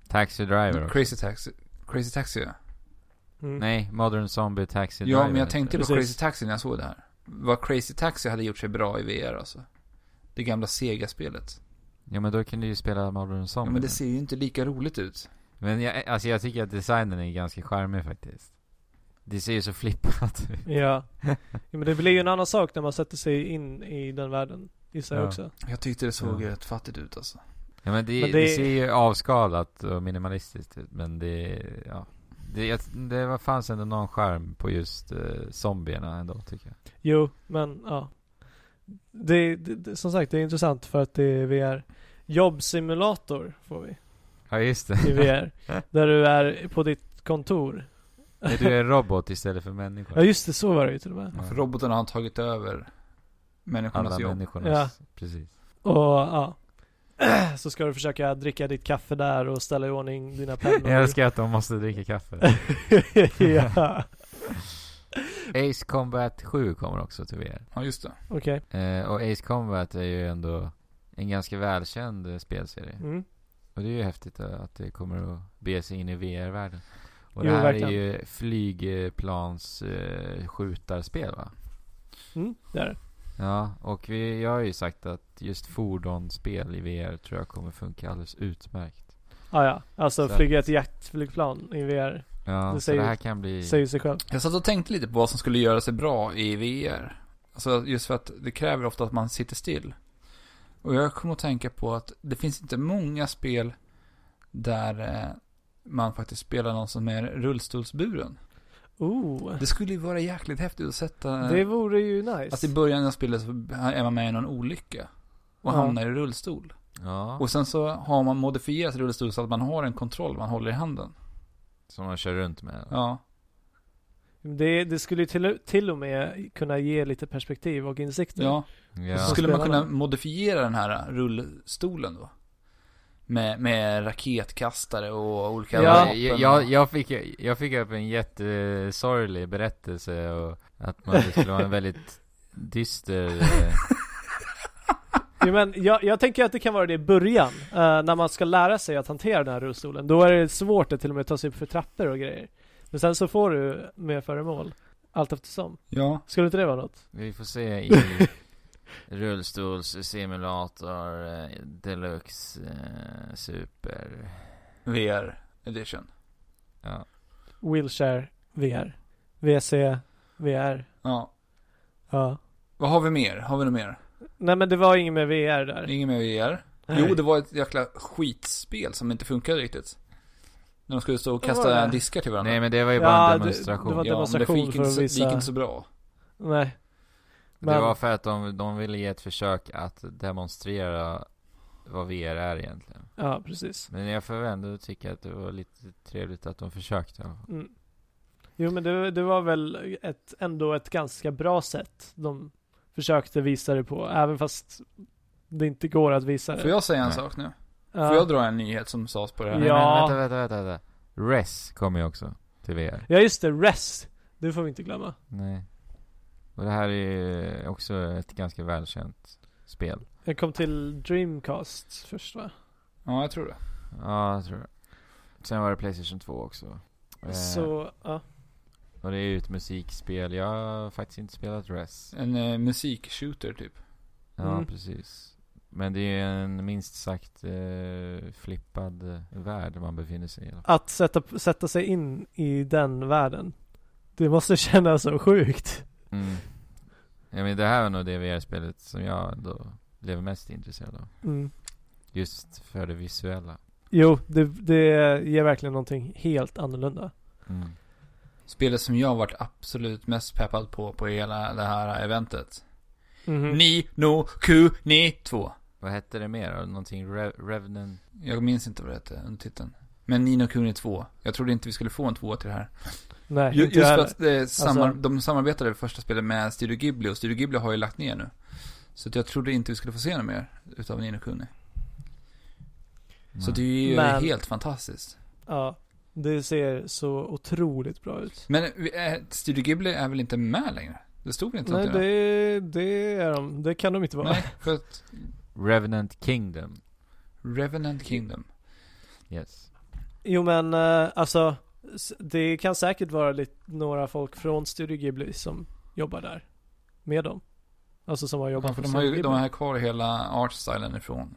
Speaker 3: Taxi Driver också.
Speaker 1: Crazy Taxi. Crazy Taxi ja.
Speaker 2: Mm.
Speaker 3: Nej, Modern Zombie Taxi Driver.
Speaker 1: Ja, men jag tänkte på
Speaker 2: Precis.
Speaker 1: Crazy Taxi när jag såg det här. Vad Crazy Taxi hade gjort sig bra i VR alltså. Det gamla Sega-spelet.
Speaker 3: Ja, men då kan du ju spela Modern
Speaker 1: Ja,
Speaker 3: Zombie.
Speaker 1: men det ser ju inte lika roligt ut.
Speaker 3: Men jag, alltså jag tycker att designen är ganska charmig faktiskt. Det ser ju så flippat ut.
Speaker 2: Ja. ja, men det blir ju en annan sak när man sätter sig in i den världen, gissar jag
Speaker 3: Ja.
Speaker 2: också.
Speaker 1: Jag tyckte det såg
Speaker 3: Ja.
Speaker 1: rätt fattigt ut alltså.
Speaker 3: Ja, men det,
Speaker 2: Men det-
Speaker 3: det... ser ju avskalat och minimalistiskt ut, men det, ja. Det, jag, det var, fanns ändå någon charm på just eh, zombierna ändå, tycker jag.
Speaker 2: Jo, men ja. Det, det, det, som sagt, det är intressant för att det är VR. Jobbsimulator får vi
Speaker 3: Ja, just det.
Speaker 2: i VR. där du är på ditt kontor.
Speaker 3: Nej, du är en robot istället för
Speaker 2: Ja,
Speaker 3: människa.
Speaker 2: just det, så var det ju till och med.
Speaker 3: Ja.
Speaker 1: För robotarna har tagit över människornas
Speaker 3: Alla
Speaker 1: jobb.
Speaker 3: människornas,
Speaker 2: Ja.
Speaker 3: precis.
Speaker 2: Och ja. Så ska du försöka dricka ditt kaffe där och ställa i ordning dina pennor.
Speaker 3: Jag älskar att de måste dricka kaffe.
Speaker 2: ja,
Speaker 3: Ace Combat 7 kommer också till VR.
Speaker 1: Ja, just det.
Speaker 2: okej.
Speaker 3: Eh, och Ace Combat är ju ändå en ganska välkänd eh, spelserie.
Speaker 2: Mm.
Speaker 3: Och det är ju häftigt eh, att det kommer att bege sig in i VR-världen. Och
Speaker 2: Jo,
Speaker 3: det här
Speaker 2: verkligen.
Speaker 3: är ju flygplans eh, skjutarspel va?
Speaker 2: Mm, det är det.
Speaker 3: Ja, och vi, jag har ju sagt att just fordonsspel i VR tror jag kommer funka alldeles utmärkt.
Speaker 2: Ah, ja, alltså
Speaker 3: Så-
Speaker 2: flyga ett jaktflygplan i VR.
Speaker 3: Ja,
Speaker 2: Det
Speaker 3: så
Speaker 2: säger-
Speaker 3: det här kan bli...
Speaker 2: Säger sig själv.
Speaker 1: Jag satt och tänkte lite på vad som skulle göra sig bra i VR. Alltså just för att det kräver ofta att man sitter still. Och jag kom att tänka på att det finns inte många spel där eh, man faktiskt spelar någon som är rullstolsburen.
Speaker 2: Oh,
Speaker 1: Det skulle ju vara jäkligt häftigt att sätta...
Speaker 2: det vore ju nice.
Speaker 3: Alltså,
Speaker 1: Att i början av spelet så är man med i någon olycka. Och
Speaker 2: Ja.
Speaker 1: hamnar i rullstol.
Speaker 3: Ja,
Speaker 1: Och sen så har man modifierat rullstol så att man har en kontroll man håller i handen.
Speaker 3: som man kör runt med.
Speaker 1: Ja.
Speaker 2: det, det skulle ju till, till och med kunna ge lite perspektiv och insikter.
Speaker 1: Ja.
Speaker 3: Ja.
Speaker 1: Så skulle man kunna
Speaker 2: Spelarna.
Speaker 1: modifiera den här rullstolen då? Med, med raketkastare och olika
Speaker 2: Ja.
Speaker 3: Ja,
Speaker 1: vapen
Speaker 3: jag, jag, jag, fick, jag fick upp en jättesorglig berättelse och att man det skulle vara en väldigt dyster... eh,
Speaker 2: Jo, men jag, jag tänker att det kan vara det i början. eh, när man ska lära sig att hantera den här rullstolen. Då är det svårt att till och med ta sig upp för trappor och grejer. Men sen så får du mer föremål. allt eftersom.
Speaker 1: Ja,
Speaker 2: Skulle inte det vara något?
Speaker 3: Vi får se i rullstolssimulator eh, deluxe eh, super.
Speaker 1: VR edition.
Speaker 3: Ja.
Speaker 2: Wheelchair VR. VC VR.
Speaker 1: Ja.
Speaker 2: Ja.
Speaker 1: Vad har vi mer? Har vi något mer?
Speaker 2: Nej men det var inget med VR där.
Speaker 1: Inget mer VR?
Speaker 2: Nej.
Speaker 1: Jo, det var ett jäkla skitspel som inte funkade riktigt. När de skulle stå och
Speaker 2: Vad var
Speaker 1: kasta
Speaker 2: det?
Speaker 1: diskar till varandra.
Speaker 3: Nej men det var ju bara
Speaker 2: Ja,
Speaker 3: en
Speaker 2: det-
Speaker 3: demonstration.
Speaker 2: det var-
Speaker 3: Det, var,
Speaker 1: ja, men det
Speaker 2: demonstration
Speaker 1: gick
Speaker 2: för
Speaker 1: inte,
Speaker 2: att
Speaker 1: så, det
Speaker 2: visa-
Speaker 1: gick inte så bra.
Speaker 2: Nej. men-
Speaker 3: för att de, de ville ge ett försök att demonstrera vad VR är egentligen.
Speaker 2: Ja, precis.
Speaker 3: Men jag får ändå tycka att det var lite trevligt att de försökte. i alla fall.
Speaker 2: Mm. Jo men det, det var väl ett, ändå ett ganska bra sätt de försökte visa det på, även fast det inte går att visa det.
Speaker 1: Får jag säga en
Speaker 3: Nej.
Speaker 1: sak nu?
Speaker 2: Ja.
Speaker 1: Får jag dra en nyhet som sades på det här?
Speaker 3: Nej,
Speaker 2: Ja.
Speaker 3: men vänta, vänta, vänta, vänta. Res kommer ju också till VR.
Speaker 2: ja just det, RES. Det får vi inte glömma.
Speaker 3: Nej. Och det här är ju också ett ganska välkänt spel.
Speaker 2: Jag kom till Dreamcast först va?
Speaker 1: Ja, jag tror det.
Speaker 3: Ja, jag tror det. Sen var det Playstation 2 också. Eh,
Speaker 2: Så, ja.
Speaker 3: Och det är ju ett musikspel. Jag har faktiskt inte spelat Res.
Speaker 1: En eh, musikshooter typ.
Speaker 3: Ja,
Speaker 2: Mm.
Speaker 3: precis. Men det är ju en minst sagt eh, flippad eh, värld man befinner sig i. i alla fall.
Speaker 2: Att sätta, sätta sig in i den världen. Det måste kännas så sjukt.
Speaker 3: Mm. Ja, men det här var nog det VR-spelet som jag då blev mest intresserad av.
Speaker 2: Mm.
Speaker 3: Just för det visuella.
Speaker 2: Jo, det, det ger verkligen någonting helt annorlunda.
Speaker 3: Mm.
Speaker 1: Spelet som jag varit absolut mest peppad på, på hela det här eventet.
Speaker 2: Mhm.
Speaker 1: Ni, no, Q, ni, 2.
Speaker 3: Vad hette det mer då? Någonting Re- Revenant?
Speaker 1: Jag minns inte vad det hette under titeln. Men Nino Kuni 2. Jag trodde inte vi skulle få en 2 till det här.
Speaker 2: Nej,
Speaker 1: Ju-
Speaker 2: inte
Speaker 1: Just
Speaker 2: jag
Speaker 1: för
Speaker 2: heller.
Speaker 1: att eh, samar-
Speaker 2: Alltså-
Speaker 1: de samarbetade i första spelet med Studio Ghibli och Studio Ghibli har ju lagt ner nu. Så att jag trodde inte vi skulle få se något mer utav Nino Kuni. Så det är ju
Speaker 2: Men-
Speaker 1: helt fantastiskt.
Speaker 2: Ja, det ser så otroligt bra ut.
Speaker 1: Men vi- eh, Studio Ghibli är väl inte med längre? Det stod väl inte
Speaker 2: Nej,
Speaker 1: någonting?
Speaker 2: det, det är de. Det kan de inte vara.
Speaker 1: Nej, för att
Speaker 3: Revenant Kingdom.
Speaker 1: Revenant Kingdom.
Speaker 3: Yes.
Speaker 2: Jo, men eh, alltså, s- det kan säkert vara lite, några folk från Studio Ghibli som jobbar där. Med dem. Alltså som har jobbat
Speaker 1: Ja, för
Speaker 2: på
Speaker 1: de har
Speaker 2: Studio
Speaker 1: ju
Speaker 2: Ghibli.
Speaker 1: de har kvar hela artstylen ifrån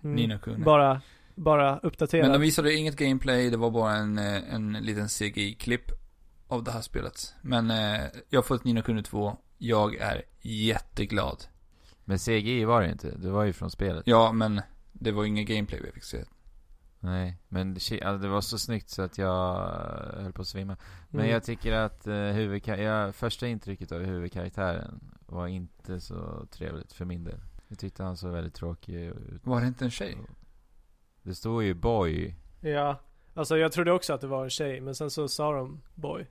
Speaker 2: Mm.
Speaker 1: Nino Kuni.
Speaker 2: Bara, bara Mm. uppdatera.
Speaker 1: Men de visade inget gameplay, det var bara en, eh, en liten CGI-klipp av det här spelet. Men eh, jag har fått Nino Kuni 2, jag är jätteglad.
Speaker 3: Men CGI var det inte. Det var ju från spelet.
Speaker 1: Ja, men det var ingen gameplay vi fick se.
Speaker 3: Nej, men shit, alltså, det var så snyggt så att jag eh, höll på att svimma. Men
Speaker 2: Mm.
Speaker 3: jag tycker att eh, huvudka- ja, första intrycket av huvudkaraktären var inte så trevligt för min del. Jag tyckte han såg väldigt tråkig ut.
Speaker 1: Var det inte en tjej?
Speaker 3: Det står ju boy.
Speaker 2: Ja, alltså jag trodde också att det var en tjej, men sen så sa de boy.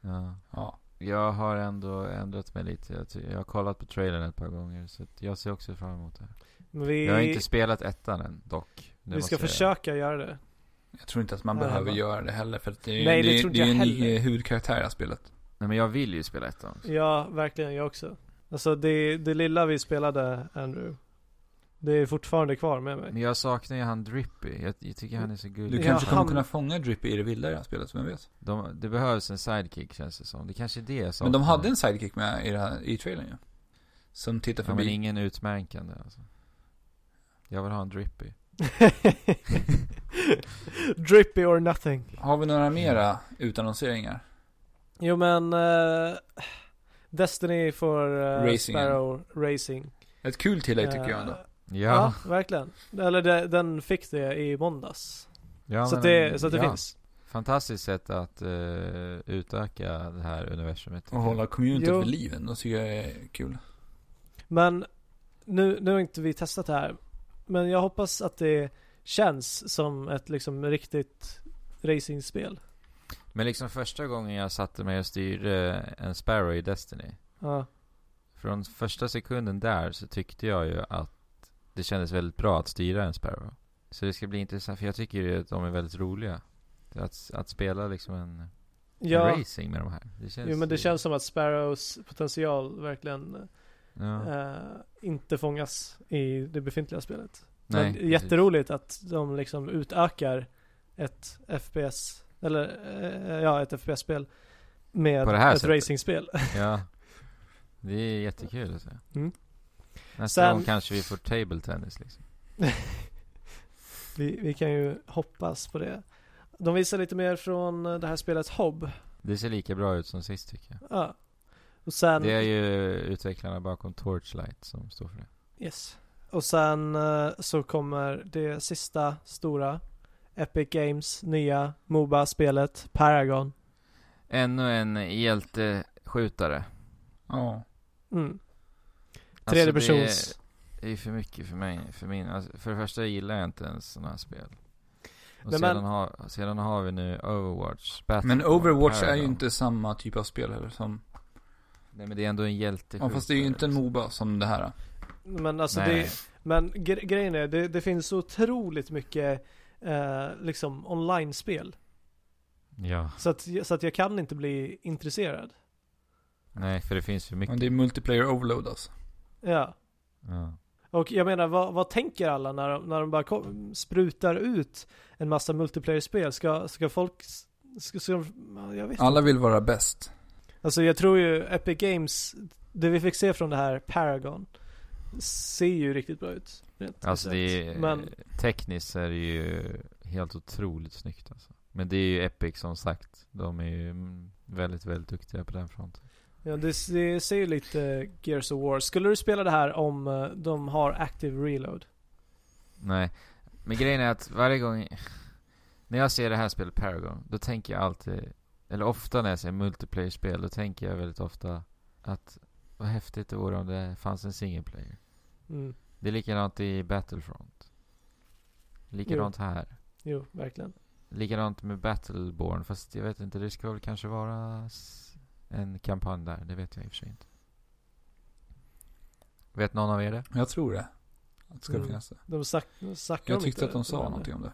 Speaker 3: Ja.
Speaker 1: Ja.
Speaker 3: Jag har ändå ändrat mig lite. Jag, ty- jag har kollat på trailern ett par gånger. Så att jag ser också fram emot det. här.
Speaker 2: Men vi,
Speaker 3: Jag har inte spelat ettan än dock. det
Speaker 2: vi
Speaker 3: måste
Speaker 2: ska
Speaker 3: jag säga.
Speaker 2: försöka göra det.
Speaker 1: Jag tror inte att man
Speaker 2: Nej,
Speaker 1: behöver
Speaker 2: va?
Speaker 1: göra det heller, för att det är ju
Speaker 2: Nej, det
Speaker 1: det,
Speaker 2: tror
Speaker 1: det,
Speaker 2: inte
Speaker 1: är ju
Speaker 2: jag
Speaker 1: en
Speaker 2: heller.
Speaker 1: ny eh, huvudkaraktär i det här spelet.
Speaker 3: Nej men jag vill ju spela ettan.
Speaker 2: Ja, verkligen. Jag också. Alltså det, det lilla vi spelade, Andrew. Det är fortfarande kvar med mig.
Speaker 3: Men jag saknar ju han Drippy. Jag, jag tycker han är så
Speaker 1: Du
Speaker 3: gullig.
Speaker 2: Ja,
Speaker 1: kanske kommer
Speaker 2: han-
Speaker 1: kunna fånga Drippy i det vilda i det här spelet, vem vet?
Speaker 3: De, det behövs en sidekick känns det som. Det kanske är det jag saknar.
Speaker 1: Men de hade en sidekick med i, det här, i trailern ju. Som tittar
Speaker 3: Ja, men
Speaker 1: förbi.
Speaker 3: ingen utmärkande alltså. Jag vill ha en Drippy.
Speaker 2: Drippy or nothing.
Speaker 1: Har vi några mera utannonseringar?
Speaker 2: Jo men eh, Destiny för eh,
Speaker 1: Racing.
Speaker 2: Sparrow Racing.
Speaker 1: Ett kul tillägg tycker jag ändå.
Speaker 2: Eh,
Speaker 3: Ja.
Speaker 2: verkligen. Eller det, den fick det i måndags.
Speaker 3: ja
Speaker 2: så,
Speaker 3: men,
Speaker 2: att det, så att det
Speaker 3: ja.
Speaker 2: finns.
Speaker 3: Fantastiskt sätt att eh, utöka det här universumet. tycker
Speaker 1: Och
Speaker 3: jag.
Speaker 1: Eh, hålla communityt
Speaker 2: Jo.
Speaker 1: vid liven, det tycker jag är kul.
Speaker 2: Men nu, nu har inte vi testat det här. Men jag hoppas att det känns som ett liksom riktigt racingspel.
Speaker 3: Men liksom första gången jag satte mig och styrde en Sparrow i Destiny.
Speaker 2: Ja.
Speaker 3: Från första sekunden där så tyckte jag ju att det kändes väldigt bra att styra en Sparrow. Så det ska bli intressant, för jag tycker ju att de är väldigt roliga. Att, att spela liksom en, en
Speaker 2: ja.
Speaker 3: racing med de här. Det känns,
Speaker 2: Jo men det känns som att Sparrows potential verkligen
Speaker 3: Ja,
Speaker 2: eh, inte fångas i det befintliga spelet.
Speaker 3: nej,
Speaker 2: men
Speaker 3: precis.
Speaker 2: jätteroligt att de liksom utökar ett FPS, eller eh, ja ett FPS-spel med
Speaker 3: På det här
Speaker 2: ett
Speaker 3: sättet.
Speaker 2: racingspel.
Speaker 3: Ja. Det är jättekul alltså.
Speaker 2: Mm.
Speaker 3: Nästa
Speaker 2: Sen-
Speaker 3: gång kanske vi får table tennis liksom.
Speaker 2: Vi, vi kan ju hoppas på det. De visar lite mer från eh, det här spelet Hob.
Speaker 3: Det ser lika bra ut som sist tycker jag.
Speaker 2: Ja. Och sen...
Speaker 3: Det är ju utvecklarna bakom Torchlight som står för det.
Speaker 2: Yes. Och sen eh, så kommer det sista stora Epic Games nya Moba-spelet Paragon.
Speaker 3: Ännu en hjälteskjutare.
Speaker 1: Ja.
Speaker 2: Mm.
Speaker 3: Alltså,
Speaker 2: Tredje persons.
Speaker 3: Det är för mycket för mig. För, min, alltså, för det första gillar jag inte ens sådana här spel. Och
Speaker 2: Nej,
Speaker 3: sedan,
Speaker 2: men-
Speaker 3: har, sedan har vi nu Overwatch. Battlefield,
Speaker 1: Men Overwatch är ju
Speaker 3: Paragon.
Speaker 1: inte samma typ av spel heller som...
Speaker 3: Nej men det är ändå en
Speaker 1: Ja,
Speaker 3: hjälteskjutare.
Speaker 1: fast det är ju inte en
Speaker 3: liksom.
Speaker 1: Moba som det här.
Speaker 2: Men alltså
Speaker 3: Nej.
Speaker 2: det, men gre- grejen är det, det finns så otroligt mycket eh, liksom online-spel.
Speaker 3: Ja.
Speaker 2: Så att, så att jag kan inte bli intresserad.
Speaker 3: Nej för det finns för
Speaker 1: Ja,
Speaker 3: mycket.
Speaker 1: det är multiplayer overload alltså.
Speaker 2: Ja.
Speaker 3: Ja.
Speaker 2: Och jag menar, vad, vad tänker alla när, de- när de bara kom, sprutar ut en massa multiplayer-spel? Ska, ska folk... s- Ska, ska, de- jag vet
Speaker 1: Alla vill vara bäst.
Speaker 2: Alltså jag tror ju Epic Games, det vi fick se från det här Paragon, ser ju riktigt bra ut. Rent
Speaker 3: Alltså det är,
Speaker 2: visuellt. Men
Speaker 3: tekniskt är det ju helt otroligt snyggt alltså. Men det är ju Epic som sagt. De är ju mm, väldigt, väldigt duktiga på den fronten.
Speaker 2: ja, det, det ser ju lite Gears of War. Skulle du spela det här om eh, de har Active Reload?
Speaker 3: Nej, men grejen är att varje gång när jag ser det här spelet Paragon, då tänker jag alltid, eller ofta när jag ser multiplayer-spel, då tänker jag väldigt ofta att vad häftigt det vore om det fanns en single player.
Speaker 2: Mm,
Speaker 3: Det är likadant i Battlefront. Likadant här.
Speaker 2: jo, verkligen.
Speaker 3: Likadant med Battleborn, fast jag vet inte, det ska väl kanske vara s- en kampanj där, det vet jag i och för sig inte. Vet någon av er det?
Speaker 1: Jag tror det. Att det ska
Speaker 2: Mm.
Speaker 1: finnas det.
Speaker 2: De snack, snackar
Speaker 1: Jag
Speaker 2: om
Speaker 1: tyckte
Speaker 2: inte
Speaker 1: att de sa
Speaker 2: det.
Speaker 1: någonting om det.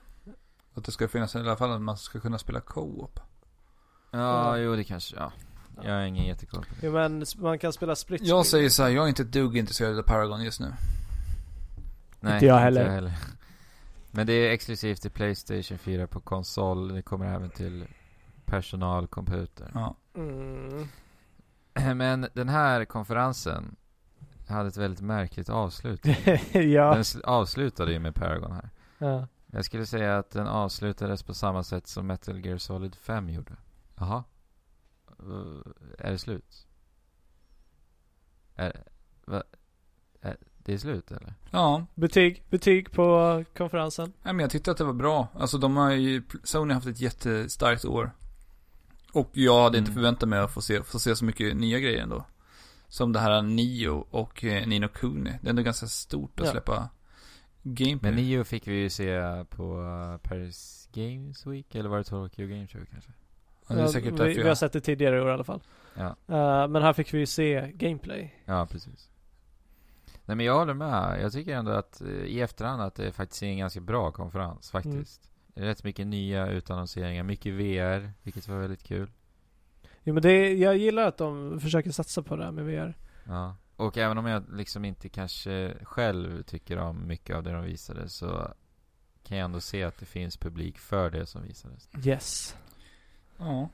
Speaker 1: Att det ska finnas i alla fall att man ska kunna spela co-op.
Speaker 3: Ja, jo det kanske, ja. Jag har ingen jättekoll på det.
Speaker 2: Ja, men s- man kan spela split screen.
Speaker 1: Jag säger så här, jag är inte ett dugg intresserad av Paragon just nu.
Speaker 3: Nej,
Speaker 2: Inte jag heller.
Speaker 3: Men det är exklusivt till Playstation 4 på konsol. Det kommer även till personalcomputer.
Speaker 1: Ja.
Speaker 2: Mm,
Speaker 3: Men den här konferensen hade ett väldigt märkligt avslut.
Speaker 2: ja.
Speaker 3: Den sl- avslutade ju med Paragon här.
Speaker 2: ja.
Speaker 3: Jag skulle säga att den avslutades på samma sätt som Metal Gear Solid 5 gjorde. Jaha. Uh, är det slut? Är, va, är, det är slut eller?
Speaker 1: Ja,
Speaker 2: Betyg, betyg på konferensen.
Speaker 1: Nej, men jag tyckte att det var bra. Alltså de har ju, Sony har haft ett jättestarkt år. Och jag hade inte
Speaker 3: Mm.
Speaker 1: förväntat mig att få se, få se så mycket nya grejer ändå. Som det här Nio och eh, Nino Kuni. Det är ändå ganska stort att
Speaker 2: Ja.
Speaker 1: släppa gameplay.
Speaker 3: Men Nio fick vi ju se på eh, Paris Games Week, eller var det Tokyo Games Show kanske?
Speaker 1: Ja, det är säkert
Speaker 2: vi,
Speaker 1: därför
Speaker 2: vi
Speaker 1: jag...
Speaker 2: har sett det tidigare i år i alla fall.
Speaker 3: Ja.
Speaker 2: Eh, men här fick vi ju se gameplay.
Speaker 3: Ja, precis. Nej men jag håller med. Jag tycker ändå att eh, i efterhand att det faktiskt är en ganska bra konferens faktiskt. Rätt mycket nya utannonseringar, mycket VR, vilket var väldigt kul.
Speaker 2: Jo men det, jag gillar att de försöker satsa på det här med VR.
Speaker 3: Ja. Och även om jag liksom inte kanske själv tycker om mycket av det de visade så kan jag ändå se att det finns publik för det som visades.
Speaker 2: Yes.
Speaker 1: Ja,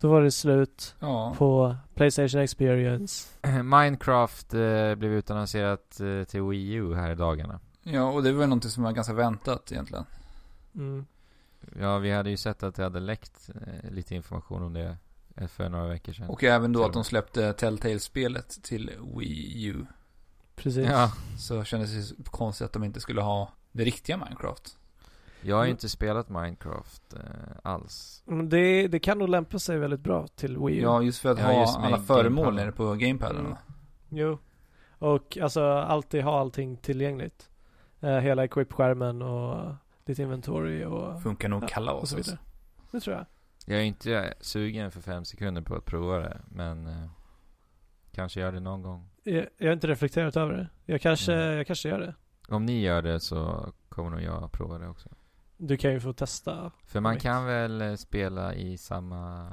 Speaker 2: Då var det slut
Speaker 1: ja.
Speaker 2: på Playstation Experience.
Speaker 3: Minecraft eh, blev utannonserat eh, till Wii U här i dagarna.
Speaker 1: Ja, och det var ju någonting som var ganska väntat egentligen.
Speaker 2: Mm.
Speaker 3: Ja, vi hade ju sett att det hade läckt eh, lite information om det eh, för några veckor sedan.
Speaker 1: Och även då
Speaker 3: Till
Speaker 1: att de
Speaker 3: och med.
Speaker 1: släppte Telltale-spelet till Wii U.
Speaker 2: Precis.
Speaker 3: ja.
Speaker 1: Så kändes det ju konstigt att de inte skulle ha det riktiga Minecraft.
Speaker 3: Jag har ju inte spelat Minecraft eh, alls.
Speaker 2: Men det, det kan nog lämpa sig väldigt bra till Wii U.
Speaker 1: Ja, just för att
Speaker 3: Ja,
Speaker 1: ha
Speaker 3: just med
Speaker 1: alla föremål
Speaker 3: gamepaden.
Speaker 1: nere på gamepaden.
Speaker 2: Mm. Jo. Och alltså alltid ha allting tillgängligt. Eh, hela equip-skärmen och ditt inventory och,
Speaker 1: Funkar nog
Speaker 2: Ja,
Speaker 1: kalas
Speaker 2: och så
Speaker 1: alltså.
Speaker 2: vidare. Det tror jag.
Speaker 3: Jag är inte sugen för fem sekunder på att prova det, men eh, kanske gör det någon gång.
Speaker 2: jag. Jag har inte reflekterat över det. Jag kanske,
Speaker 3: Mm.
Speaker 2: jag kanske gör det.
Speaker 3: Om ni gör det så kommer nog jag att prova det också.
Speaker 2: Du kan ju få testa.
Speaker 3: För man
Speaker 2: Right.
Speaker 3: kan väl eh, spela i samma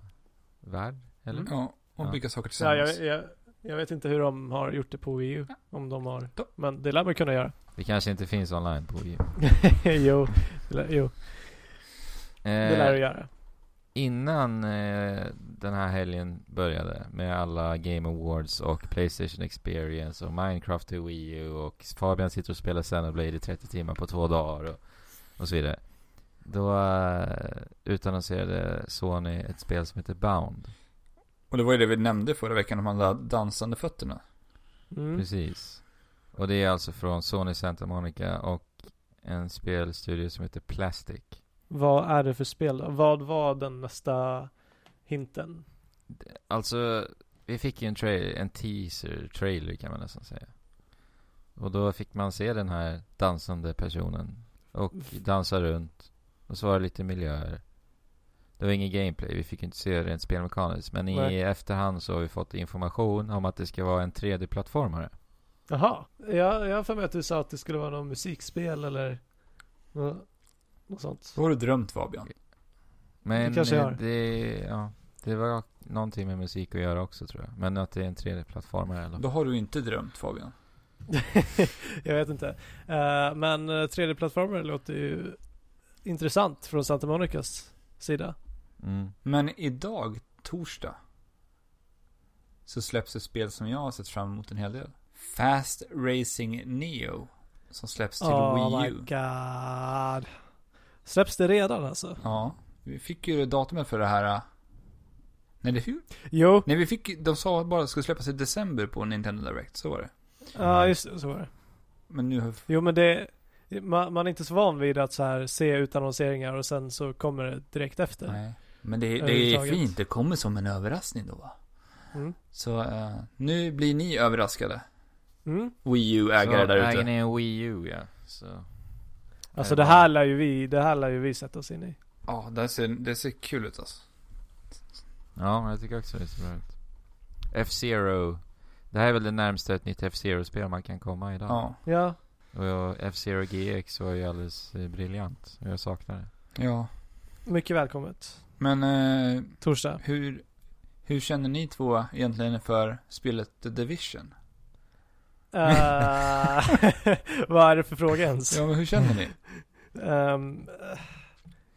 Speaker 3: värld, eller?
Speaker 2: Mm.
Speaker 1: Ja, och
Speaker 3: Ja.
Speaker 1: bygga saker
Speaker 2: Ja,
Speaker 1: tillsammans.
Speaker 2: jag, jag, jag vet inte hur de har gjort det på Wii U. Om de har. Men det lär man kunna göra.
Speaker 3: Det kanske inte finns online på Wii U.
Speaker 2: jo, det lär, jo,
Speaker 3: Eh,
Speaker 2: det lär du göra.
Speaker 3: innan eh, den här helgen började med alla Game Awards och Playstation Experience och Minecraft till Wii U och Fabian sitter och spelar Xenoblade i 30 timmar på två dagar och, och så vidare. Då eh, utannonserade Sony ett spel som heter Bound.
Speaker 1: Och det var ju det vi nämnde förra veckan om de där dansande fötterna.
Speaker 2: Mm.
Speaker 3: Precis. Och det är alltså från Sony Santa Monica och en spelstudio som heter Plastic.
Speaker 2: Vad är det för spel då? Vad var den nästa hinten?
Speaker 3: Alltså, vi fick ju en, tra- en teaser, trailer kan man nästan säga. Och då fick man se den här dansande personen och dansa runt och så var det lite miljöer. Det var ingen gameplay, vi fick inte se rent spelmekaniskt. Men
Speaker 2: Nej.
Speaker 3: i efterhand så har vi fått information om att det ska vara en 3D-plattformare.
Speaker 2: Jaha, jag, jag har för mig att du sa att det skulle vara något musikspel eller nå- något sånt.
Speaker 1: Så har du drömt Fabian.
Speaker 3: Men
Speaker 2: Det kanske jag
Speaker 3: eh,
Speaker 2: har.
Speaker 3: det, ja, det var någonting med musik att göra också tror jag. Men att det är en 3D-plattformare i alla
Speaker 1: Då har du inte drömt Fabian.
Speaker 2: jag vet inte. Eh, men eh, 3D-plattformar låter ju intressant från Santa Monicas sida.
Speaker 3: Mm.
Speaker 1: Men idag, torsdag, så släpps ett spel som jag har sett fram emot en hel del. Fast Racing Neo. Som släpps till
Speaker 2: oh
Speaker 1: Wii
Speaker 2: my
Speaker 1: U.
Speaker 2: god. Släpps det redan alltså?
Speaker 1: Ja, vi fick ju datumen för det här. äh. Nej, det fick,
Speaker 2: Jo,
Speaker 1: nej vi fick, de sa bara att det skulle släppas i december på Nintendo Direct, så var det.
Speaker 2: ja just det, så var det.
Speaker 1: Men nu har vi-
Speaker 2: Jo men det, man, man är inte så van vid att så här se utannonseringar och sen så kommer det direkt efter.
Speaker 1: Nej. Men det, det är
Speaker 2: Överhuvudtaget.
Speaker 1: fint, det kommer som en överraskning då va?
Speaker 2: Mm.
Speaker 1: Så eh, nu blir ni överraskade.
Speaker 2: Mm.
Speaker 1: Wii U-ägare
Speaker 3: Så
Speaker 1: där
Speaker 3: Ägaren
Speaker 1: ute.
Speaker 3: är en Wii U ja. Så.
Speaker 2: Alltså det här lär ju vi, det här lär ju vi sätta oss in i.
Speaker 1: Ja, det ser, det ser kul ut alltså.
Speaker 3: Ja, jag tycker också det ser bra ut. F-Zero. Det här är väl det närmsta ett nytt F-Zero-spel man kan komma idag.
Speaker 1: Ja.
Speaker 2: Ja,
Speaker 3: Och jag- F-Zero GX var ju alldeles eh, briljant. Och jag saknar det.
Speaker 1: Ja.
Speaker 2: mycket välkommet.
Speaker 1: Men eh,
Speaker 2: Torsdag.
Speaker 1: hur, hur känner ni två egentligen för spelet The Division?
Speaker 2: Eh, vad är det för fråga ens?
Speaker 1: Ja, men hur känner ni?
Speaker 2: Ehm, eh,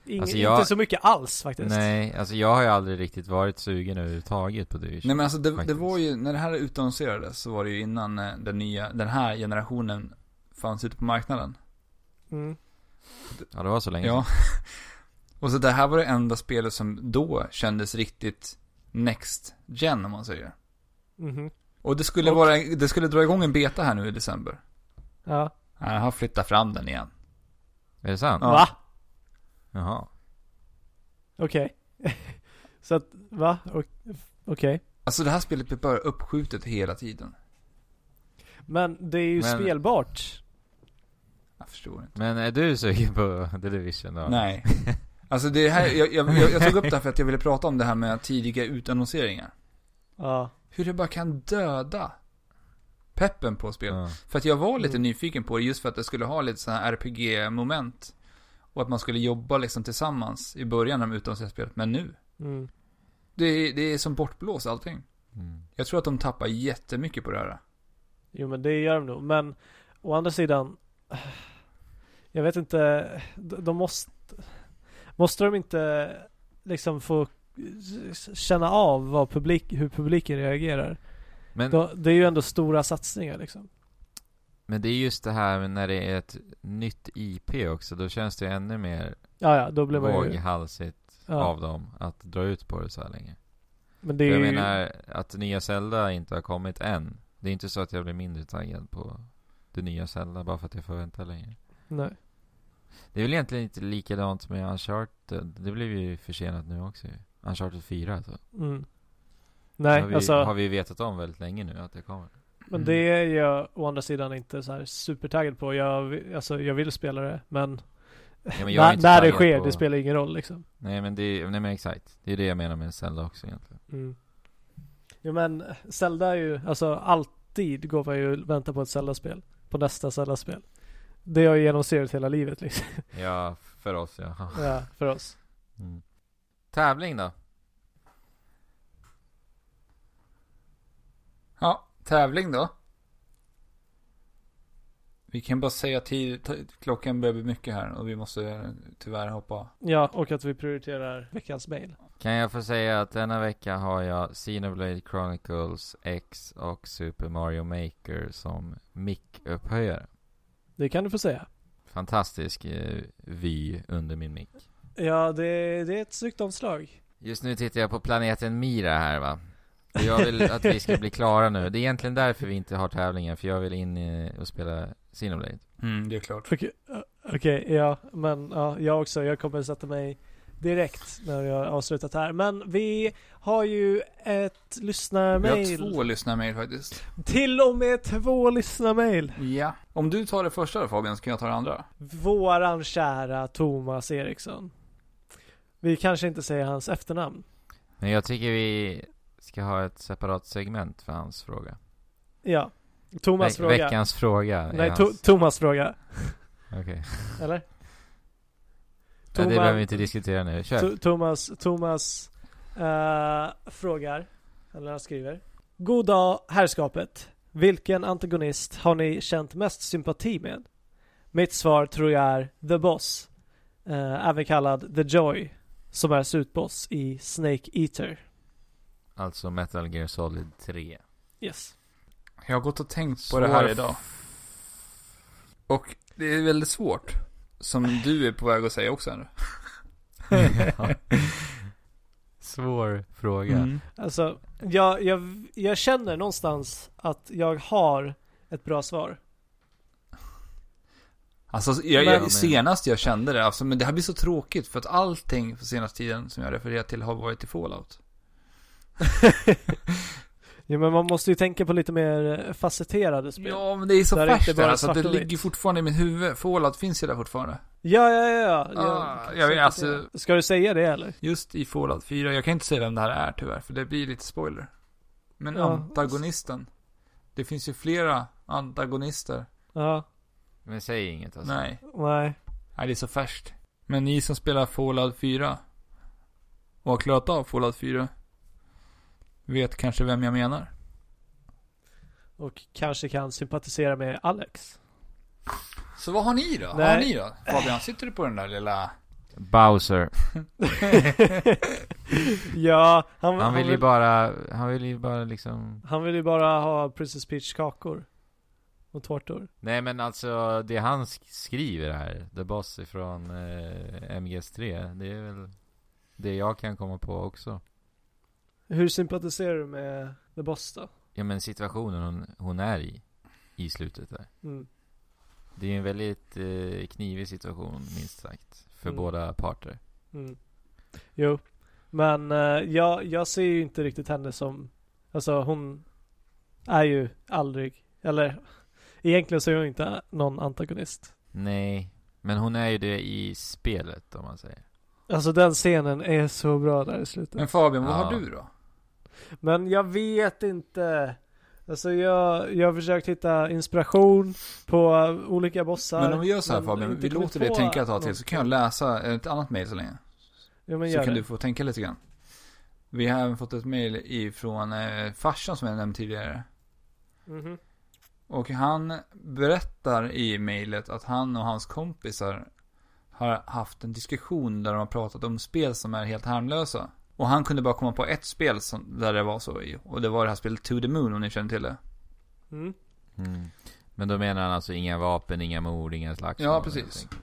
Speaker 2: ing-
Speaker 3: Alltså, jag-
Speaker 2: Inte så mycket alls faktiskt.
Speaker 3: Nej, alltså jag har ju aldrig riktigt varit sugen överhuvudtaget på Division.
Speaker 1: Nej men alltså det, det
Speaker 3: Faktiskt.
Speaker 1: var ju, när det här utannonserades så var det ju innan eh, den nya, den här generationen fanns ute på marknaden.
Speaker 2: Mm.
Speaker 3: Ja, det var så länge
Speaker 1: Ja.
Speaker 3: sedan.
Speaker 1: Och så det här var det enda spelet som då kändes riktigt next gen om man säger.
Speaker 2: Mhm.
Speaker 1: Och det skulle
Speaker 2: Och-
Speaker 1: vara, det skulle dra igång en beta här nu i december.
Speaker 2: Ja.
Speaker 1: Nej, Jag har flyttat fram den igen.
Speaker 3: Är det sant?
Speaker 1: Ja.
Speaker 2: Va?
Speaker 3: Jaha.
Speaker 2: Okej. så att, va? O- Okej.
Speaker 1: Alltså det här spelet blir bara uppskjutet hela tiden.
Speaker 2: Men det är ju
Speaker 3: Men-
Speaker 2: spelbart.
Speaker 1: Jag förstår inte.
Speaker 3: Men är du sugen på The Division då?
Speaker 1: Nej. Alltså det här, jag, jag, jag, jag tog upp det här för att jag ville prata om det här med tidiga utannonseringar.
Speaker 2: Ja.
Speaker 1: Hur det bara kan döda peppen på spel.
Speaker 3: Ja.
Speaker 1: För att jag var lite
Speaker 2: Mm.
Speaker 1: nyfiken på det just för att det skulle ha lite sådana här RPG-moment. Och att man skulle jobba liksom tillsammans i början när de utannonserade spelet. Men nu,
Speaker 2: Mm.
Speaker 1: det är, det är som bortblås allting.
Speaker 3: Mm.
Speaker 1: Jag tror att de tappar jättemycket på det här.
Speaker 2: Jo men det gör de nog. Men å andra sidan. Jag vet inte. De de måste. Måste de inte liksom få känna av vad publik, hur publiken reagerar?
Speaker 3: Men,
Speaker 2: Då- Det är ju ändå stora satsningar liksom.
Speaker 3: men det är just det här med när det är ett nytt IP också. Då känns det ännu mer
Speaker 2: Ja, ja, då blir man ju...
Speaker 3: våghalsigt
Speaker 2: Ja.
Speaker 3: av dem att dra ut på det så här länge.
Speaker 2: Men det är
Speaker 3: jag
Speaker 2: ju...
Speaker 3: menar att nya Zelda inte har kommit än. Det är inte så att jag blir mindre taggad på det nya Zelda bara för att jag får vänta längre.
Speaker 2: Nej.
Speaker 3: Det är väl egentligen inte likadant med Uncharted. Det blev ju försenat nu också ju. Uncharted 4 alltså.
Speaker 2: Mm.
Speaker 3: har,
Speaker 2: Nej,
Speaker 3: vi,
Speaker 2: alltså.
Speaker 3: har Mm. vi vetat om väldigt länge nu att det kommer.
Speaker 2: Men det är jag å andra sidan inte så här supertaggad på. Jag, vi- alltså, jag vill spela det, men...
Speaker 3: Ja, men jag är
Speaker 2: när,
Speaker 3: inte
Speaker 2: när det
Speaker 3: taggad
Speaker 2: sker,
Speaker 3: på-
Speaker 2: det spelar ingen roll liksom.
Speaker 3: Nej men, det, nej men exakt. Det är det jag menar med Zelda också egentligen.
Speaker 2: Mm. Jo men Zelda är ju, alltså alltid går man ju och väntar på ett Zelda-spel. På nästa Zelda-spel. Det har ju genomsyrat hela livet liksom.
Speaker 3: Ja, för oss ja.
Speaker 2: Ja, för oss.
Speaker 3: Mm. Tävling då?
Speaker 1: Ja, tävling då. Vi kan bara säga tid, t- klockan börjar bli mycket här och vi måste eh, tyvärr hoppa.
Speaker 2: Ja, och att vi prioriterar veckans mail.
Speaker 3: Kan jag få säga att denna vecka har jag Xenoblade Chronicles X och Super Mario Maker som mick-upphöjare.
Speaker 2: Det kan du få säga.
Speaker 3: Fantastisk eh, vy under min mick.
Speaker 2: Ja, det, det är ett snyggt omslag.
Speaker 3: Just nu tittar jag på planeten Mira här va. Och Jag vill att vi ska bli klara nu. Det är egentligen därför vi inte har tävlingen, för jag vill in eh, och spela Xenoblade.
Speaker 1: Mm, det är klart.
Speaker 2: Okej, ö- okej, ja, men ja, jag också. Jag kommer sätta mig direkt när vi har avslutat här. Men vi har ju ett
Speaker 1: Vi
Speaker 2: lyssnarmail.
Speaker 1: har två lyssnarmail faktiskt.
Speaker 2: Till och med två lyssnarmail.
Speaker 1: Ja. Om du tar det första då Fabian, så kan jag ta det andra.
Speaker 2: Våran kära Thomas Eriksson. Vi kanske inte säger hans efternamn.
Speaker 3: Men jag tycker vi ska ha ett separat segment för hans fråga.
Speaker 2: Ja. Thomas
Speaker 3: Ve-
Speaker 2: fråga.
Speaker 3: Veckans fråga. är
Speaker 2: Nej,
Speaker 3: hans.
Speaker 2: to- Thomas fråga.
Speaker 3: Okej.
Speaker 2: Eller?
Speaker 3: Nej, det
Speaker 2: Thomas-
Speaker 3: behöver vi inte diskutera nu. Kör.
Speaker 2: To- Thomas, Thomas eh, frågar, eller han skriver. God dag herrskapet. Vilken antagonist har ni känt mest sympati med? Mitt svar tror jag är The Boss, eh, även kallad The Joy, som är slutboss i Snake Eater.
Speaker 3: Alltså Metal Gear Solid 3.
Speaker 2: Yes.
Speaker 1: Jag har gått och tänkt på
Speaker 3: Svår
Speaker 1: det här
Speaker 3: f-
Speaker 1: idag. Och det är väldigt svårt. Som du är på väg att säga också. Andrew.
Speaker 3: Ja. Svår fråga.
Speaker 1: Mm.
Speaker 2: Alltså, jag, jag, jag känner någonstans att jag har ett bra svar.
Speaker 1: Alltså, jag,
Speaker 2: Men-
Speaker 1: jag, senast jag kände det, alltså, men det här blir så tråkigt för att allting på senaste tiden som jag refererat till har varit i Fallout.
Speaker 2: Ja, men man måste ju tänka på lite mer eh, facetterade spel.
Speaker 1: Ja, men det är så
Speaker 2: Där är
Speaker 1: färskt
Speaker 2: inte
Speaker 1: det
Speaker 2: bara
Speaker 1: här, så att det
Speaker 2: svart och vitt.
Speaker 1: ligger fortfarande i mitt huvud. Fallout finns ju där fortfarande.
Speaker 2: Ja, ja, ja. ja.
Speaker 1: Ah, jag vet, alltså-
Speaker 2: Ska du säga det eller?
Speaker 1: Just i Fallout 4, jag kan inte säga vem det här är tyvärr, för det blir lite spoiler. Men
Speaker 2: Ja.
Speaker 1: antagonisten. Det finns ju flera antagonister.
Speaker 2: Ja,
Speaker 3: Men säg inget alltså.
Speaker 1: Nej.
Speaker 2: nej.
Speaker 1: Nej, det är så färskt. Men ni som spelar Fallout 4 och har klarat av Fallout 4 vet kanske vem jag menar.
Speaker 2: Och kanske kan sympatisera med Alex.
Speaker 1: Så vad har ni då? Vad
Speaker 2: Nej.
Speaker 1: har ni då? Fabian, sitter du på den där lilla...
Speaker 3: Bowser.
Speaker 2: ja, han,
Speaker 3: Han vill ju
Speaker 2: vill,
Speaker 3: bara, han vill ju bara liksom
Speaker 2: han vill ju bara ha Princess Peach kakor. Och tårtor.
Speaker 3: Nej men alltså det han sk- skriver här, The Boss ifrån eh, MGS3, det är väl det jag kan komma på också.
Speaker 2: Hur sympatiserar du med The Boss då?
Speaker 3: Ja men situationen hon, hon är i, i slutet där.
Speaker 2: Mm.
Speaker 3: Det är ju en väldigt eh, knivig situation minst sagt, för
Speaker 2: Mm.
Speaker 3: båda parter.
Speaker 2: Mm. Jo, men eh, jag, jag ser ju inte riktigt henne som, alltså hon är ju aldrig, eller egentligen så är hon inte någon antagonist.
Speaker 3: Nej, men hon är ju det i spelet om man säger.
Speaker 2: Alltså den scenen är så bra där i slutet.
Speaker 1: Men Fabian, vad
Speaker 3: Ja.
Speaker 1: har du då?
Speaker 2: Men jag vet inte. Alltså jag, jag har försökt hitta inspiration på olika bossar.
Speaker 1: Men om vi gör så här Fabian,
Speaker 2: inte
Speaker 1: vi
Speaker 2: kommit
Speaker 1: låter dig
Speaker 2: på
Speaker 1: tänka ett tag till
Speaker 2: något.
Speaker 1: så kan jag läsa ett annat mejl så länge.
Speaker 2: Ja, men
Speaker 1: Så
Speaker 2: gör
Speaker 1: kan
Speaker 2: det.
Speaker 1: du få tänka lite grann. Vi har även fått ett mejl ifrån eh, farsan som jag nämnde tidigare.
Speaker 2: Mhm.
Speaker 1: Och han berättar i mejlet att han och hans kompisar har haft en diskussion där de har pratat om spel som är helt harmlösa. Och han kunde bara komma på ett spel som, där det var så i. Och det var det här spelet To the Moon om ni känner till det.
Speaker 2: Mm.
Speaker 3: Mm. Men då menar han alltså inga vapen, inga mord, inga slagsmål.
Speaker 1: Ja,
Speaker 3: helt
Speaker 1: precis.
Speaker 3: enkelt.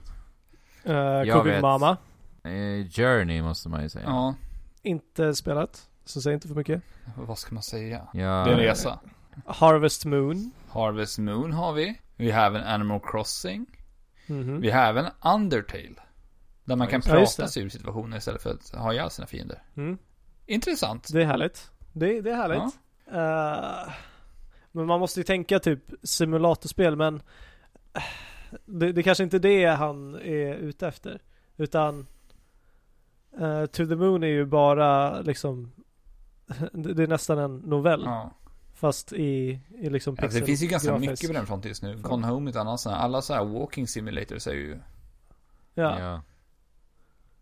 Speaker 2: Eh,
Speaker 3: Jag
Speaker 2: Covid
Speaker 3: vet.
Speaker 2: Mama.
Speaker 3: Eh, Journey måste man ju säga.
Speaker 1: Ja,
Speaker 2: Inte spelat. Så säg inte för mycket.
Speaker 1: vad ska man säga?
Speaker 3: Ja,
Speaker 1: Det är en resa.
Speaker 2: Harvest Moon.
Speaker 1: Harvest Moon har vi. Vi har även Animal Crossing.
Speaker 2: Mhm.
Speaker 1: Vi har även Undertale. Där man kan
Speaker 3: Ja, just
Speaker 2: det. Ja, just
Speaker 1: prata
Speaker 2: det.
Speaker 1: sig ur situationer istället för att ha ihjäl sina fiender.
Speaker 2: Mm.
Speaker 1: Intressant.
Speaker 2: Det är härligt. Det, det är härligt. Eh, men man måste ju tänka typ simulatorspel men eh, det, det kanske inte är det han är ute efter. Utan eh, To the Moon är ju bara liksom det det är nästan en novell
Speaker 1: Ja.
Speaker 2: fast i, i liksom pixel.
Speaker 1: Alltså, det finns ju ganska
Speaker 2: grafiskt.
Speaker 1: mycket på den fronten just nu.
Speaker 2: Fan.
Speaker 1: Gone Home är ett annat sån här. Alla så här walking simulators är ju...
Speaker 2: Ja.
Speaker 3: ja.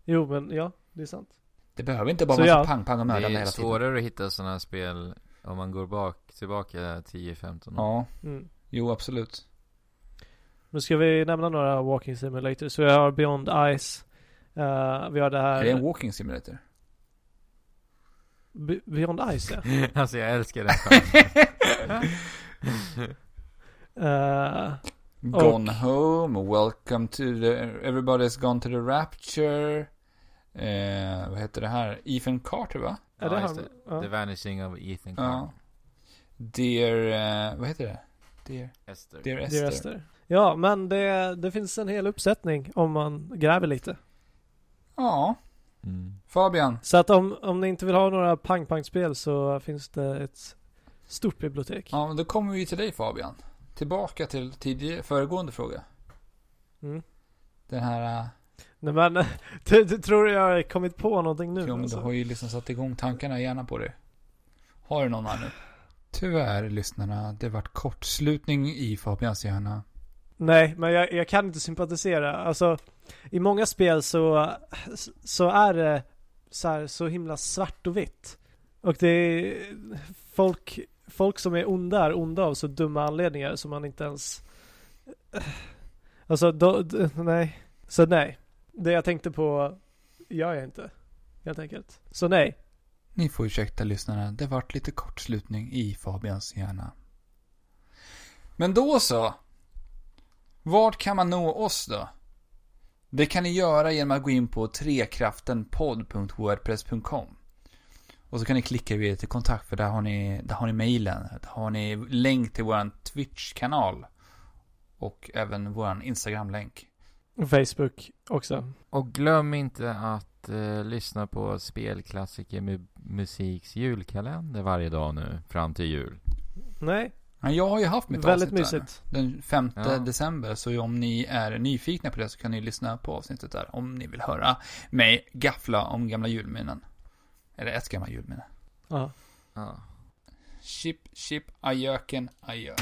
Speaker 2: Jo men ja, det är sant.
Speaker 1: Det behöver inte bara
Speaker 2: Så
Speaker 1: vara
Speaker 2: ja.
Speaker 1: pang, pang och
Speaker 3: Det
Speaker 1: mördande
Speaker 3: är
Speaker 1: hela tiden.
Speaker 3: svårare att hitta sådana här spel om man går bak, tillbaka 10-15 år.
Speaker 1: Ja,
Speaker 2: Mm.
Speaker 1: jo absolut.
Speaker 2: Men ska vi nämna några walking simulators? Så vi har Beyond Ice. eh, vi har det här...
Speaker 1: Är det en walking simulator?
Speaker 2: Be- Beyond Ice ja.
Speaker 3: alltså jag älskar den genren.
Speaker 2: Eh,
Speaker 1: Gone Home, Welcome to the... Everybody's Gone to the Rapture. Eh, vad heter det här? Ethan Carter va?
Speaker 2: är det
Speaker 3: Ja, just
Speaker 2: han?
Speaker 3: det.
Speaker 2: Ja.
Speaker 3: The Vanishing of Ethan
Speaker 1: Ja.
Speaker 3: Carter.
Speaker 1: Dear... Eh, vad heter det? Dear,
Speaker 3: Esther.
Speaker 1: Dear Esther.
Speaker 2: Dear Esther. Ja, men det, det finns en hel uppsättning om man gräver lite.
Speaker 1: Ja.
Speaker 3: Mm.
Speaker 1: Fabian.
Speaker 2: Så att om, om ni inte vill ha några pang-pang-spel så finns det ett stort bibliotek.
Speaker 1: Ja, men då kommer vi till dig Fabian. Tillbaka till tidigare, föregående fråga.
Speaker 2: Mm.
Speaker 1: Den här... eh,
Speaker 2: Nej men, du, du tror jag har kommit på någonting nu
Speaker 1: Jo, men du
Speaker 2: alltså.
Speaker 1: har ju liksom satt igång tankarna i hjärnan på dig. Har du någon här nu? Tyvärr, lyssnarna. Det vart kortslutning i Fabians hjärna.
Speaker 2: Nej, men jag, jag kan inte sympatisera. Alltså, i många spel så, så är det så, här, så himla svart och vitt. Och det är folk, folk som är onda är onda av så dumma anledningar som man inte ens... Alltså, då, d- nej. Så nej. Det jag tänkte på gör jag inte. Helt enkelt. Så nej.
Speaker 1: Ni får ursäkta lyssnarna. Det vart lite kortslutning i Fabians hjärna. Men då så. Vart kan man nå oss då? Det kan ni göra genom att gå in på trekraftenpodd.wordpress.com Och så kan ni klicka vidare till kontakt för där har ni, där har ni mejlen. Där har ni länk till våran Twitch-kanal. Och även våran Instagram-länk.
Speaker 2: Facebook också.
Speaker 3: Och glöm inte att eh, lyssna på Spelklassiker mu- musiks julkalender varje dag nu fram till jul.
Speaker 2: Nej,
Speaker 1: Ja, Jag har ju haft mitt
Speaker 2: väldigt
Speaker 1: avsnitt där.
Speaker 2: mysigt.
Speaker 1: den 5
Speaker 3: Ja.
Speaker 1: december. Så om ni är nyfikna på det så kan ni lyssna på avsnittet där. Om ni vill höra mig gaffla om gamla julminnen. Eller ett gammalt julminne.
Speaker 2: Ja.
Speaker 3: Ja.
Speaker 1: Chip, chip, ajöken, ajök.